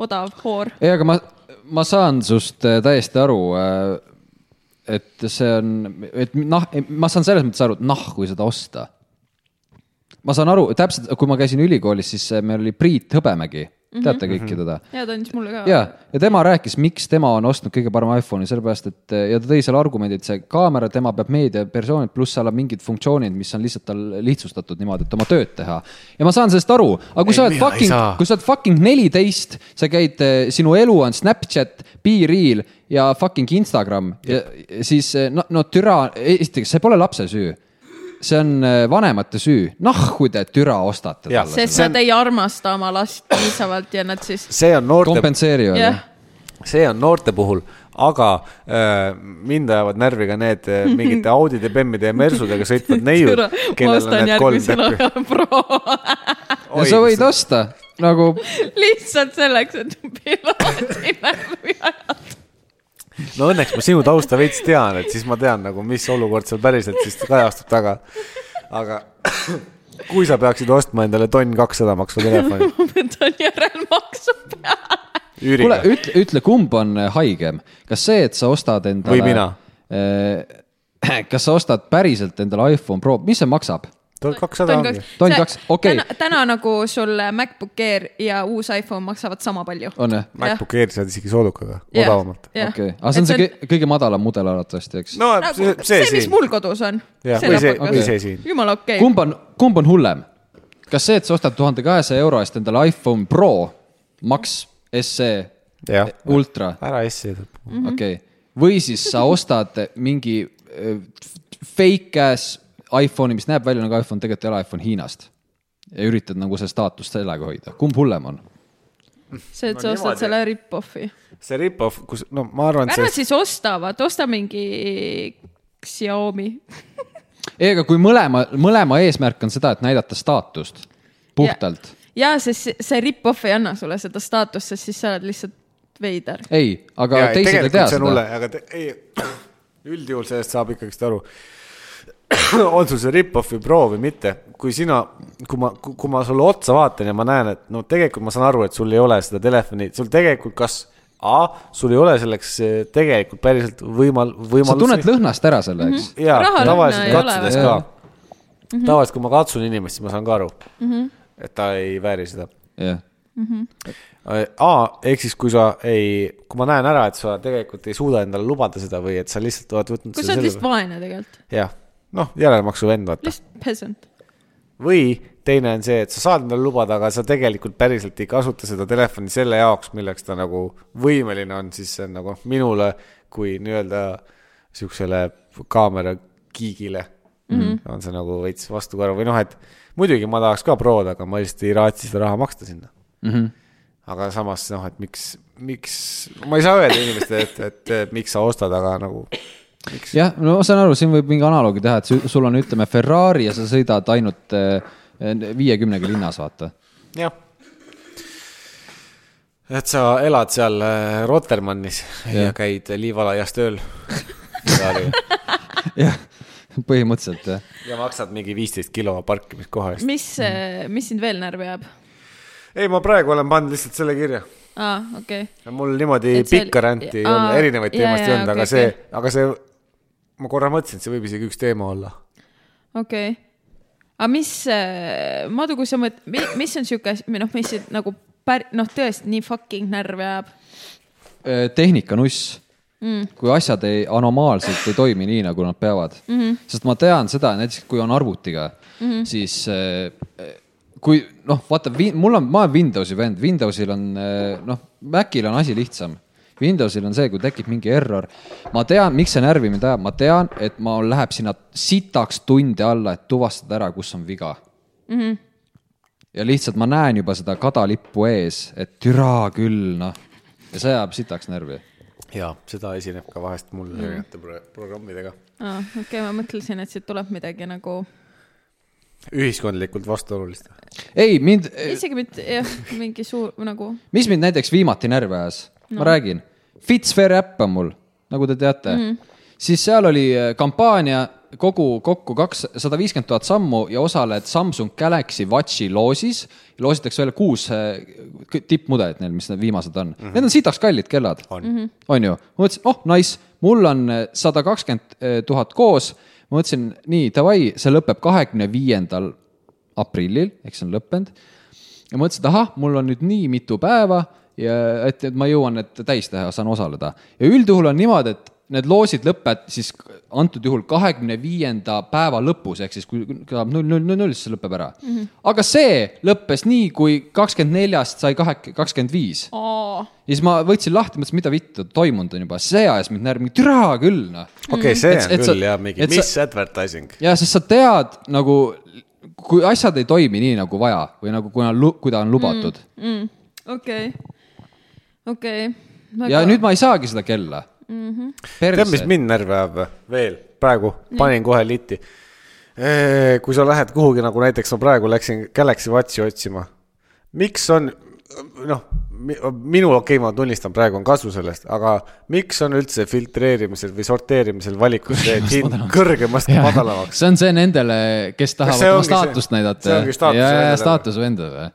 Speaker 2: odav hoor .
Speaker 1: ei , aga ma , ma saan sust äh, täiesti aru äh, et see on , et noh , ma saan selles mõttes aru , et nahku seda osta . ma saan aru , täpselt , kui ma käisin ülikoolis , siis äh, meil oli Priit Hõbemägi , teate kõiki teda
Speaker 2: ja ta andis mulle ka .
Speaker 1: ja , ja tema rääkis , miks tema on ostnud kõige parema iPhone'i , sellepärast et ja ta tõi seal argumendi , et see kaamera , tema peab meediapersoonid , pluss seal on mingid funktsioonid , mis on lihtsalt tal lihtsustatud niimoodi , et oma tööd teha . ja ma saan sellest aru , aga kui ei,
Speaker 3: Ei,
Speaker 1: sa oled
Speaker 3: mina ei
Speaker 1: fucking
Speaker 3: saa. ,
Speaker 1: kui sa oled fucking neliteist , sa käid , sinu elu on Snapchat , BeReal ja fucking Instagram ja, ja siis eh, no , no türa , esiteks , see pole lapse süü see on eh, vanemate süü , nahku te türa ostate
Speaker 3: Jah.
Speaker 1: talle ,
Speaker 2: sest nad ei armasta oma last piisavalt ja nad
Speaker 1: (laughs)
Speaker 2: siis ,
Speaker 3: see on noorte ,
Speaker 1: kompenseerivad
Speaker 2: jah
Speaker 1: yeah. ..
Speaker 3: see on noorte puhul , aga äh, mind ajavad närvi ka need äh,
Speaker 2: (laughs)
Speaker 3: mingite Audide , Bemmide ja Mersudega sõitvad neiud
Speaker 2: ma . ostan järgmisel ajal (laughs) pro
Speaker 1: ja sa võid osta nagu
Speaker 2: lihtsalt selleks , et piloodi (laughs) närvi ajada .
Speaker 3: no õnneks ma sinu tausta veits tean , et siis ma tean nagu , mis olukord seal päriselt siis kajastub taga . aga (coughs) kui sa peaksid ostma endale tonn kakssada maksva telefoni
Speaker 2: ma võtan järelmaksu peale .
Speaker 1: kuule
Speaker 3: üüriga ,,
Speaker 1: ütle , ütle , kumb on äh, haigem , kas see , et sa ostad endale .
Speaker 3: Või mina. .
Speaker 1: (clears throat) kas sa ostad päriselt endale iPhone Pro , mis see maksab ?
Speaker 3: tonn kakssada ongi .
Speaker 1: Tonn kaks, okei.
Speaker 2: täna nagu sul MacBook Air ja uus iPhone maksavad sama palju .
Speaker 1: on jah ?
Speaker 3: MacBook Air saad isegi soodukaga ,
Speaker 2: Jah.
Speaker 3: odavamalt . Ah,
Speaker 1: okei , aga see on see kõ- kõige madalam mudel arvatavasti , eks no. ?
Speaker 3: no
Speaker 2: nagu
Speaker 3: Ah, see ,
Speaker 2: see ,
Speaker 3: see
Speaker 2: mis
Speaker 3: siin ,
Speaker 2: mul kodus on .
Speaker 3: Jah, või see- või see siin.
Speaker 2: jumala okei okay. .
Speaker 1: kumb on , kumb on hullem ? kas see , et sa ostad tuhande kahesaja euro eest endale iPhone Pro Max SE
Speaker 3: jah ,
Speaker 1: Ultra ,
Speaker 3: ära S-i tuleb .
Speaker 1: okei , või siis sa ostad mingi äh, fake ass iPhone'i , mis näeb välja nagu iPhone , tegelikult ei ole iPhone Hiinast . ja üritad nagu see staatust sellega hoida , kumb hullem on ?
Speaker 2: see , et
Speaker 3: No
Speaker 2: sa ostad
Speaker 3: niimoodi.
Speaker 2: selle rip-off'i .
Speaker 3: see rip-off , kus , no ma arvan ,
Speaker 2: ära
Speaker 3: et see ,
Speaker 2: siis osta , vaata , osta mingi Xiaomi .
Speaker 1: ei , aga kui mõlema , mõlema eesmärk on seda , et näidata staatust puhtalt .
Speaker 2: ja sest see- see rip-off ei anna sulle seda staatust , sest siis sa oled lihtsalt veider .
Speaker 1: ei , aga
Speaker 3: Jaa, ei,
Speaker 1: teised ei
Speaker 3: tegelikult
Speaker 1: tea
Speaker 3: see on hulle ,
Speaker 1: seda .
Speaker 3: aga te, ei , üldjuhul sellest saab ikkagist aru . (clears throat) on sul see rip-off'i proov või mitte , kui sina , kui ma , kui ma sulle otsa vaatan ja ma näen , et no tegelikult ma saan aru , et sul ei ole seda telefoni , sul tegelikult kas A , sul ei ole selleks eh, tegelikult päriselt võimal- ,
Speaker 1: sa tunned
Speaker 3: võimalusi .
Speaker 1: lõhnast ära selle , eks .
Speaker 3: jaa ,
Speaker 2: Rahalõhna
Speaker 3: tavaliselt
Speaker 2: ei ole Mhm.
Speaker 3: katsudes
Speaker 1: või?
Speaker 3: ka
Speaker 1: Jaa. .
Speaker 3: tavaliselt , kui ma katsun inimest , siis ma saan ka aru mm , -hmm. et ta ei vääri seda
Speaker 1: jah ,
Speaker 3: A , Äh, ehk siis kui sa ei , kui ma näen ära , et sa tegelikult ei suuda endale lubada seda või et sa lihtsalt oled võtnud
Speaker 2: kui sa oled lihtsalt vaene tegelikult ,
Speaker 3: jah , noh , järelmaksu vend vaata .
Speaker 2: lihtsalt peasant .
Speaker 3: või teine on see , et sa saad endale lubada , aga sa tegelikult päriselt ei kasuta seda telefoni selle jaoks , milleks ta nagu võimeline on , siis see on nagu minule kui nii-öelda siuksele kaamera kiigile mm . -hmm. on see nagu veits vastukaru või noh , et muidugi ma tahaks ka prood , aga ma lihtsalt ei raatsi seda raha maksta sinna
Speaker 1: mm -hmm.
Speaker 3: aga samas noh , et miks , miks , ma ei saa öelda inimestele , et , et, et miks sa ostad , aga nagu
Speaker 1: jah , no ma saan aru , siin võib mingi analoogi teha , et su- sul on , ütleme , Ferrari ja sa sõidad ainult äh, viiekümnega linnas , vaata . (laughs)
Speaker 3: jah . et sa elad seal äh, Rotermannis ja, ja
Speaker 1: Jah.
Speaker 3: käid liivalaias (laughs) tööl
Speaker 1: jah , põhimõtteliselt jah .
Speaker 3: ja maksad mingi viisteist kilo parkimiskoha eest .
Speaker 2: mis , mis sind veel närvi ajab ?
Speaker 3: Mm. ei , ma praegu olen pannud lihtsalt selle kirja .
Speaker 2: aa , okei okay. .
Speaker 3: mul niimoodi
Speaker 2: Et see-
Speaker 3: pikka ränti ei
Speaker 2: aa,
Speaker 3: olnud , erinevaid
Speaker 2: jaa,
Speaker 3: teemasid ei
Speaker 2: jaa,
Speaker 3: olnud , aga
Speaker 2: okei,
Speaker 3: see
Speaker 2: okei. ,
Speaker 3: aga see , ma korra mõtlesin , et see võib isegi üks teema olla .
Speaker 2: okei okay. . aga mis , Madu , kui sa mõtled , mis on sihuke asi või noh , mis sind nagu pär- , noh , tõesti nii fucking närvi ajab
Speaker 1: tehnika nuss mm. . Äh, kui asjad ei , anomaalselt ei toimi nii , nagu nad peavad mm . -hmm. sest ma tean seda , näiteks kui on arvutiga mm , -hmm. siis äh, kui noh , vaata , mul on , ma olen Windowsi vend , Windowsil on äh, noh , Macil on asi lihtsam . Windowsil on see , kui tekib mingi error , ma tean , miks see närvi mind ajab , ma tean , et ma , läheb sinna sitaks tunde alla , et tuvastada ära , kus on viga ja lihtsalt ma näen juba seda kadalippu ees , et türa küll noh , ja see ajab sitaks närvi .
Speaker 3: jaa , seda esineb ka vahest mul
Speaker 2: Mm.
Speaker 3: erinevate pro- programmidega
Speaker 2: ah, ? okei okay, , ma mõtlesin , et siit tuleb midagi nagu ,
Speaker 3: ühiskondlikult vastuolulist .
Speaker 1: ei mind ,
Speaker 2: isegi mitte jah , mingi suur nagu ,
Speaker 1: mis mind näiteks viimati närvi ajas no. , ma räägin , Fitsphere äpp on mul , nagu te teate mm. , siis seal oli äh, kampaania kogu kokku kaks , sada viiskümmend tuhat sammu ja osaled Samsung Galaxy Watchi loosis . loositakse välja kuus äh, kõ- tippmudelit neil , mis need viimased on mm , -hmm. need on sitaks kallid kellad . on, on ju , ma mõtlesin , oh nice , mul on äh, sada kakskümmend äh, tuhat koos , ma mõtlesin nii davai , see lõpeb kahekümne viiendal aprillil , eks see on lõppenud ja mõtlesin , et ahah , mul on nüüd nii mitu päeva ja et , et ma jõuan need täis teha , saan osaleda . ja üldjuhul on niimoodi , et need loosid lõpevad siis antud juhul kahekümne viienda päeva lõpus , ehk siis kui kõlab null , null , null , null , siis see lõpeb ära mm . -hmm. aga see lõppes nii , kui kakskümmend neljast sai kahek- , kakskümmend viis .
Speaker 2: aa ,
Speaker 1: ja siis ma võtsin lahti , mõtlesin , mida vittu , toimunud on juba , see ajas mind närvi , türa küll noh .
Speaker 3: okei ,
Speaker 2: Mm.
Speaker 3: see
Speaker 1: Et-
Speaker 3: on
Speaker 1: et sa-
Speaker 3: küll jah , mingi
Speaker 1: et sa-
Speaker 3: misadvertising .
Speaker 1: ja sest sa tead nagu , kui asjad ei toimi nii nagu vaja või nagu kuna , kui ta on lubatud mm .
Speaker 2: okei , okei .
Speaker 1: ja nüüd ma ei saagi seda kella mm .
Speaker 3: tead , mis
Speaker 1: -hmm.
Speaker 3: mind närvi ajab või? veel praegu , panin kohe liti . kui sa lähed kuhugi nagu näiteks ma praegu läksin Galaxy Watchi otsima , miks on noh , minu okei okay, , ma tunnistan , praegu on kasu sellest , aga miks on üldse filtreerimisel või sorteerimisel valikus see ,
Speaker 1: (laughs)
Speaker 3: et hind kõrgemast madalamaks ?
Speaker 1: see on see nendele , kes tahavad
Speaker 3: see
Speaker 1: oma
Speaker 3: ongi see-
Speaker 1: staatust näidata .
Speaker 3: see ongi staatuse
Speaker 1: ja , ja
Speaker 3: vendadele.
Speaker 1: staatuse vendadele või ?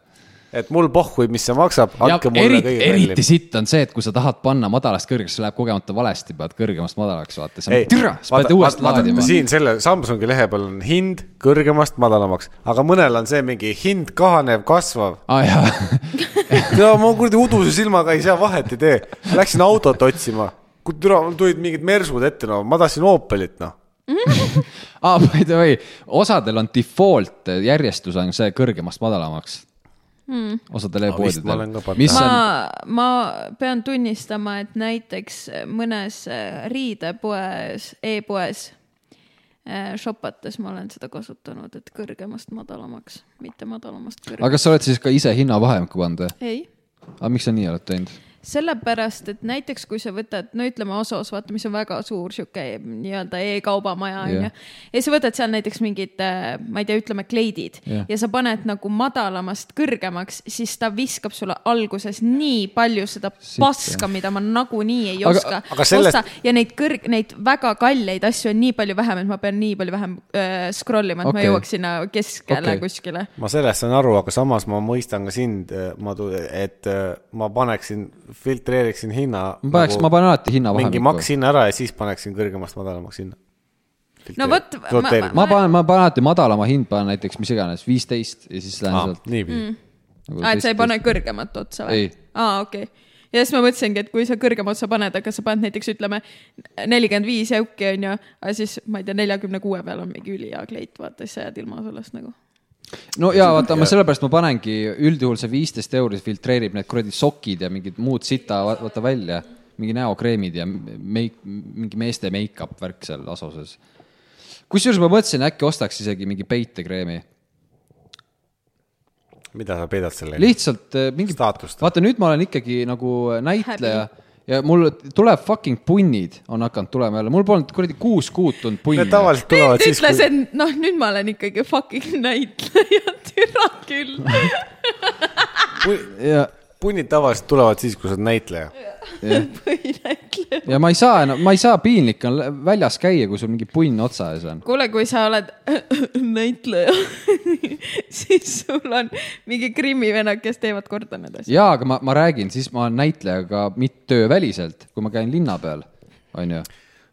Speaker 3: et mul pohhui , mis see maksab ,
Speaker 1: ja
Speaker 3: andke mulle
Speaker 1: eriti ,
Speaker 3: kõige
Speaker 1: eriti
Speaker 3: kallim .
Speaker 1: sitt on see , et kui sa tahad panna madalast kõrgeks , see läheb kogemata valesti , paned kõrgemast madalaks , vaata , see
Speaker 3: ei
Speaker 1: on , türa , sa pead uuesti laadima .
Speaker 3: siin selle Samsungi lehe peal on hind kõrgemast madalamaks , aga mõnel on see mingi hind kahanev , kasvav .
Speaker 1: aa Ah, jaa , (laughs)
Speaker 3: ja ma kuradi uduse silmaga ei saa vahet ei tee , läksin autot otsima , kui türa , mul tulid mingid mersud ette , no ma tahtsin Opelit noh .
Speaker 1: aa Ah, by the way , osadel on default järjestus on see kõrgemast madalamaks mm. . osadel
Speaker 3: vist ma
Speaker 1: e-poodidel
Speaker 3: olen ka pannud .
Speaker 1: mis
Speaker 2: ma
Speaker 1: on ,,
Speaker 2: ma pean tunnistama , et näiteks mõnes äh, riidepoes e , e-poes äh, shopates ma olen seda kasutanud , et kõrgemast madalamaks , mitte madalamast
Speaker 1: aga
Speaker 2: kõrgemaks
Speaker 1: kas sa oled siis ka ise hinnavahemikku pannud või ?
Speaker 2: Aga... . ei ,
Speaker 1: aga miks sa nii oled teinud ?
Speaker 2: sellepärast , et näiteks kui sa võtad , no ütleme Osos , vaata , mis on väga suur sihuke nii-öelda e-kaubamaja onju
Speaker 1: Jah.
Speaker 2: yeah. . ja sa võtad seal näiteks mingid , ma ei tea , ütleme kleidid
Speaker 1: Jah.
Speaker 2: yeah. ja sa paned nagu madalamast kõrgemaks , siis ta viskab sulle alguses nii palju seda
Speaker 1: Sitta.
Speaker 2: paska , mida ma nagunii ei
Speaker 1: Aga-
Speaker 2: oska
Speaker 3: aga sellest-
Speaker 2: osta ja neid kõrg- , neid väga kalleid asju on nii palju vähem , et ma pean nii palju vähem äh, scroll ima , et okay.
Speaker 1: Okei.
Speaker 2: ma jõuaks sinna keskele
Speaker 1: Okei.
Speaker 2: okay. kuskile .
Speaker 3: ma sellest saan aru , aga samas ma mõistan ka sind , Madu , et äh, ma paneksin , filtreeriksin hinna .
Speaker 1: ma paneks , ma panen alati
Speaker 3: mingi
Speaker 1: hinnavahemikku .
Speaker 3: makshinna ära ja siis paneksin kõrgemast madalamaks hinna .
Speaker 2: No vot, ma-
Speaker 3: roteerib .
Speaker 1: ma panen , ma panen alati madalama hind , panen näiteks mis iganes , viisteist ja siis lähen sealt .
Speaker 3: Ah,
Speaker 1: nagu
Speaker 3: niipidi .
Speaker 2: Mm.
Speaker 3: Nagu
Speaker 2: aa , Ah, et sa ei pane kõrgemat otsa või
Speaker 1: Ei. ?
Speaker 2: aa , okei okay. ja siis ma mõtlesingi , et kui sa kõrgema otsa paned , aga sa paned näiteks ütleme nelikümmend viis jõuki onju , aga siis ma ei tea , neljakümne kuue peal on mingi ülihea kleit , vaata siis sa jääd ilma sellest nagu .
Speaker 1: no ja vaata , ma sellepärast ma panengi üldjuhul see viisteist euri filtreerib need kuradi sokid ja mingid muud sita , vaata välja , mingi näokreemid ja meik- , mingi meeste make-up värk seal asoses . kusjuures ma mõtlesin , äkki ostaks isegi mingi peitekreemi ,
Speaker 3: mida sa peidad selle ?
Speaker 1: lihtsalt eh, mingi ,
Speaker 3: Staatust.
Speaker 1: vaata nüüd ma olen ikkagi nagu näitleja ja mul tuleb fucking punnid on hakanud tulema jälle , mul polnud kuradi kuus kuud tulnud punni
Speaker 3: Need . tavaliselt tulevad
Speaker 2: ta
Speaker 3: siis ,
Speaker 2: ütles ,
Speaker 3: kui ,
Speaker 2: et noh , nüüd ma olen ikkagi fucking näitleja (laughs) türa küll .
Speaker 1: ja ,
Speaker 3: punnid tavaliselt tulevad siis , kui sa oled näitleja .
Speaker 2: põhinäitleja .
Speaker 1: ja ma ei saa enam , ma ei saa , piinlik on väljas käia , kui sul mingi punn otsa ees on .
Speaker 2: kuule , kui sa oled (laughs) näitleja , (laughs) siis sul on mingi krimmivennad , kes teevad korda need asjad .
Speaker 1: jaa , aga ma , ma räägin , siis ma olen näitleja ka mitte tööväliselt , kui ma käin linna peal , onju .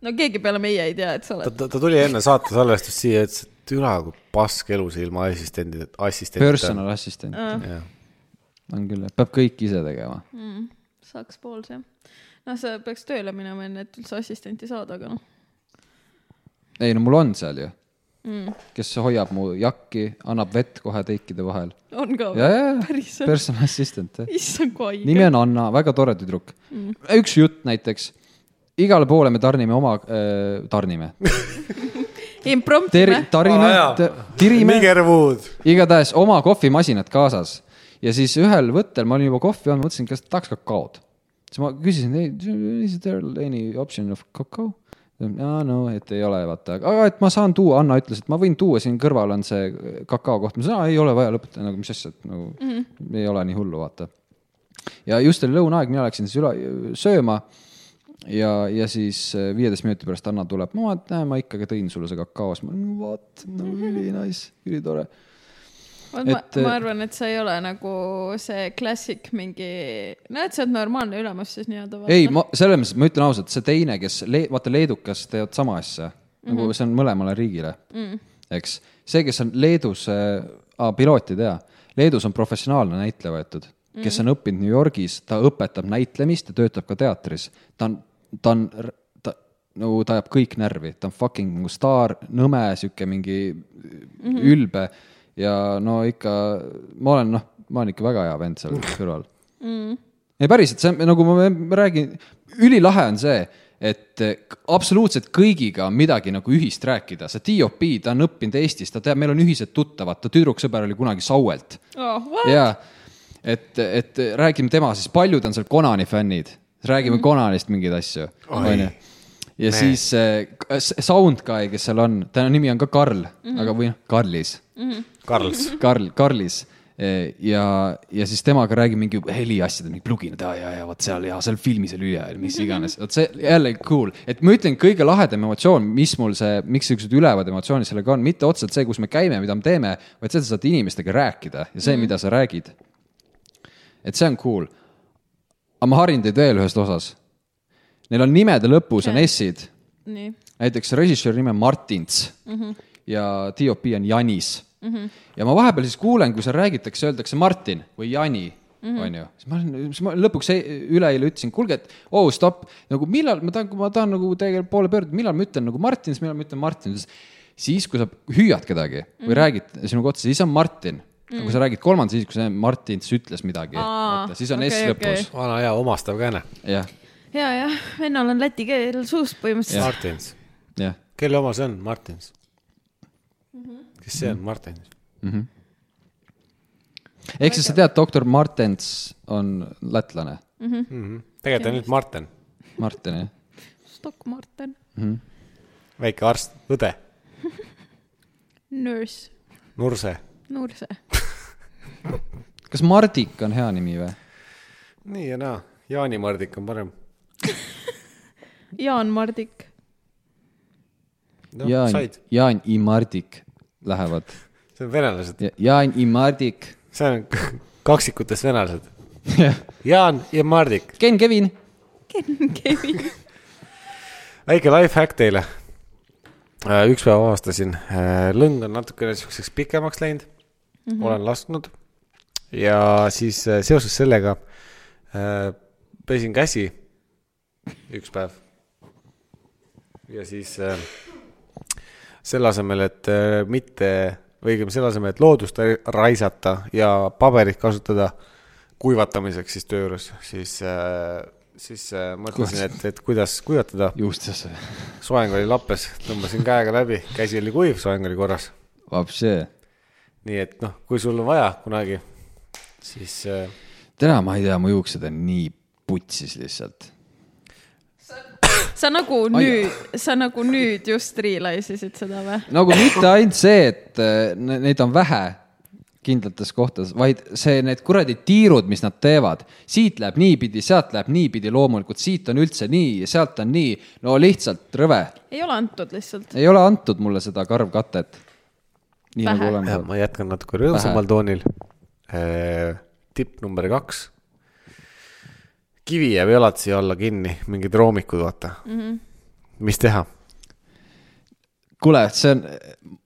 Speaker 2: no keegi peale meie ei tea , et sa
Speaker 3: ta ,
Speaker 2: oled .
Speaker 3: ta , ta tuli enne saate salvestust siia , ütles , et türa kui pask elu see ilma assistendid , assistendid .
Speaker 1: Personal assistant on küll , peab kõik ise tegema .
Speaker 2: saaks pools jah . noh , sa peaks tööle minema enne , et üldse assistenti saada , aga noh .
Speaker 1: ei no mul on seal ju mm. , kes hoiab mu jakki , annab vett kohe teikide vahel .
Speaker 2: on ka
Speaker 1: ja , ja ,
Speaker 2: päris
Speaker 1: ja ,
Speaker 2: per... .
Speaker 1: personal (laughs) assistant , jah .
Speaker 2: issand , kui haige .
Speaker 1: nimi on Anna , väga tore tüdruk mm. . üks jutt näiteks , igale poole me tarnime oma äh, , (laughs) tarnime ,
Speaker 2: impromptime
Speaker 1: ter- ,. tarime
Speaker 3: Vana aja. ,
Speaker 1: tirime
Speaker 3: Nigerwood .
Speaker 1: igatahes oma kohvimasinad kaasas ja siis ühel võttel ma olin juba kohvi olnud , mõtlesin , kas tahaks kakaod . siis ma küsisin , is there any option of kakao ? aa no , et ei ole , vaata , aga et ma saan tuua , Anna ütles , et ma võin tuua , siin kõrval on see kakao koht , ma ütlesin , aa ei ole vaja , lõpeta , nagu mis asja , et nagu mm -hmm. ei ole nii hullu , vaata ja just oli lõunaaeg , mina läksin siis üle sööma . ja , ja siis eh, viieteist minuti pärast Anna tuleb , ma vaatan , näe , ma ikkagi tõin sulle see kakao , siis ma olen , vot , no ülinais , ülitore .
Speaker 2: ma
Speaker 1: et- , äh,
Speaker 2: ma arvan , et sa ei ole nagu see klassik mingi , no et sa oled normaalne ülemus siis nii-öelda .
Speaker 1: ei , ma selles mõttes , ma ütlen ausalt , see teine , kes le- , vaata leedukas teevad sama asja nagu see on mõlemale riigile mm , -hmm. eks . see , kes on Leedus äh, , piloot ei tea , Leedus on professionaalne näitleja võetud , kes on õppinud New Yorgis , ta õpetab näitlemist ja töötab ka teatris . ta on , ta on , ta , no ta ajab kõik närvi , ta on fucking nagu staar , nõme , sihuke mingi mm -hmm. ülbe ja no ikka , ma olen noh , ma olen ikka väga hea vend seal kõrval ei päriselt , see on nagu ma ma räägin , ülilahe on see , et eh, k- absoluutselt kõigiga on midagi nagu ühist rääkida , see DOP , ta on õppinud Eestis , ta teab , meil on ühised tuttavad , ta tüdruksõber oli kunagi Sauelt
Speaker 2: oh, .
Speaker 1: ja et , et räägime tema siis , paljud on seal Konani fännid , räägime mm. Konanist mingeid asju , onju . ja nee. siis äh, k- s- Sound Guy , kes seal on , ta nimi on ka Karl mm , -hmm. aga või noh , Karlis
Speaker 3: Karls .
Speaker 1: Karl , Karlis Eh, ja , ja siis temaga räägib mingi heliasjad , mingi pluginad ja , ja , ja vot seal ja seal filmis oli üle , mis iganes , vot see jälle cool , et ma ütlen , kõige lahedam emotsioon , mis mul see , miks siuksed ülevad emotsioonid sellega on , mitte otseselt see , kus me käime , mida me teeme , vaid see , et sa saad inimestega rääkida ja see , mida sa räägid . et see on cool . aga ma harin teid veel ühest osas . Neil on nimede lõpus on S-id
Speaker 2: nii ,
Speaker 1: näiteks režissööri nimi on Martins mm
Speaker 2: Mhm.
Speaker 1: -hmm. ja DOP on Janis mm . -hmm. ja ma vahepeal siis kuulen , kui seal räägitakse , öeldakse Martin või Jani
Speaker 2: Mhm.
Speaker 1: mm , -hmm. onju . siis ma olen , siis ma lõpuks ei- üleeile ütlesin , kuulge , et oo oh, , stopp , nagu millal ma tahan , ma tahan nagu teie poole pöörduda , millal ma ütlen nagu Martins , millal ma ütlen Martin . siis , kui sa hüüad kedagi
Speaker 2: Mhm.
Speaker 1: või räägid sinuga otsa , siis on Martin . aga kui sa räägid kolmanda , siis kui see Martins ütles midagi ,
Speaker 2: Aa,
Speaker 1: siis on
Speaker 2: okei,
Speaker 1: okay, S lõpus
Speaker 2: okei.
Speaker 3: vana hea omastav kääne .
Speaker 1: okay. . jah ,
Speaker 2: ja , jah , vennal on läti keel suus põhimõtteliselt .
Speaker 3: Martins .
Speaker 1: jah ,
Speaker 3: kelle oma see on , Martins ? kes see on , Martins ?
Speaker 1: Mhm. ehk siis sa tead , doktor Martens on lätlane
Speaker 3: Mhm. tegelikult on nüüd Marten ,
Speaker 1: Martin , jah ?
Speaker 2: Stock Marten ,
Speaker 3: väike arst , õde ,
Speaker 2: nurse ,
Speaker 3: nurse .
Speaker 2: nurse .
Speaker 1: kas Mardik on hea nimi või ?
Speaker 3: nii ja naa , Jaani Mardik on parem .
Speaker 2: Jaan Mardik , (laughs)
Speaker 3: noh ,
Speaker 1: Jaan
Speaker 3: said ,,
Speaker 1: Jaan I Mardik lähevad .
Speaker 3: see on venelased ,
Speaker 1: Jaan I Mardik . (laughs)
Speaker 3: see on (laughs) kaksikutest venelased . Jaan ja Mardik ,
Speaker 1: Ken Kevin .
Speaker 2: Ken Kevin ,
Speaker 3: väike life hack teile . üks päev avastasin , lõng on natukene siukseks pikemaks läinud mm , -hmm. olen lasknud ja siis äh, seoses sellega äh, pesin käsi üks päev . ja siis äh, selle asemel , et äh, mitte , või õigemini selle asemel , et loodust ra- raisata ja paberit kasutada kuivatamiseks siis töö juures , siis , siis äh, mõtlesin , et , et kuidas kuivatada .
Speaker 1: juustesse .
Speaker 3: soeng oli lappes , tõmbasin käega läbi , käsi oli kuiv , soeng oli korras .
Speaker 1: Vapsee .
Speaker 3: nii et noh , kui sul on vaja kunagi , siis äh,
Speaker 1: täna ma ei tea , mu juuksed on nii putsis lihtsalt .
Speaker 2: sa nagu nüüd , sa nagu nüüd just realize isid seda või ?
Speaker 1: nagu mitte ainult see , et äh, ne- neid on vähe kindlates kohtades , vaid see , need kuradi tiirud , mis nad teevad , siit läheb niipidi , sealt läheb niipidi , loomulikult siit on üldse nii ja sealt on nii . no lihtsalt rõve ,
Speaker 2: ei ole antud lihtsalt .
Speaker 1: ei ole antud mulle seda karvkatet . nii
Speaker 2: Vähe.
Speaker 1: nagu olen
Speaker 3: Ja
Speaker 1: saanud .
Speaker 3: ma jätkan natuke rõõmsamal toonil . tipp number kaks . kivi jääb jalatsi alla kinni , mingid roomikud , vaata mm . -hmm. mis teha ?
Speaker 1: kuule , see on ,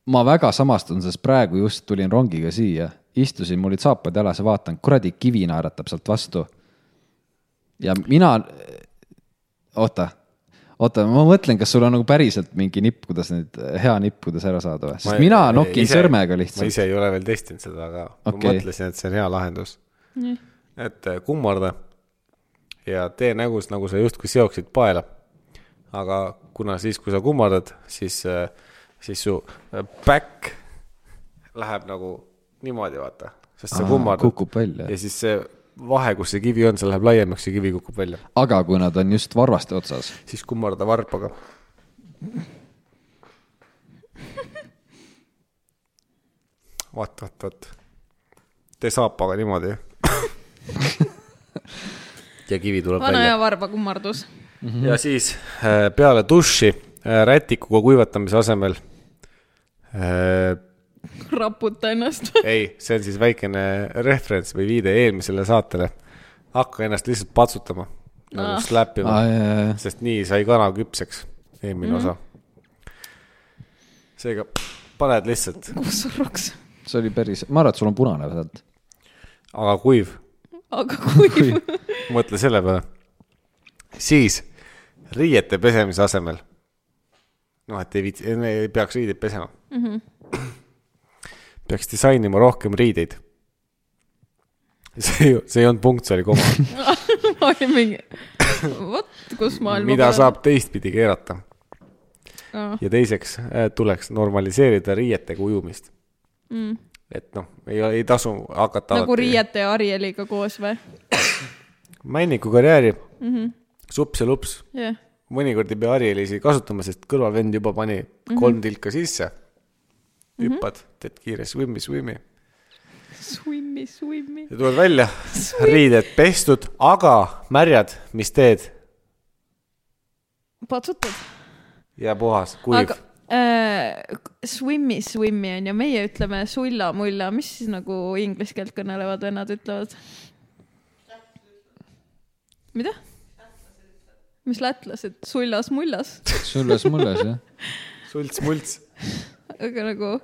Speaker 1: ma väga samastun , sest praegu just tulin rongiga siia , istusin , mul olid saapad jalas ja vaatan , kuradi kivi naeratab sealt vastu . ja mina , oota , oota , ma mõtlen , kas sul on nagu päriselt mingi nipp , kuidas neid , hea nipp , kuidas ära saada või , sest mina nokin ise, sõrmega
Speaker 3: ma
Speaker 1: lihtsalt .
Speaker 3: ise ei ole veel testinud seda , aga okay. ma
Speaker 1: Okei.
Speaker 3: mõtlesin , et see on hea lahendus . et äh, kummarda ja tee nägus , nagu sa justkui seoksid paela . aga kuna siis , kui sa kummardad , siis , siis su äh, back läheb nagu niimoodi , vaata , sest sa
Speaker 1: Aa,
Speaker 3: kummardad .
Speaker 1: kukub välja.
Speaker 3: ja siis see vahe , kus see kivi on , see läheb laiemaks ja kivi kukub välja ,
Speaker 1: aga kui nad on just varvaste otsas ,
Speaker 3: siis kummarda varpaga . vaat , vaat , vaat . tee saapaga niimoodi . ja kivi tuleb
Speaker 2: vana
Speaker 3: välja
Speaker 2: ja . varba kummardus .
Speaker 3: ja siis äh, peale duši äh, rätikuga kuivatamise asemel äh, .
Speaker 2: raputa
Speaker 3: (laughs)
Speaker 2: ennast .
Speaker 3: ei , see on siis väikene referents või viide eelmisele saatele . hakka ennast lihtsalt patsutama , nagu
Speaker 2: Ah.
Speaker 3: slappima ,
Speaker 1: Aa,
Speaker 3: sest nii sai kana küpseks , eelmine mm -hmm. osa . seega paned lihtsalt ,
Speaker 2: kus surruks ,
Speaker 1: see oli päris , ma arvan , et sul on punane sealt .
Speaker 3: aga kuiv ,
Speaker 2: aga kui
Speaker 3: mõtle selle peale . siis riiete pesemise asemel . noh , et ei viitsi , ei peaks riideid pesema mm . -hmm. peaks disainima rohkem riideid . see , see ei olnud punkt , see oli koma .
Speaker 2: ma olin mingi , vot kus maailm .
Speaker 3: mida saab teistpidi keerata
Speaker 2: Ah.
Speaker 3: ja teiseks äh, tuleks normaliseerida riietega ujumist mm. . et noh , ei , ei tasu hakata
Speaker 2: nagu . riiete ja Arieliga koos või ?
Speaker 3: männiku karjääri mm
Speaker 2: Mhm.
Speaker 3: -hmm. sups ja lups ,
Speaker 2: jah ,
Speaker 3: mõnikord ei pea harielisi kasutama , sest kõrvalvend juba pani mm
Speaker 2: Mhm.
Speaker 3: -hmm. kolm tilka sisse . hüppad , teed kiire swimmi , swimmi
Speaker 2: swimmi , swimmi .
Speaker 3: ja tuled välja , riided pestud , aga märjad , mis teed
Speaker 2: patsutad .
Speaker 3: ja puhas , kuiv
Speaker 2: aga
Speaker 3: aga... .
Speaker 2: äh, swimmi , swimmi on ju , meie ütleme sulla , mulla , mis siis nagu inglise keelt kõnelevad vennad ütlevad ? mida ? mis lätlased , sullas , mullas ,
Speaker 1: sulles mulles , jah .
Speaker 3: sults-mults ,
Speaker 2: aga nagu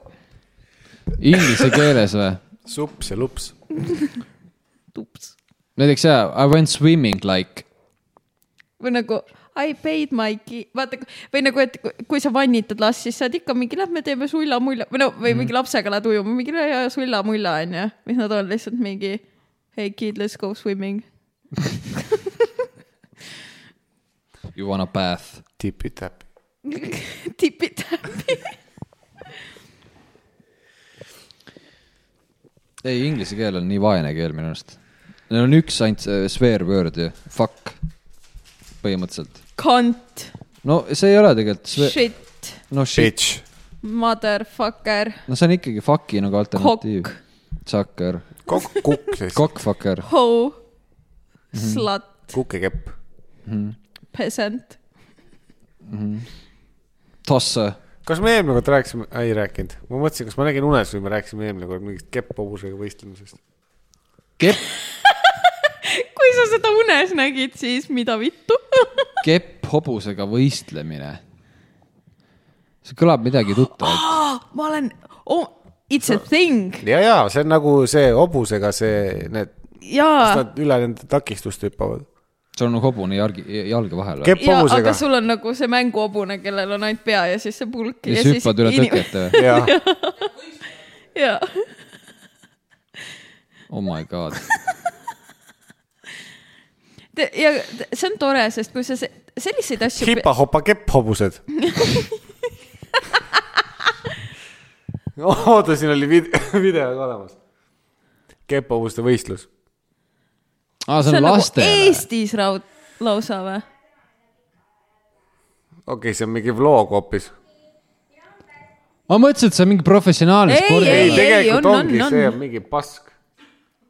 Speaker 1: Inglise keeles või ?
Speaker 3: sups ja lups .
Speaker 2: tups
Speaker 1: näiteks jaa , I went swimming like
Speaker 2: või nagu I paid my ki- , vaata kui- või nagu , et kui- kui sa vannitad last , siis sa oled ikka mingi , lähme teeme sulla-mulla või no , või mingi lapsega lähed ujuma , mingi ja- ja sulla-mulla onju , mis nad on lihtsalt mingi hey kid , let's go swimming . (laughs)
Speaker 1: you wanna bath .
Speaker 3: tipi-täpi .
Speaker 2: tipid .
Speaker 1: ei , inglise keel on nii vaene keel minu arust . Neil on üks ainult see swear word ju , fuck , põhimõtteliselt .
Speaker 2: Cunt ,
Speaker 1: no see ei ole tegelikult ,
Speaker 2: shit ,
Speaker 1: no shit ,
Speaker 3: Bitch .
Speaker 2: motherfucker ,
Speaker 1: no see on ikkagi fuck'i nagu alternatiiv
Speaker 2: kokk .,
Speaker 1: Sucker ,
Speaker 3: kokk , kukk siis .
Speaker 1: cockfucker ,
Speaker 2: hoe , slut ,
Speaker 3: kukekepp .
Speaker 2: peasant .
Speaker 1: tossa .
Speaker 3: kas me eelmine kord rääkisime , ei rääkinud , ma mõtlesin , kas ma nägin unes või me rääkisime eelmine kord mingist kepphobusega võistlemisest .
Speaker 1: kepp ,
Speaker 2: kui sa seda unes nägid , siis mida vittu ? (laughs)
Speaker 1: kepp hobusega võistlemine . see kõlab midagi tuttavat .
Speaker 2: ma olen oh, , it's a thing
Speaker 3: ja , ja see on nagu see hobusega see , need ,
Speaker 2: jaa .
Speaker 3: nad üle nende takistuste hüppavad .
Speaker 1: sul on nagu hobune jalgi , jalge vahel või ?
Speaker 3: kepp
Speaker 2: jaa , aga
Speaker 3: hobusega .
Speaker 2: sul on nagu see mänguhobune , kellel on ainult pea ja siis see pulk .
Speaker 1: ja siis hüppad üle tõkete või ?
Speaker 3: jah ,
Speaker 2: (laughs) jaa ,
Speaker 1: Oh my god ,
Speaker 2: ja te- see on tore , sest kui sa se- selliseid asju .
Speaker 3: hipa-hopa
Speaker 2: (laughs)
Speaker 3: kepphobused (laughs) oota , siin oli vid- , (laughs) video ka olemas . kepphobuste võistlus .
Speaker 1: aa , Ah, see on
Speaker 2: nagu
Speaker 1: lastele .
Speaker 2: Eestis raud- , lausa või ?
Speaker 3: okei okay, , see on mingi vlog hoopis .
Speaker 1: ma mõtlesin , et see on mingi professionaalne
Speaker 2: Ei,
Speaker 1: spordi .
Speaker 3: ei ,
Speaker 2: ei,
Speaker 3: tegelikult
Speaker 2: on,
Speaker 3: on,
Speaker 2: on,
Speaker 3: ongi
Speaker 2: on.
Speaker 3: on. see on mingi pask .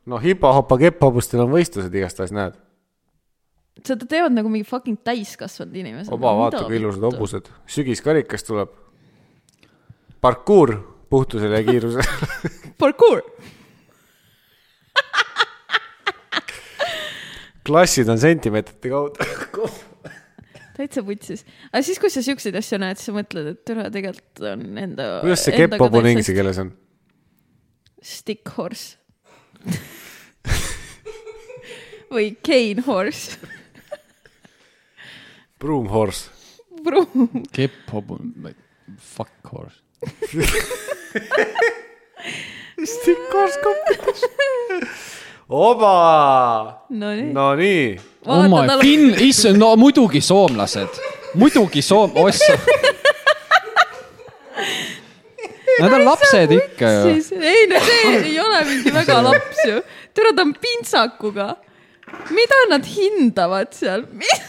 Speaker 3: no hipa-hopa kepphobustel on võistlused igastahes , näed .
Speaker 2: seda teevad nagu mingi fucking täiskasvanud inimesed .
Speaker 3: oba , vaata kui ilusad . hobused . sügiskarikas tuleb . parkuur puhtusele ja kiirusele .
Speaker 2: parkuur .
Speaker 3: (laughs) klassid on sentimeetrite (laughs) kaudu .
Speaker 2: täitsa vutsis . aga siis , kui sa siukseid asju näed , siis sa mõtled , et türa tegelikult on enda .
Speaker 3: kuidas see kepphobune inglise ? keeles on ?
Speaker 2: Stick horse . või cane horse . (laughs)
Speaker 3: Broom horse .
Speaker 2: pruun .
Speaker 1: kepp hobune , fuck horse .
Speaker 3: Stick horse competition . (laughs) oba ,
Speaker 2: Nonii .
Speaker 3: nonii .
Speaker 1: oh my
Speaker 2: Vaata, tal-
Speaker 1: finn , issand , no muidugi soomlased , muidugi soom- , oh, ossa . Nad on lapsed ikka ju .
Speaker 2: siis , ei no
Speaker 1: (laughs)
Speaker 2: see ei ole mingi väga laps ju . tere , ta on pintsakuga . mida nad hindavad seal ? (laughs) mis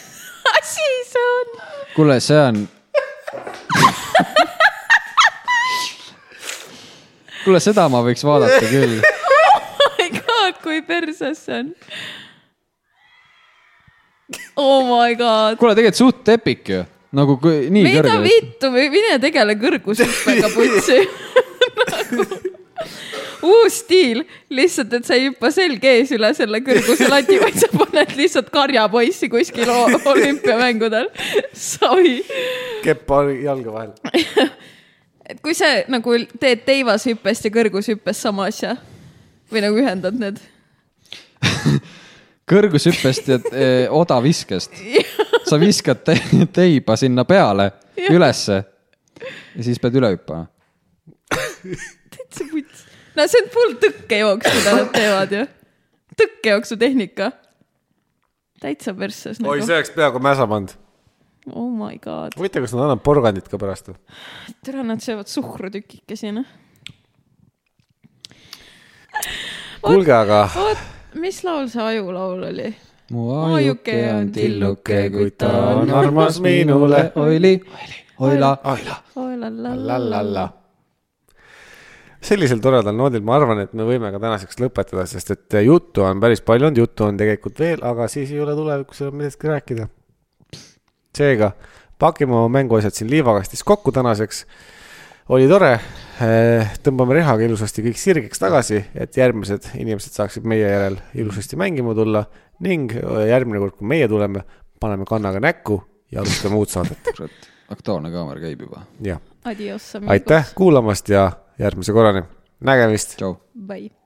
Speaker 2: asi see on ?
Speaker 1: kuule , see on . kuule , seda ma võiks vaadata küll .
Speaker 2: Oh my god , kui perses see on . Oh my god .
Speaker 1: kuule , tegelikult suht tepik ju , nagu kui nii
Speaker 2: mida
Speaker 1: kõrge .
Speaker 2: vittu , mine tegele kõrgushüppega putsi Nagu uus stiil , lihtsalt , et sa ei hüppa selg ees üle selle kõrguse lati , vaid sa paned lihtsalt karjapoissi kuskil o- olümpiamängudel . Sorry
Speaker 3: kepp on jalge vahel .
Speaker 2: et kui sa nagu teed teivashüppest ja kõrgushüppest sama asja või nagu ühendad need .
Speaker 1: kõrgushüppest ja eh, odaviskest . sa viskad te teiba sinna peale , ülesse ja siis pead üle hüppama .
Speaker 2: täitsa puts . no see on full tõkkejooks , mida nad teevad ju . tõkkejooksutehnika . täitsa persses
Speaker 3: oi ,
Speaker 2: nagu .
Speaker 3: see oleks peaaegu mäsa pannud .
Speaker 2: oh my god ,
Speaker 3: huvitav , kas nad annavad porgandit ka pärast või ?
Speaker 2: tere , nad söövad suhkrutükikesi noh .
Speaker 3: kuulge , aga (laughs)
Speaker 2: oot , mis laul see ajulaul oli ?
Speaker 1: mu
Speaker 2: Ajuke on tilluke,
Speaker 3: kui ta on armas minule.
Speaker 1: oili , oila .
Speaker 2: oi la la la la la
Speaker 3: lallalla . sellisel toredal noodil ma arvan , et me võime ka tänaseks lõpetada , sest et äh, juttu on päris palju olnud , juttu on tegelikult veel , aga siis ei ole tulevikus enam millestki rääkida . seega pakime oma mänguasjad siin liivakastis kokku tänaseks . oli tore , tõmbame rehaga ilusasti kõik sirgeks tagasi , et järgmised inimesed saaksid meie järel ilusasti mängima tulla ning äh, järgmine kord , kui meie tuleme , paneme kannaga näkku ja alustame uut saadet .
Speaker 1: Aktuaalne kaamera käib juba .
Speaker 3: jah
Speaker 2: adios amigos .
Speaker 3: aitäh kuulamast ja järgmise korrani , nägemist .
Speaker 1: tšau .
Speaker 2: Bye .